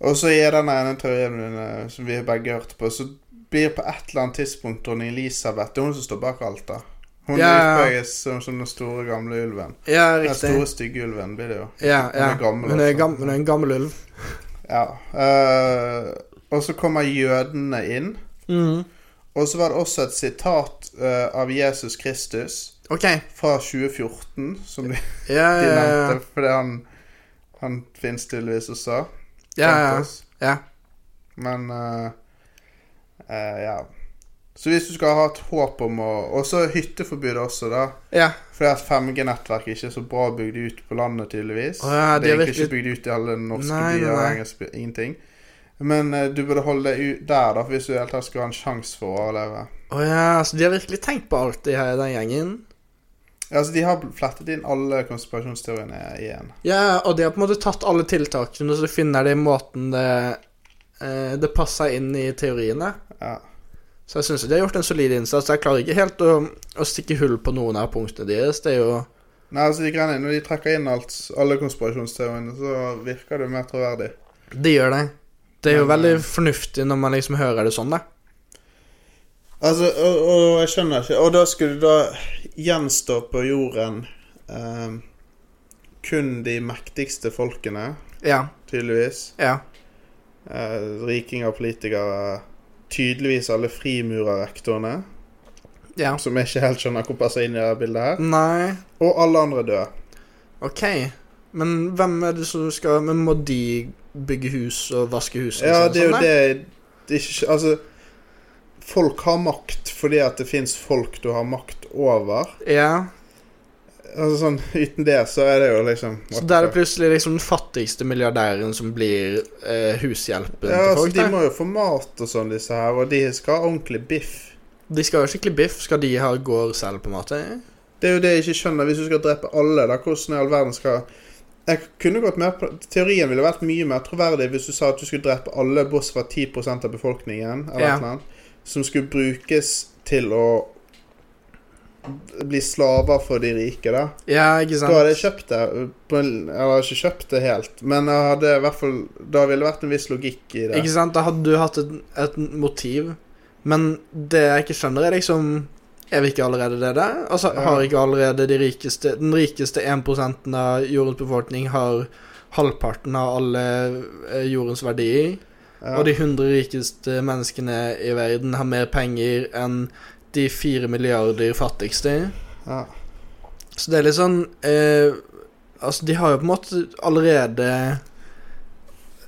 C: Og så er den ene teorien min eh, som vi begge hørte på, så blir på et eller annet tidspunkt dronning Elisabeth Det er hun som står bak alt, da. Hun
B: Ja, ja, ja.
C: utpeges som, som den store, gamle ulven.
B: Ja,
C: Den
B: riktig.
C: store, stygge ulven blir det jo.
B: Ja, ja.
C: Hun er gammel altså.
B: Hun er,
C: også.
B: gam hun er en gammel ulv.
C: Ja. eh, og så kommer jødene inn.
B: Mhm.
C: Og så var det også et sitat eh, av Jesus Kristus
B: OK. eh,
C: fra 2014, som de,
B: Ja, ja,
C: de
B: ja.
C: nevnte. Fordi han, han fins tydeligvis også.
B: ja, ja.
C: Fantes.
B: ja.
C: Men eh, eh, Ja. Så hvis du skal ha et håp om å Og så hytteforbudet også, da.
B: ja.
C: Fordi at 5G-nettverket ikke er så bra bygd ut på landet, tydeligvis.
B: Å ja, de
C: det er
B: har
C: egentlig ikke bygd ut i alle norske
B: Nei, nei,
C: byer og
B: nei.
C: engelske byer. Ingenting. Men eh, du burde holde deg ut der, da, for hvis du i det hele tatt skal ha en sjanse for å overleve.
B: Å ja, så de har virkelig tenkt på alt, de her, den gjengen.
C: Ja, altså, De har flettet inn alle konspirasjonsteoriene igjen.
B: Ja, og de har på en måte tatt alle tiltakene, så finner de måten det eh, Det passer inn i teoriene.
C: Ja.
B: Så jeg syns de har gjort en solid innsats. Jeg klarer ikke helt å, å stikke hull på noen av punktene deres. Det er jo
C: Nei, altså, de greiene, Når de trekker inn alt, alle konspirasjonsteoriene, så virker det mer troverdig.
B: De gjør det. Det er jo
C: Men,
B: veldig
C: eh,
B: fornuftig når man liksom hører det sånn, da.
C: Altså, og, og jeg skjønner ikke Og da skulle da gjenstå på jorden eh, kun de mektigste folkene,
B: Ja.
C: tydeligvis.
B: Ja.
C: Eh, rikinger, politikere Tydeligvis alle frimurerrektorene,
B: Ja.
C: som jeg ikke helt skjønner hvor passer inn i det bildet her.
B: Nei,
C: Og alle andre døde.
B: OK. Men hvem er det som skal Men må de bygge hus og vaske husene
C: Ja,
B: sine
C: det er jo
B: sånn, da?
C: det det er ikke, Altså Folk har makt fordi at det fins folk du har makt over.
B: Ja.
C: altså sånn, Uten det så er det jo liksom
B: Så da er det plutselig liksom den fattigste milliardæren som blir eh, hushjelpen
C: ja,
B: til
C: altså,
B: folk.
C: De
B: da.
C: må jo få mat og sånn, disse her, og de skal ha ordentlig biff.
B: De skal jo skikkelig biff. Skal de ha gård selv, på en måte?
C: Det er jo det jeg ikke skjønner, hvis du skal drepe alle, da hvordan i all verden skal Jeg kunne gått mer på Teorien ville vært mye mer troverdig hvis du sa at du skulle drepe alle, bortsett fra 10 av befolkningen, eller
B: Ja.
C: et eller annet, som skulle brukes til å bli slaver for de rike, da.
B: Ja, ikke
C: Da hadde jeg
B: sant?
C: kjøpt det. På en, eller ikke kjøpt det helt, men jeg hadde i hvert fall Da ville det vært en viss logikk i det.
B: Ikke sant? Da hadde du hatt et, et motiv. Men det jeg ikke skjønner, er liksom Er vi ikke allerede det der? Altså,
C: Ja.
B: har ikke allerede de rikeste Den rikeste 1 av jordens befolkning har halvparten av alle eh, jordens verdier?
C: Ja.
B: Og de 100 rikeste menneskene i verden har mer penger enn de 4 milliarder fattigste.
C: ja.
B: Så det er litt sånn eh, Altså, de har jo på en måte allerede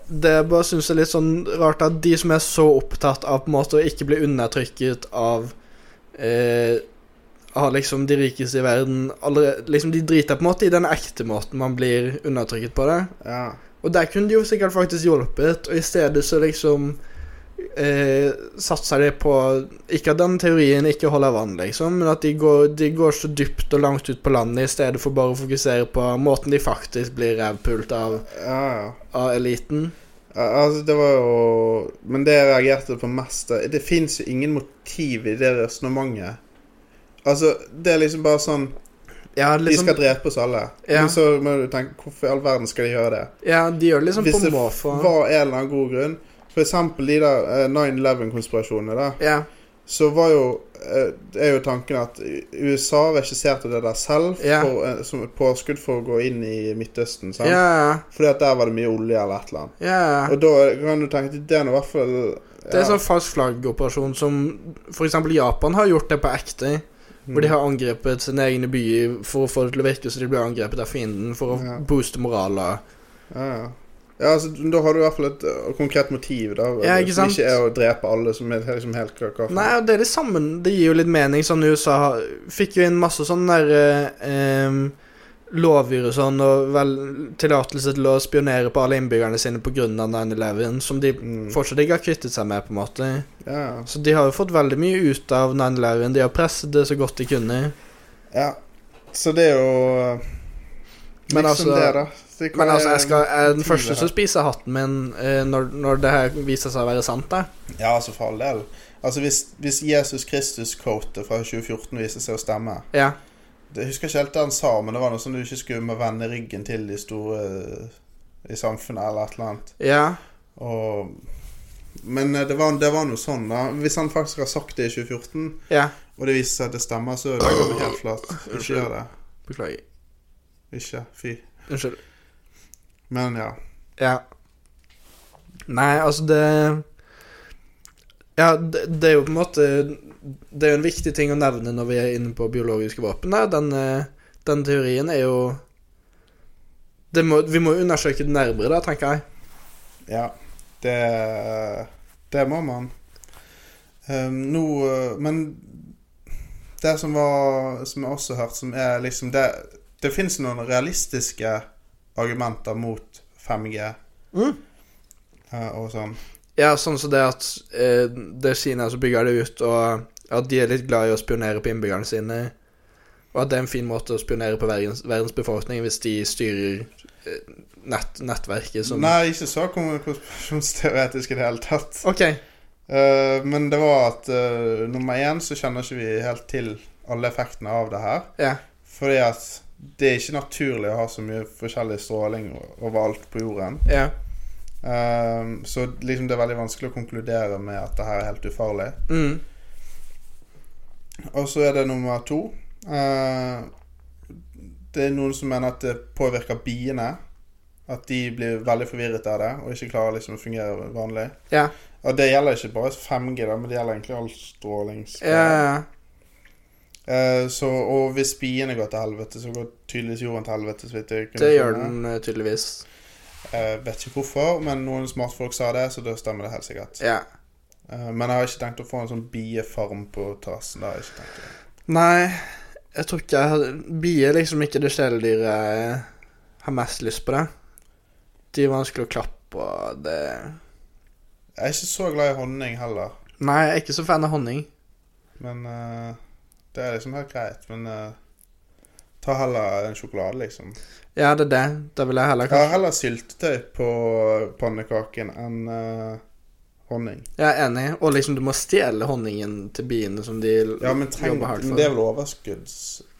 B: Det jeg bare syns er litt sånn rart at de som er så opptatt av på en måte å ikke bli undertrykket av eh, Av liksom de rikeste i verden allerede, Liksom De driter på en måte i den ekte måten man blir undertrykket på det.
C: ja.
B: Og der kunne de jo sikkert faktisk hjulpet, og i stedet så liksom eh, satser de på Ikke at den teorien ikke holder vann, liksom, men at de går, de går så dypt og langt ut på landet i stedet for bare å fokusere på måten de faktisk blir rævpult av,
C: ja, ja.
B: av eliten.
C: Ja, Altså, det var jo Men det jeg reagerte på mest eh, Det, det fins jo ingen motiv i det resonnementet. Altså, det er liksom bare sånn
B: Ja,
C: De skal
B: liksom,
C: drepe oss alle.
B: Ja.
C: Men så må du tenke Hvorfor i all verden skal de gjøre det?
B: ja de gjør det liksom
C: Hvis
B: på
C: det
B: måfå.
C: var en eller annen god grunn For eksempel de der eh, 9-11-konspirasjonene, da.
B: Ja,
C: Så var jo eh, det er jo tanken at USA regisserte det der selv
B: Ja.
C: for, eh, som et påskudd for å gå inn i Midtøsten.
B: ja,
C: Sant?
B: ja.
C: Fordi at der var det mye olje eller et eller annet.
B: ja.
C: Sånn. Og da kan du tenke at det er nå i hvert fall
B: Det er
C: ja.
B: sånn falsk flaggoperasjon som for eksempel Japan har gjort det på ekte.
C: Mm.
B: Hvor de har angrepet sine egne byer for å få det til å virke så de blir angrepet av fienden for å
C: Ja.
B: booste moralen.
C: Ja, ja. ja altså, da har du i hvert fall et ø, konkret motiv, da.
B: Ja, ikke
C: som
B: sant?
C: ikke er å drepe alle som er liksom helt kaka.
B: Nei, og det er det samme. Det gir jo litt mening. Sånn USA har- fikk jo inn masse sånn der eh, em, Lovgivere og sånn, og vel tillatelse til å spionere på alle innbyggerne sine pga. 9-11, som de
C: Mm.
B: fortsatt ikke har kvittet seg med, på en måte.
C: Ja, ja.
B: Så de har jo fått veldig mye ut av 9-11. De har presset det så godt de kunne.
C: ja. Så det er jo ø,
B: Men
C: liksom
B: altså-
C: det, da. Så hva
B: Men altså, jeg, skal, jeg er den
C: motivet
B: første
C: her?
B: som spiser hatten min eh, når, når det her viser seg å være sant, da.
C: Ja, altså, for all del. Altså, hvis, hvis Jesus Kristus-coatet fra 2014 viser seg å stemme
B: Ja.
C: det, Jeg husker ikke helt det han sa, men det var noe sånn du ikke skulle må vende ryggen til de store ø, i samfunnet, eller et eller annet.
B: ja.
C: Og Men eh, det var, det var noe sånn, da. Hvis han faktisk har sagt det i 2014,
B: Ja.
C: og det viser seg at det stemmer, så legger han helt flat. Ikke gjør det.
B: Beklager.
C: Ikke. Fy.
B: Unnskyld.
C: Men ja.
B: Ja. Nei, altså, det Ja, det, det er jo på en måte Det er jo en viktig ting å nevne når vi er inne på biologiske våpen. da. Den, eh, den teorien er jo det må, Vi må jo undersøke det nærmere, da, tenker jeg.
C: Ja. Det Det må man. Ehm, nå eh, Men det som var Som jeg også har hørt, som er liksom Det, det fins noen realistiske argumenter mot 5G
B: Mm.
C: eh, og sånn.
B: Ja, sånn som det at eh, det er Kina som bygger det ut, og at de er litt glad i å spionere på innbyggerne sine. Og at det er en fin måte å spionere på verdens, verdens befolkning hvis de styrer eh, nett, nettverket som
C: Nei, ikke så kon- konspirasjonsteoretisk i det hele tatt.
B: OK.
C: Eh, men det var at eh, nummer én så kjenner ikke vi helt til alle effektene av det her.
B: Ja.
C: Fordi at det er ikke naturlig å ha så mye forskjellig stråling overalt på jorden.
B: Ja.
C: Eh, så liksom det er veldig vanskelig å konkludere med at det her er helt ufarlig.
B: Mm.
C: Og så er det nummer to. Eh, det er noen som mener at det påvirker biene. At de blir veldig forvirret av det og ikke klarer liksom å fungere vanlig.
B: Ja.
C: Og det gjelder ikke bare 5G, da, men det gjelder egentlig all strålingsskade.
B: Ja, ja.
C: Eh, så, og hvis biene går til helvete, så går tydeligvis jorden til helvete. Så vidt jeg kunne
B: Det gjør
C: skjønne.
B: den eh, tydeligvis.
C: Eh, vet ikke hvorfor, men noen smartfolk sa det, så da stemmer det helt sikkert.
B: Ja.
C: Eh, men jeg har ikke tenkt å få en sånn biefarm på terrassen. Det har jeg ikke tenkt å gjøre.
B: Nei Jeg tror ikke jeg har Bier er liksom ikke det kjæledyret jeg har mest lyst på, det. De er vanskelig å klappe, og det
C: Jeg er ikke så glad i honning heller,
B: Nei, jeg er ikke så fan av honning.
C: men eh, det er liksom helt greit. Men eh, ta heller en sjokolade, liksom.
B: Ja, det er det. Da vil jeg heller
C: Jeg har
B: kanskje
C: heller syltetøy på pannekaken enn eh, honning.
B: Jeg er enig. Og liksom, du må stjele honningen til biene som de
C: Ja, men, trenger,
B: jobber hardt
C: men
B: for.
C: det er vel overskudds...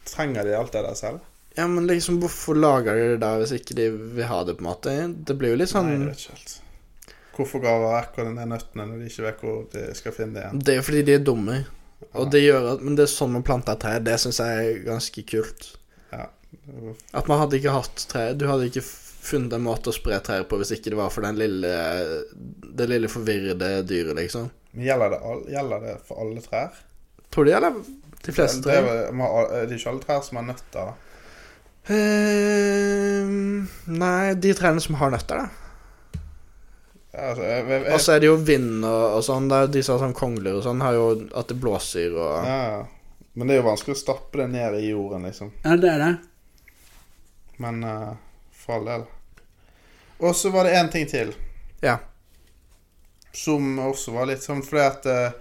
C: Trenger de alt det der selv?
B: Ja, men liksom, hvorfor lager de det da hvis ikke de vil ha det, på en måte? Det blir jo litt sånn
C: Nei, jeg vet ikke helt. Hvorfor ga ekorn den nøttene når de ikke vet hvor de skal finne det igjen?
B: Det er jo fordi de er dumme. Og
C: Ja.
B: det gjør at, Men det er sånn man planter trær. Det syns jeg er ganske kult. At man hadde ikke hatt trær Du hadde ikke funnet en måte å spre trær på hvis ikke det var for den lille det lille forvirrede dyret, liksom.
C: Men gjelder det, all, gjelder det for alle trær?
B: Tror det gjelder de fleste
C: Det er
B: trær.
C: vel- man har- det er ikke alle trær som har nøtter.
B: Ehm, nei, de trærne som har nøtter, da.
C: Altså, jeg, jeg,
B: Og så er det jo vind og, og sånn. Da, de som har sånn kongler og sånn, har jo at det blåser og
C: ja, ja. Men det er jo vanskelig å stappe det ned i jorden, liksom.
D: Ja, det er det.
C: Men eh, for all del. Og så var det én ting til.
B: Ja.
C: Som også var litt sånn fordi at eh,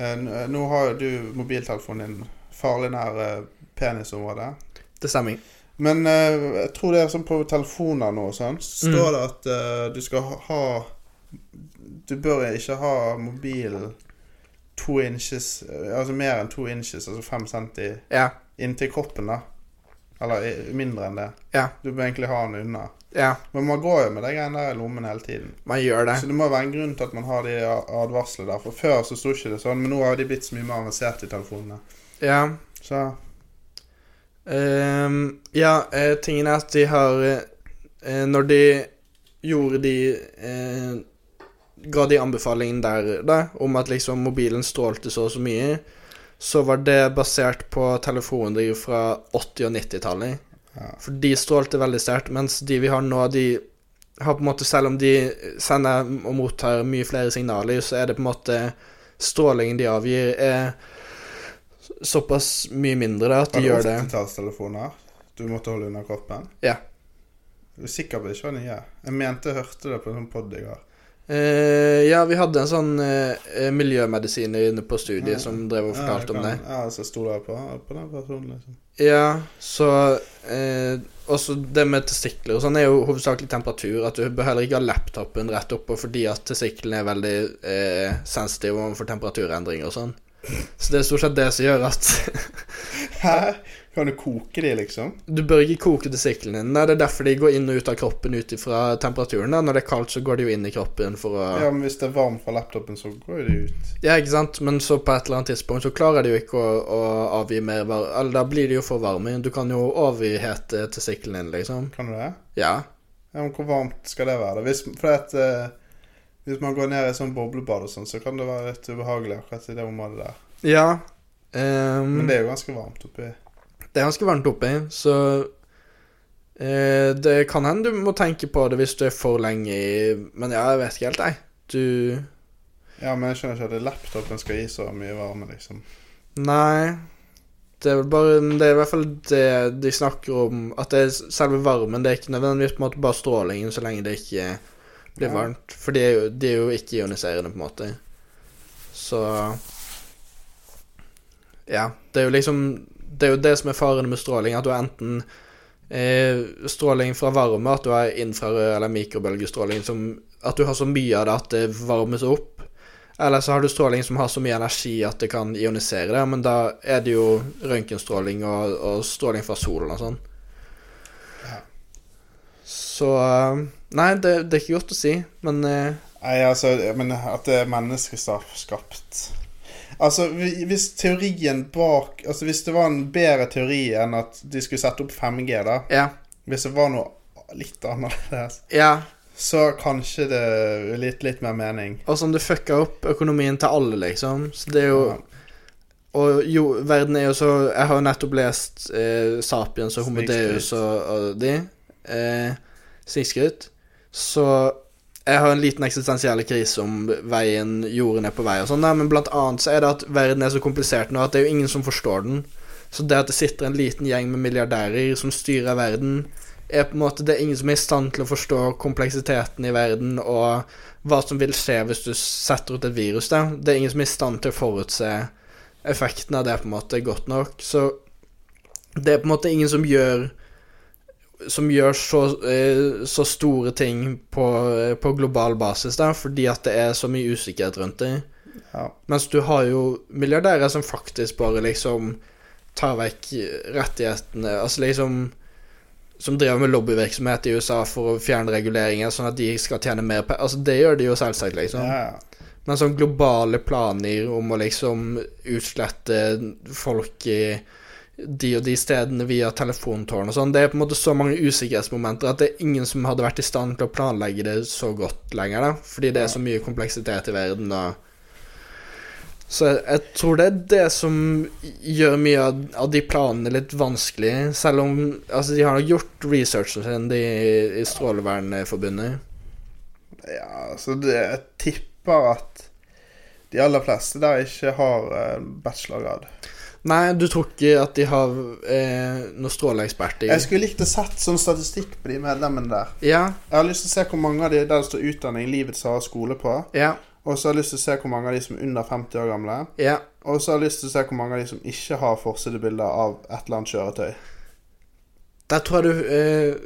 C: eh, n- Nå har jo du mobiltelefonen din farlig nær eh, penisområdet.
B: Det stemmer.
C: Men eh, jeg tror det er sånn på telefoner nå og sånn, så står det at eh, du skal ha- ha Du bør ikke ha mobilen to inches eh, Altså mer enn to inches, altså fem centi
B: Ja.
C: inntil kroppen, da. Eller i- mindre enn det.
B: Ja.
C: Du bør egentlig ha den unna.
B: Ja.
C: Men man går jo med de greiene der i lommen hele tiden.
B: Man gjør det.
C: Så det må være en grunn til at man har de advarslene der. For før så sto ikke det sånn, men nå har de blitt så mye mer avanserte i telefonene.
B: Ja.
C: Så
B: Ehm, ja, eh, tingen er at de har eh, eh, Når de gjorde de eh, Ga de anbefalingen der da, om at liksom mobilen strålte så og så mye, så var det basert på telefoner fra 80- og 90-tallet.
C: Ja.
B: For de strålte veldig sterkt, mens de vi har nå, de har på en måte Selv om de sender og mottar mye flere signaler, så er det på en måte Strålingen de avgir, er såpass mye mindre da, at de
C: var det
B: gjør det.
C: 80-tallstelefoner du måtte holde under kroppen?
B: Ja.
C: Du er sikker på det ikke var nye? Jeg mente jeg hørte det på en sånn pod i går.
B: Eh, ja, vi hadde en sånn eh, miljømedisiner inne på studiet
C: Mm. Ja.
B: som drev og fortalte om det.
C: Ja, så sto det på, på den personen, liksom.
B: Ja, så eh, Også det med testikler og sånn er jo hovedsakelig temperatur. At du bør heller ikke ha laptopen rett oppå fordi at testiklene er veldig eh, sensitive overfor temperaturendringer og sånn. Så det er stort sett det som gjør at
C: Hæ? Kan du koke de, liksom?
B: Du bør ikke koke testiklene dine. Det er derfor de går inn og ut av kroppen ut ifra temperaturen. da Når det er kaldt, så går de jo inn i kroppen for å
C: Ja. men hvis det er varmt fra laptopen, så går jo de ut.
B: Ja, ikke sant, men så på et eller annet tidspunkt så klarer de jo ikke å, å avgi mer varme. Eller da blir de jo for varme. Du kan jo overhete testiklene dine, liksom.
C: Kan du det?
B: Ja.
C: Ja, men hvor varmt skal det være? da? Hvis, fordi at, eh, hvis man går ned i sånn boblebad og sånn, så kan det være litt ubehagelig akkurat i det området der.
B: Ja. ehm,
C: Men
B: det...
C: det er jo ganske varmt oppi.
B: er ganske varmt oppi, så eh, Det kan hende du må tenke på det hvis du er for lenge i Men ja, jeg vet ikke helt, jeg. Du
C: Ja, men jeg skjønner ikke at laptopen skal gi så mye varme, liksom.
B: Nei. Det er vel bare men Det er i hvert fall det de snakker om, at det er selve varmen. Det er ikke nødvendigvis på en måte bare strålingen, så lenge det ikke blir
C: Ja.
B: varmt. For de er, jo, de er jo ikke ioniserende, på en måte. Så Ja. Det er jo liksom Det er jo det som er faren med stråling, at du har enten eh, stråling fra varme, at du har infrarød eller mikrobølgestråling som At du har så mye av det at det varmes opp. Eller så har du stråling som har så mye energi at det kan ionisere det, men da er det jo røntgenstråling og, og stråling fra solen og sånn. Så eh, Nei, det, det er ikke godt å si, men eh,
C: Nei, altså, men at det er menneskeskapt Altså, hvi- hvis teorien bak Altså, hvis det var en bedre teori enn at de skulle sette opp 5G, da
B: Ja.
C: Hvis det var noe litt annerledes,
B: ja.
C: så kanskje det er litt, litt mer mening.
B: Og sånn det fucka opp økonomien til alle, liksom. Så det er jo
C: Ja.
B: Og jo, verden er jo så Jeg har jo nettopp lest eh, Sapiens og Homo
C: Snikskryt.
B: Deus og, og de. Eh, Snikskryt. Så jeg har en liten eksistensiell krise om veien jorden er på vei og sånn, da, men blant annet så er det at verden er så komplisert nå at det er jo ingen som forstår den. Så det at det sitter en liten gjeng med milliardærer som styrer verden, er på en måte Det er ingen som er i stand til å forstå kompleksiteten i verden og hva som vil skje hvis du setter ut et virus der. Det er ingen som er i stand til å forutse effekten av det på en måte godt nok. Så det er på en måte ingen som gjør som gjør så, eh, så store ting på, eh, på global basis, da, fordi at det er så mye usikkerhet rundt det.
C: Ja.
B: Mens du har jo milliardærer som faktisk bare liksom tar vekk rettighetene Altså liksom Som driver med lobbyvirksomhet i USA for å fjerne reguleringer, sånn at de skal tjene mer penger. Altså, det gjør de jo selvsagt, liksom.
C: Ja, ja.
B: Men sånn globale planer om å liksom utslette folk i de og de stedene via telefontårn og sånn, det er på en måte så mange usikkerhetsmomenter at det er ingen som hadde vært i stand til å planlegge det så godt lenger, da. Fordi det er så mye kompleksitet i verden og Så jeg, jeg tror det er det som gjør mye av, av de planene litt vanskelig, selv om Altså, de har nok gjort researchen sin, de i Strålevernforbundet.
C: Ja, så det, jeg tipper at de aller fleste der ikke har eh, bachelorgrad.
B: Nei, du tror ikke at de har eh, noen stråleeksperter?
C: Jeg skulle likt å sett sånn statistikk på de medlemmene der.
B: Ja,
C: Jeg har lyst til å se hvor mange av de der det står utdanning livets harde skole på.
B: ja,
C: Og så har jeg lyst til å se hvor mange av de som er under 50 år gamle.
B: ja.
C: Og så har jeg lyst til å se hvor mange av de som ikke har forsidebilder av et eller annet kjøretøy.
B: Der tror jeg du eh,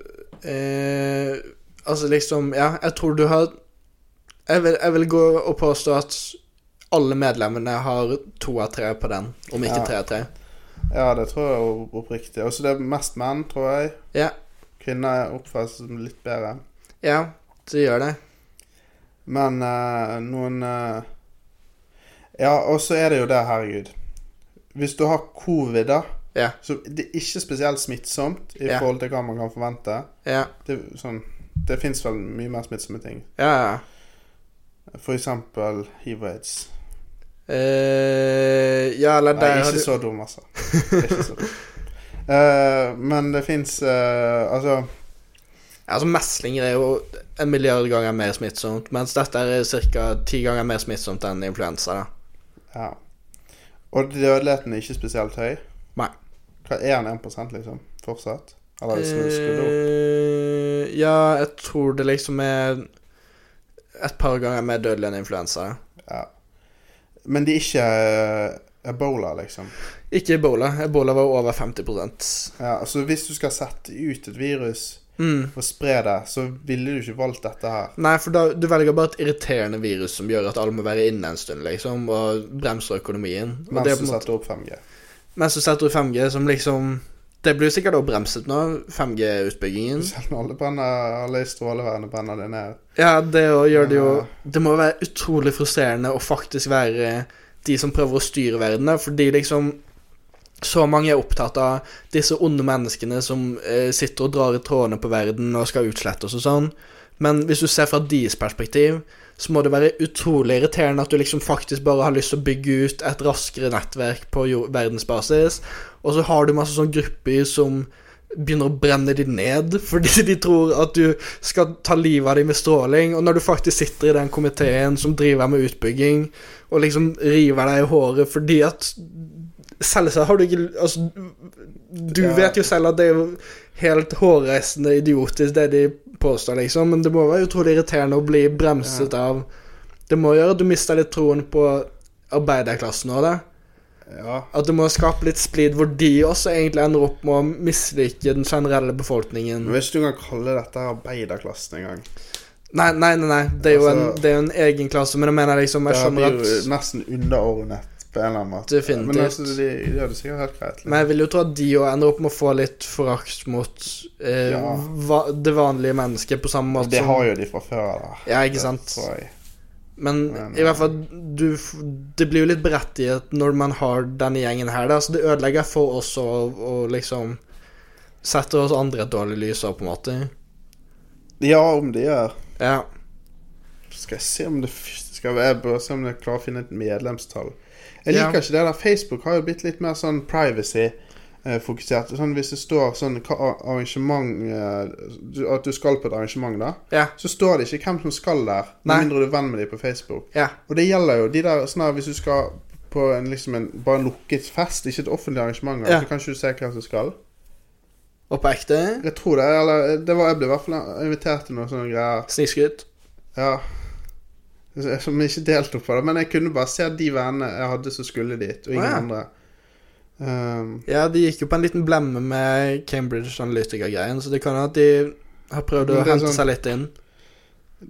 B: eh, Altså liksom, ja, jeg tror du har jeg vil, jeg vil gå og påstå at alle medlemmene har to av tre på den, om ikke
C: Ja.
B: tre av tre.
C: Ja, det tror jeg er oppriktig. Og så det er mest menn, tror jeg.
B: Ja,
C: Kvinner er oppført som litt bedre.
B: ja, det gjør det.
C: Men eh, noen eh, Ja, og så er det jo det, herregud. Hvis du har covid, da
B: Ja.
C: Så det er ikke spesielt smittsomt i
B: Ja.
C: forhold til hva man kan forvente.
B: Ja,
C: Det, er sånn, det fins vel mye mer smittsomme ting.
B: ja, ja.
C: For eksempel hiv og aids.
B: Eh, ja, eller
C: Nei,
B: der har
C: ikke
B: du
C: så dum, altså. Ikke så dum. Eh, men det fins eh, Altså
B: Altså Meslinger er jo en milliard ganger mer smittsomt, mens dette er ca. ti ganger mer smittsomt enn influensa. da
C: Ja. Og dødeligheten er ikke spesielt høy.
B: Nei.
C: Hva er den 1 liksom? Fortsatt? Eller er det snudd opp?
B: Eh, ja, jeg tror det liksom er et par ganger mer dødelig enn influensa. da.
C: Ja. Men det er ikke eh, ebola, liksom.
B: Ikke ebola. Ebola var over 50
C: Ja, altså Hvis du skal sette ut et virus
B: mm.
C: og spre det, så ville du ikke valgt dette her.
B: Nei, for da, du velger bare et irriterende virus som gjør at alle må være inne en stund, liksom, og bremser økonomien. Og det er på en måte,
C: Mens du
B: Mm.
C: setter opp 5G.
B: mens du setter ut 5G, som liksom Det blir sikkert også bremset nå, 5G-utbyggingen.
C: Selv om alle, brenner, alle i strålevernet brenner det ned.
B: Ja, det òg gjør det jo
C: Ja.
B: Det må være utrolig frustrerende å faktisk være de som prøver å styre verden, da, fordi liksom så mange er opptatt av disse onde menneskene som eh, sitter og drar i trådene på verden og skal utslette oss og sånn. Men hvis du ser fra deres perspektiv, så må det være utrolig irriterende at du liksom faktisk bare har lyst til å bygge ut et raskere nettverk på jo- verdensbasis, og så har du masse sånne grupper som begynner å brenne de ned fordi de tror at du skal ta livet av dem med stråling, og når du faktisk sitter i den komiteen som driver med utbygging, og liksom river deg i håret fordi at Selvsagt har du ikke Altså, du
C: Ja.
B: vet jo selv at det er jo helt hårreisende idiotisk, det de påstår, liksom, men det må være utrolig irriterende å bli bremset av Det må gjøre at du mister litt troen på arbeiderklassen òg, da.
C: Ja.
B: At det må skape litt splid hvor de også egentlig ender opp med å mislike den generelle befolkningen.
C: Men Hvis du kan kalle dette her arbeiderklassen en gang
B: Nei, nei, nei, nei. Det er jo en,
C: Altså-
B: det er jo en egen klasse, men jeg mener liksom
C: Det
B: Jeg
C: her blir
B: skjønner
C: jo
B: at
C: nesten underordnet på en eller annen måte.
B: Definitivt.
C: Men altså, de, de gjør det sikkert helt greit. liksom.
B: Men jeg vil jo tro at de òg ender opp med å få litt forakt mot eh,
C: Ja.
B: va det vanlige mennesket på samme måte
C: Det har jo de fra før av.
B: altså- Ja, ikke sant.
C: tror jeg.
B: Men
C: Men-
B: i hvert fall du, f- Det blir jo litt berettiget når man har denne gjengen her, da. Så det ødelegger for oss og, og liksom Setter oss andre i et dårlig lys òg, på en måte.
C: Ja, om de gjør
B: Ja.
C: Skal jeg se om det skal jeg bør se om jeg klarer å finne et medlemstall. Jeg
B: Ja.
C: liker ikke det der. Facebook har jo blitt litt mer sånn privacy-fokusert. Sånn Hvis det står sånn hva ar- arrangement eh, du- At du skal på et arrangement, da.
B: Ja.
C: Så står det ikke hvem som skal der,
B: Nei.
C: med mindre du er venn med dem på Facebook.
B: Ja.
C: Og det gjelder jo de der sånn her, Hvis du skal på en, liksom en, bare en lukket fest, ikke et offentlig arrangement, altså,
B: Ja.
C: så kan ikke du se hvem som skal.
B: Og på ekte
C: Jeg tror det, eller det var, jeg ble i hvert fall invitert til noen sånne greier.
B: snikskryt.
C: Ja. Som jeg ikke deltok på, det, men jeg kunne bare se de vennene jeg hadde som skulle dit, og ingen
B: Å, ja.
C: andre. Ehm,
B: Ja, de gikk jo på en liten blemme med Cambridge Analytica-greien, så det kan hende at de har prøvd å
C: Men det er
B: hente
C: sånn-
B: seg litt inn.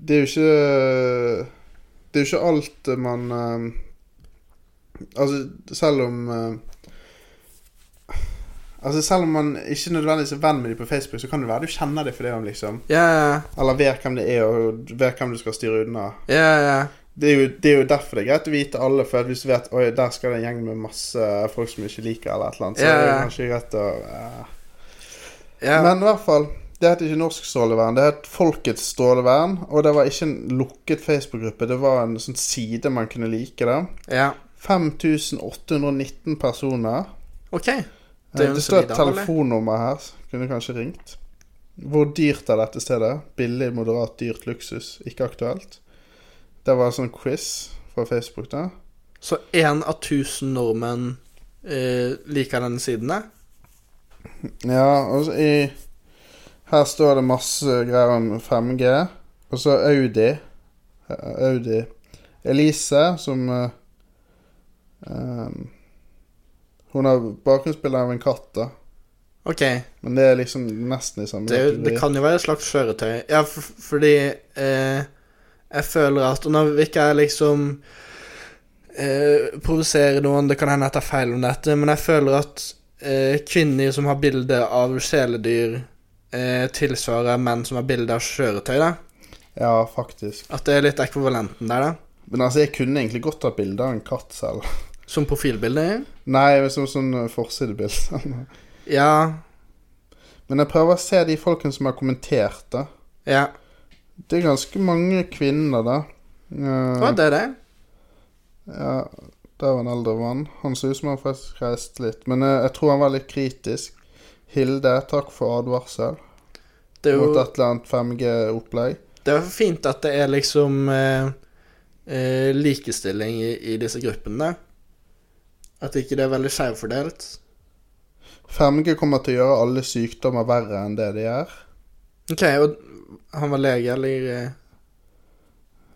C: det er jo ikke Det er jo ikke alt man ehm, Altså, selv om ehm, Altså, selv om man ikke nødvendigvis er venn med dem på Facebook, så kan det være du kjenner dem for det om, liksom.
B: Ja, ja,
C: Eller vet hvem det er, og vet hvem du skal styre unna.
B: ja, ja.
C: Det er, jo, det er jo derfor det er greit å vite alle, for hvis du vet Oi, der skal det en gjeng med masse folk som ikke liker eller et eller annet, så
B: Ja,
C: er det
B: ja.
C: kanskje greit å eh.
B: ja.
C: Men i hvert fall, det het ikke Norsk strålevern, det het Folkets strålevern, og det var ikke en lukket Facebook-gruppe, det var en sånn side man kunne like det.
B: ja.
C: 5819 personer.
B: OK. Det
C: Det,
B: er jo en
C: Eh, det står et
B: solid anmelding.
C: telefonnummer her, så kunne jeg kanskje ringt. Hvor dyrt er dette stedet? Billig, moderat, dyrt, luksus. Ikke aktuelt. Det var en sånn quiz fra Facebook, da.
B: Så én av tusen nordmenn eh, liker den siden der?
C: Ja, og så i Her står det masse greier om 5G. Og så Audi. Eh, Audi Elise, som eh, ehm, Hun har bakgrunnsbilde av en katt, da.
B: OK.
C: Men det er liksom nesten i samme
B: Det, er jo- det
C: kategori.
B: kan jo være et slags kjøretøy. Ja, for, fordi eh, jeg føler at og Nå vil ikke jeg liksom eh, provosere noen, det kan hende jeg tar feil om dette, men jeg føler at eh, kvinner som har bilde av kjæledyr, eh, tilsvarer menn som har bilde av kjøretøy. Da.
C: Ja, faktisk.
B: At det er litt ekvivalenten der, da.
C: Men altså, jeg kunne egentlig godt ha bilde av en katt selv.
B: Som profilbilde.
C: Nei, men som sånn eh, forsidebilde.
B: Ja.
C: Men jeg prøver å se de folkene som har kommentert, da.
B: Ja.
C: Det er ganske mange kvinner, da. Eh,
B: Å, det er det.
C: Ja, det var en eldre mann. Han så ut som han faktisk reiste litt. Men eh, jeg tror han var litt kritisk. Hilde, takk for advarsel
B: Det er jo
C: mot et eller annet 5G-opplegg.
B: Det er fint at det er liksom eh, eh, likestilling i, i disse gruppene. At ikke det er veldig skjevfordelt.
C: 5G kommer til å gjøre alle sykdommer verre enn det de er.
B: Ok, og han var lege, eller eh,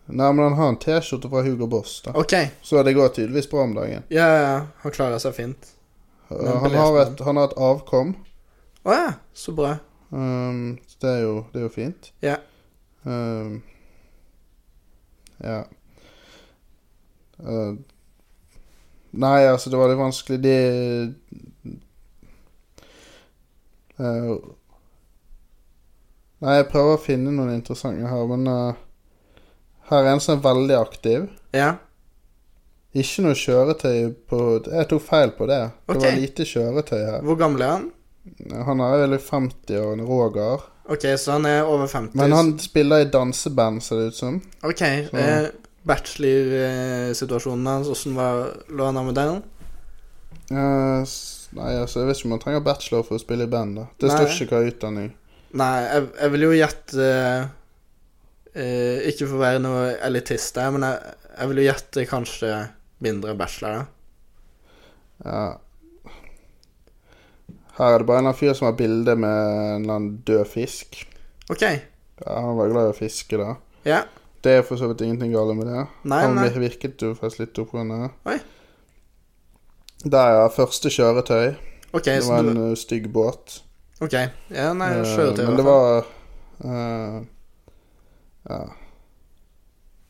C: Nei, men han har en T-skjorte fra Hugo Boss, da.
B: Ok,
C: Så det går tydeligvis bra om dagen.
B: ja, ja, ja, han klarer seg fint.
C: Eh,
B: Men
C: han, har
B: belest
C: et, han har et avkom.
B: Å ja, så bra.
C: Um, så det er, jo, det er jo fint.
B: Ja.
C: Um, ja. Uh, nei, altså, det var litt vanskelig. De uh, Nei, jeg prøver å finne noen interessante her, men uh, her er en som er veldig aktiv.
B: Ja,
C: Ikke noe kjøretøy på Jeg tok feil på det. Det
B: Ok.
C: var lite kjøretøy her.
B: Hvor gammel er han?
C: Han er vel i 50-årene, Roger.
B: Ok, så han er over 50.
C: Men han spiller i danseband, ser det ut som.
B: Ok, eh, bachelor-situasjonen hans, hvordan var, lå han an med den?
C: Eh, s- nei, altså, jeg vet ikke om man trenger bachelor for å spille i band. da Det
B: Nei.
C: står ikke hva utdanning.
B: Nei, jeg, jeg vil jo gjette eh, Ikke for å være noe elitist der, men jeg, jeg vil jo gjette kanskje mindre bachelor. da.
C: Ja. Her er det bare en eller annen fyr som har bilde med en eller annen død fisk.
B: OK.
C: Ja, han var glad i å fiske, da.
B: Ja.
C: Det er for så vidt ingenting galt med det.
B: Nei,
C: han
B: nei.
C: virket jo faktisk litt opprørende.
B: Oi.
C: Der, ja. Første kjøretøy.
B: OK,
C: Det
B: så
C: var
B: du
C: en eh, stygg båt.
B: OK. Ja, nei,
C: Eh,
B: kjøretøy. i
C: Men det
B: hvert fall.
C: var eh, Ja.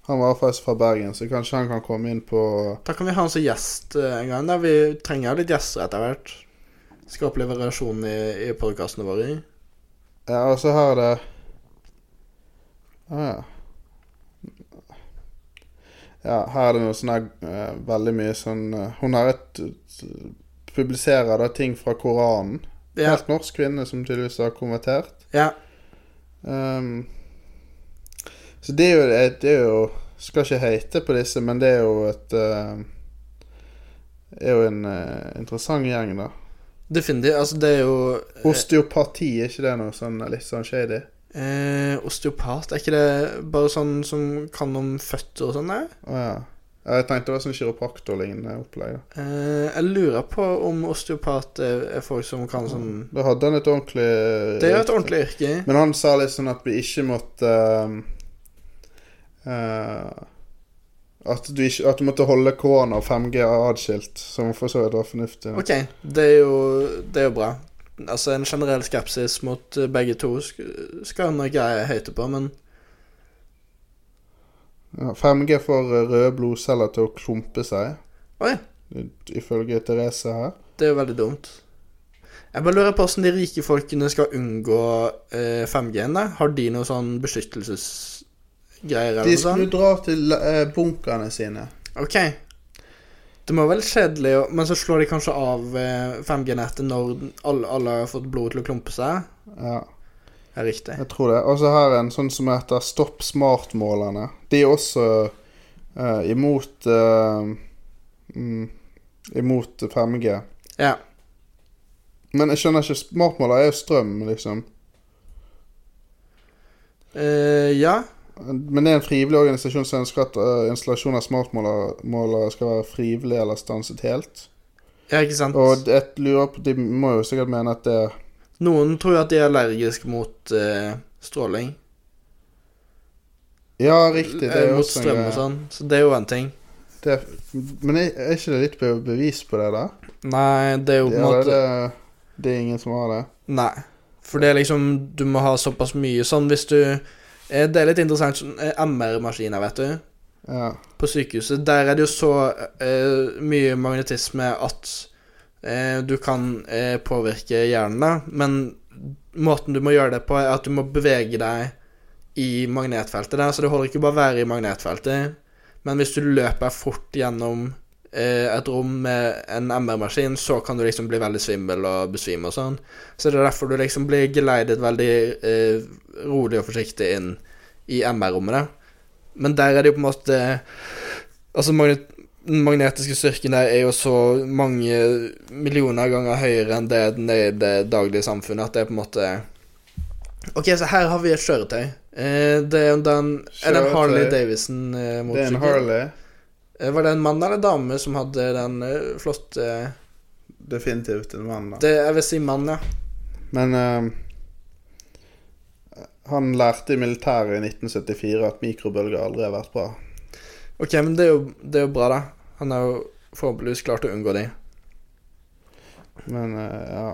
C: Han var faktisk fra Bergen, så kanskje han kan komme inn på
B: Da kan vi ha han som gjest eh, en gang. da Vi trenger jo litt gjester etter hvert. Skal oppleve relasjonen i, i podkastene våre.
C: Ja, og så her er det ah, ja. ja, her er det noe sånn her eh, Veldig mye sånn eh, Hun har et Publiserer da ting fra Koranen.
B: Ja.
C: Helt norsk kvinne som tydeligvis har konvertert.
B: ja.
C: Ehm, så det er, jo, det er jo Skal ikke hate på disse, men det er jo et eh, er jo en eh, interessant gjeng, da.
B: Definitivt. Altså, det er jo eh,
C: Osteopati, er ikke det noe sånn litt sånn shady?
B: eh, Osteopat, er ikke det bare sånn som kan om føtter og sånn? der?
C: Å ja. Ja, Jeg tenkte det var sånn kiropraktorlignende opplegg. da.
B: Eh, jeg lurer på om osteopat er, er folk som kan sånn
C: Da hadde han et ordentlig
B: Det er jo et ordentlig yrke.
C: Mm. Men han sa litt sånn at vi ikke måtte eh, eh, at, du ikke, at du måtte holde korona og 5G adskilt, som for så vidt var fornuftig. da.
B: Ok, det er jo, det er jo bra. Altså, en generell skepsis mot eh, begge to sk- skal nok jeg høyte på, men
C: Ja, 5G får eh, røde blodceller til å klumpe seg,
B: Oi,
C: ifølge Therese her.
B: det er jo veldig dumt. Jeg bare lurer på hvordan de rike folkene skal unngå eh, 5G-en, da. Har de noe sånn beskyttelsesgreier eller
C: De
B: noe
C: skulle
B: sånt?
C: dra til eh, bunkerne sine.
B: Ok. Det må være litt kjedelig, å- men så slår de kanskje av eh, 5G-nettet når alle, alle har fått blodet til å klumpe seg.
C: Ja,
B: Det er riktig.
C: jeg tror det. Og så her er en sånn som heter Stopp smart-målerne. De er også eh, imot eh, mm, Imot 5G.
B: Ja.
C: Men jeg skjønner ikke Smartmåler er jo strøm, liksom.
B: Eh, ja.
C: Men det er en frivillig organisasjon som ønsker at eh, installasjon av smartmålere skal være frivillig eller stanset helt.
B: Ja, ikke sant?
C: Og jeg lurer på, de må jo sikkert mene at det
B: Noen tror jo at de er allergiske mot eh, stråling.
C: Ja, riktig. Det er
B: Eh,
C: jo
B: mot
C: også en
B: strøm og
C: greie.
B: sånn. Så det er jo en ting.
C: Det, men er, er ikke det litt be- bevis på det, da?
B: Nei, det er jo på en
C: Ja, det,
B: måte
C: det, det er ingen som har det.
B: Nei. For det er liksom Du må ha såpass mye sånn hvis du eh, Det er litt interessant sånn eh, MR-maskiner, vet du.
C: Ja.
B: På sykehuset. Der er det jo så eh, mye magnetisme at eh, du kan eh, påvirke hjernen, da. Men måten du må gjøre det på, er at du må bevege deg i magnetfeltet der. Så det holder ikke bare å være i magnetfeltet. Men hvis du løper fort gjennom eh, et rom med en MR-maskin, så kan du liksom bli veldig svimmel og besvime og sånn. Så det er derfor du liksom blir geleidet veldig eh, rolig og forsiktig inn i MR-rommet. da. Men der er det jo på en måte Altså, magnet den magnetiske styrken der er jo så mange millioner ganger høyere enn det den er i det daglige samfunnet, at det er på en måte Ok, så her har vi et kjøretøy. Eh, det er jo den, er det en
C: Kjøretøy.
B: Harley Davidson-motorsykkel.
C: Det er en Harley.
B: Eh, Var det en mann eller dame som hadde den eh, flotte
C: Definitivt en mann, da.
B: det, Jeg vil si mann, ja.
C: Men eh, han lærte i militæret i 1974 at mikrobølger aldri har vært bra.
B: Ok, men det er jo, det er jo bra, da. Han har jo forhåpentligvis klart å unngå de.
C: Men eh, ja.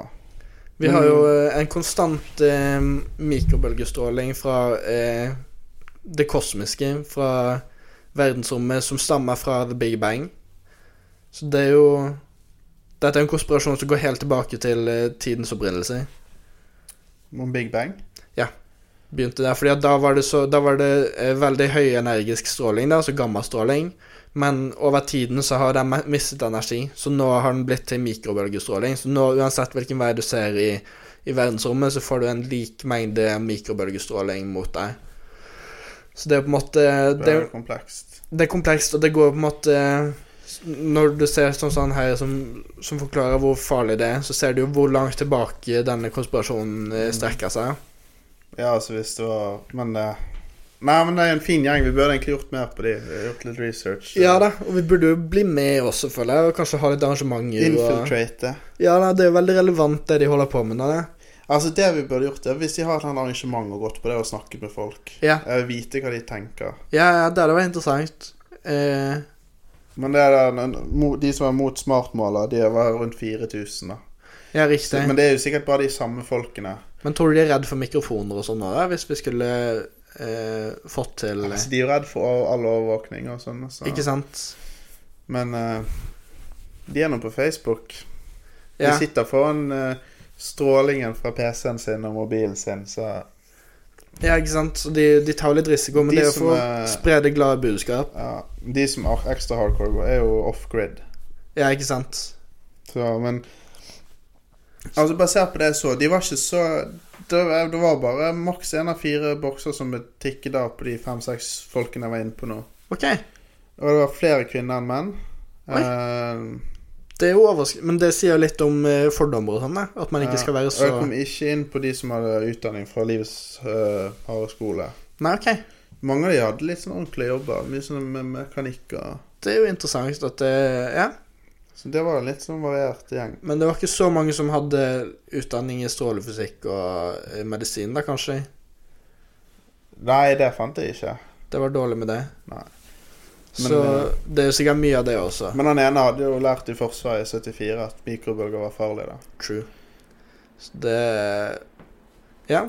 B: Vi
C: Men-
B: har jo eh, en konstant eh, mikrobølgestråling fra eh, det kosmiske, fra verdensrommet, som stammer fra The Big Bang. Så det er jo Dette er en konspirasjon som går helt tilbake til eh, tidens opprinnelse.
C: Om Big Bang?
B: begynte der. Fordi at da var det, så, da var det eh, veldig høy energisk stråling, da, altså gammastråling. Men over tiden så har den me- mistet energi, så nå har den blitt til mikrobølgestråling. Så nå, uansett hvilken vei du ser i, i verdensrommet, så får du en lik mengde mikrobølgestråling mot deg. Så det er på en måte
C: Det
B: det,
C: er jo komplekst.
B: det er komplekst, og det går på en måte Når du ser sånn sånn her som, som forklarer hvor farlig det er, så ser du jo hvor langt tilbake denne konspirasjonen eh, strekker seg.
C: Ja, altså hvis det var Men eh, Nei, men det er en fin gjeng. Vi burde egentlig gjort mer på de. Gjort litt research.
B: Ja da, og vi burde jo bli med også, føler jeg, og kanskje ha litt arrangementer. Og...
C: Infiltrate.
B: Ja da, det er jo veldig relevant det de holder på med nå, det.
C: Altså Det vi burde gjort, er hvis de har et eller annet arrangement og gått på det og snakket med folk.
B: Ja.
C: Eh, Vite hva de tenker.
B: Ja, ja, det hadde vært interessant. Eh,
C: Men det er den, mo- de som er mot smartmåler, de var rundt 4000. da
B: ja,
C: Så,
B: riktig.
C: Men
B: Men...
C: det er jo sikkert bare de samme folkene.
B: tror du de er redd for mikrofoner og sånn nå, da, hvis vi skulle eh, fått til
C: Altså, de er jo redd for all- all overvåkning og sånn. Så.
B: Ikke sant?
C: Men eh, de er nå på Facebook.
B: Ja.
C: De sitter foran eh, strålingen fra PC-en sin og mobilen sin, så
B: ja, ikke sant? Så de, de tar jo litt risiko, men
C: De
B: det er jo
C: som
B: for
C: er-
B: å spre det glade budskap.
C: ja, De som er ekstra hardcore, går, er jo off-grid.
B: Ja, ikke sant?
C: Så, men Altså, basert på det jeg så, de var ikke så Det var, det var bare maks én av fire bokser som ble tikket av på de fem-seks folkene jeg var inne på nå.
B: Ok,
C: Og det var flere kvinner enn menn.
B: Oi.
C: Eh,
B: det er jo overraskende, men det sier jo litt om eh, fordommer og sånn, da. At man ikke skal være så
C: eh, Og jeg kom ikke inn på de som hadde utdanning fra livets uh, harde skole.
B: Nei, ok.
C: Mange av de hadde litt sånn ordentlige jobber. Mye sånn med mekanikk og
B: det er jo interessant at det Ja.
C: Så det var en litt sånn variert gjeng.
B: Men det var ikke så mange som hadde utdanning i strålefysikk og eh, medisin, da, kanskje?
C: Nei, det fant jeg ikke.
B: Det var dårlig med det.
C: Nei.
B: så
C: Men, eh,
B: det er jo sikkert mye av det også.
C: Men han ene hadde jo lært i Forsvaret i 74 at mikrobølger var farlig, da.
B: True. Så det Ja.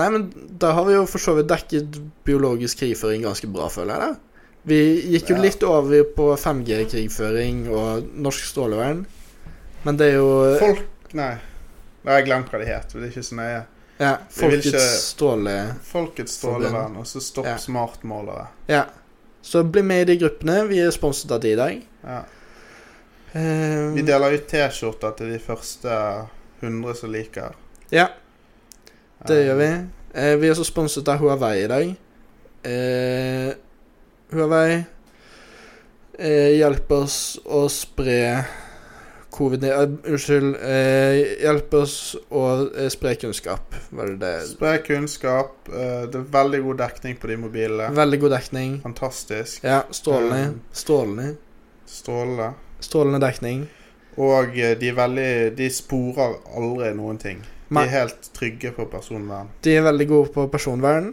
B: Nei, men da har vi jo for så vidt dekket biologisk krigføring ganske bra, føler jeg. da. Vi gikk jo
C: Ja.
B: litt over på 5G-krigføring og norsk strålevern, men det er jo
C: Folk Eh, Nei. Nei, jeg glemte hva de het. men Det er ikke så nøye.
B: ja,
C: vi vil
B: Folkets
C: ikke-
B: stråle...
C: Folkets strålevern, og så stopp
B: Ja.
C: smartmålere.
B: Ja. Så bli med i de gruppene. Vi er sponset av de i dag.
C: Ja.
B: Eh,
C: Vi deler ut T-skjorter til de første 100 som liker.
B: Ja. Det
C: Eh,
B: gjør vi. Eh, vi er også sponset av Huawei i dag. Eh, Huawei eh, hjelper oss å spre covid... Uh, unnskyld. Eh, hjelper oss å eh, spre kunnskap, var det det?
C: Eh, Spre kunnskap. eh, Det er veldig god dekning på de mobilene.
B: Veldig god dekning.
C: Fantastisk.
B: Ja, strålende.
C: Mm.
B: Strålende.
C: Strålende.
B: Strålende dekning.
C: Og eh, de er veldig De sporer aldri noen ting. De
B: Nei.
C: er helt trygge på personvern.
B: De er veldig gode på personvern.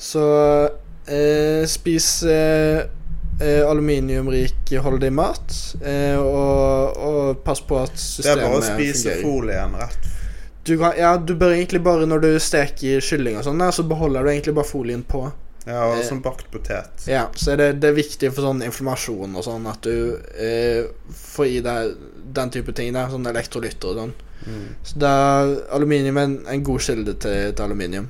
B: Så eh, spis eh, eh, aluminiumrikholdig mat, eh, og, og pass på at
C: Det er
B: systemet
C: bare å spise
B: fungerer.
C: folien rett.
B: Du, kan, ja, du bør egentlig bare, når du steker kylling og sånn, der, så beholder du egentlig bare folien på.
C: Ja, og
B: Eh.
C: som bakt potet.
B: Ja, så er det, det er viktig for sånn informasjon og sånn, at du eh, får i deg den type ting der, sånn elektrolytter og sånn.
C: Mm.
B: Så det er aluminium er en, en god kilde til, til aluminium.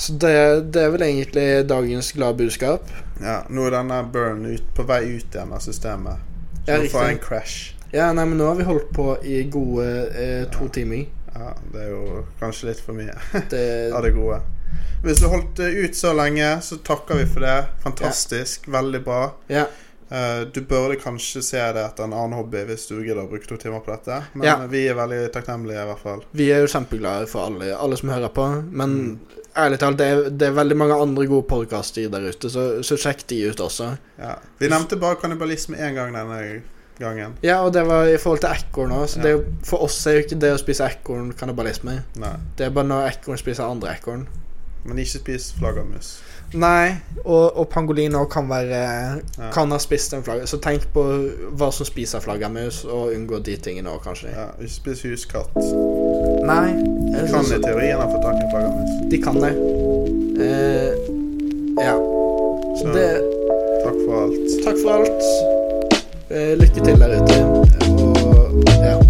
B: Så det, det er vel egentlig dagens glade budskap.
C: Ja, nå er denne burn ut, på vei ut igjen av systemet.
B: Ja,
C: Så nå får jeg en
B: riktig.
C: crash.
B: Ja, nei, men Nå har vi holdt på i gode eh, to timer.
C: Ja, det er jo kanskje litt for mye
B: Det,
C: av det gode. Hvis du holdt det ut så lenge, så takker vi for det. Fantastisk. Veldig bra.
B: ja,
C: Eh, du burde kanskje se det etter en annen hobby hvis du gidder å bruke to timer på dette. Men
B: Ja.
C: vi er veldig takknemlige, i hvert fall.
B: vi er jo kjempeglade for alle, alle som hører på, men
C: Mm.
B: ærlig talt, det er, det er veldig mange andre gode podkaster der ute, så, så sjekk de ut også.
C: Ja. Vi nevnte bare kannibalisme én gang denne gangen.
B: Ja, og det var i forhold til ekorn òg, så
C: Ja.
B: det er jo- for oss er jo ikke det å spise ekorn kannibalisme.
C: Nei.
B: Det er bare når ekorn spiser andre ekorn.
C: Men ikke spis flaggermus.
B: Nei, og, og pangolin også kan være
C: Ja.
B: Kan ha spist en flaggermus. Så tenk på hva som spiser flaggermus, og unngå de tingene òg, kanskje.
C: Ja, ikke spis huskatt.
B: Nei, jeg
C: Kan
B: synes-
C: i teorien ha fått tak i flaggermus.
B: de kan det. Eh, ja. Så
C: Så
B: det
C: takk for alt.
B: Takk for alt. Eh, lykke til der ute. Og ja.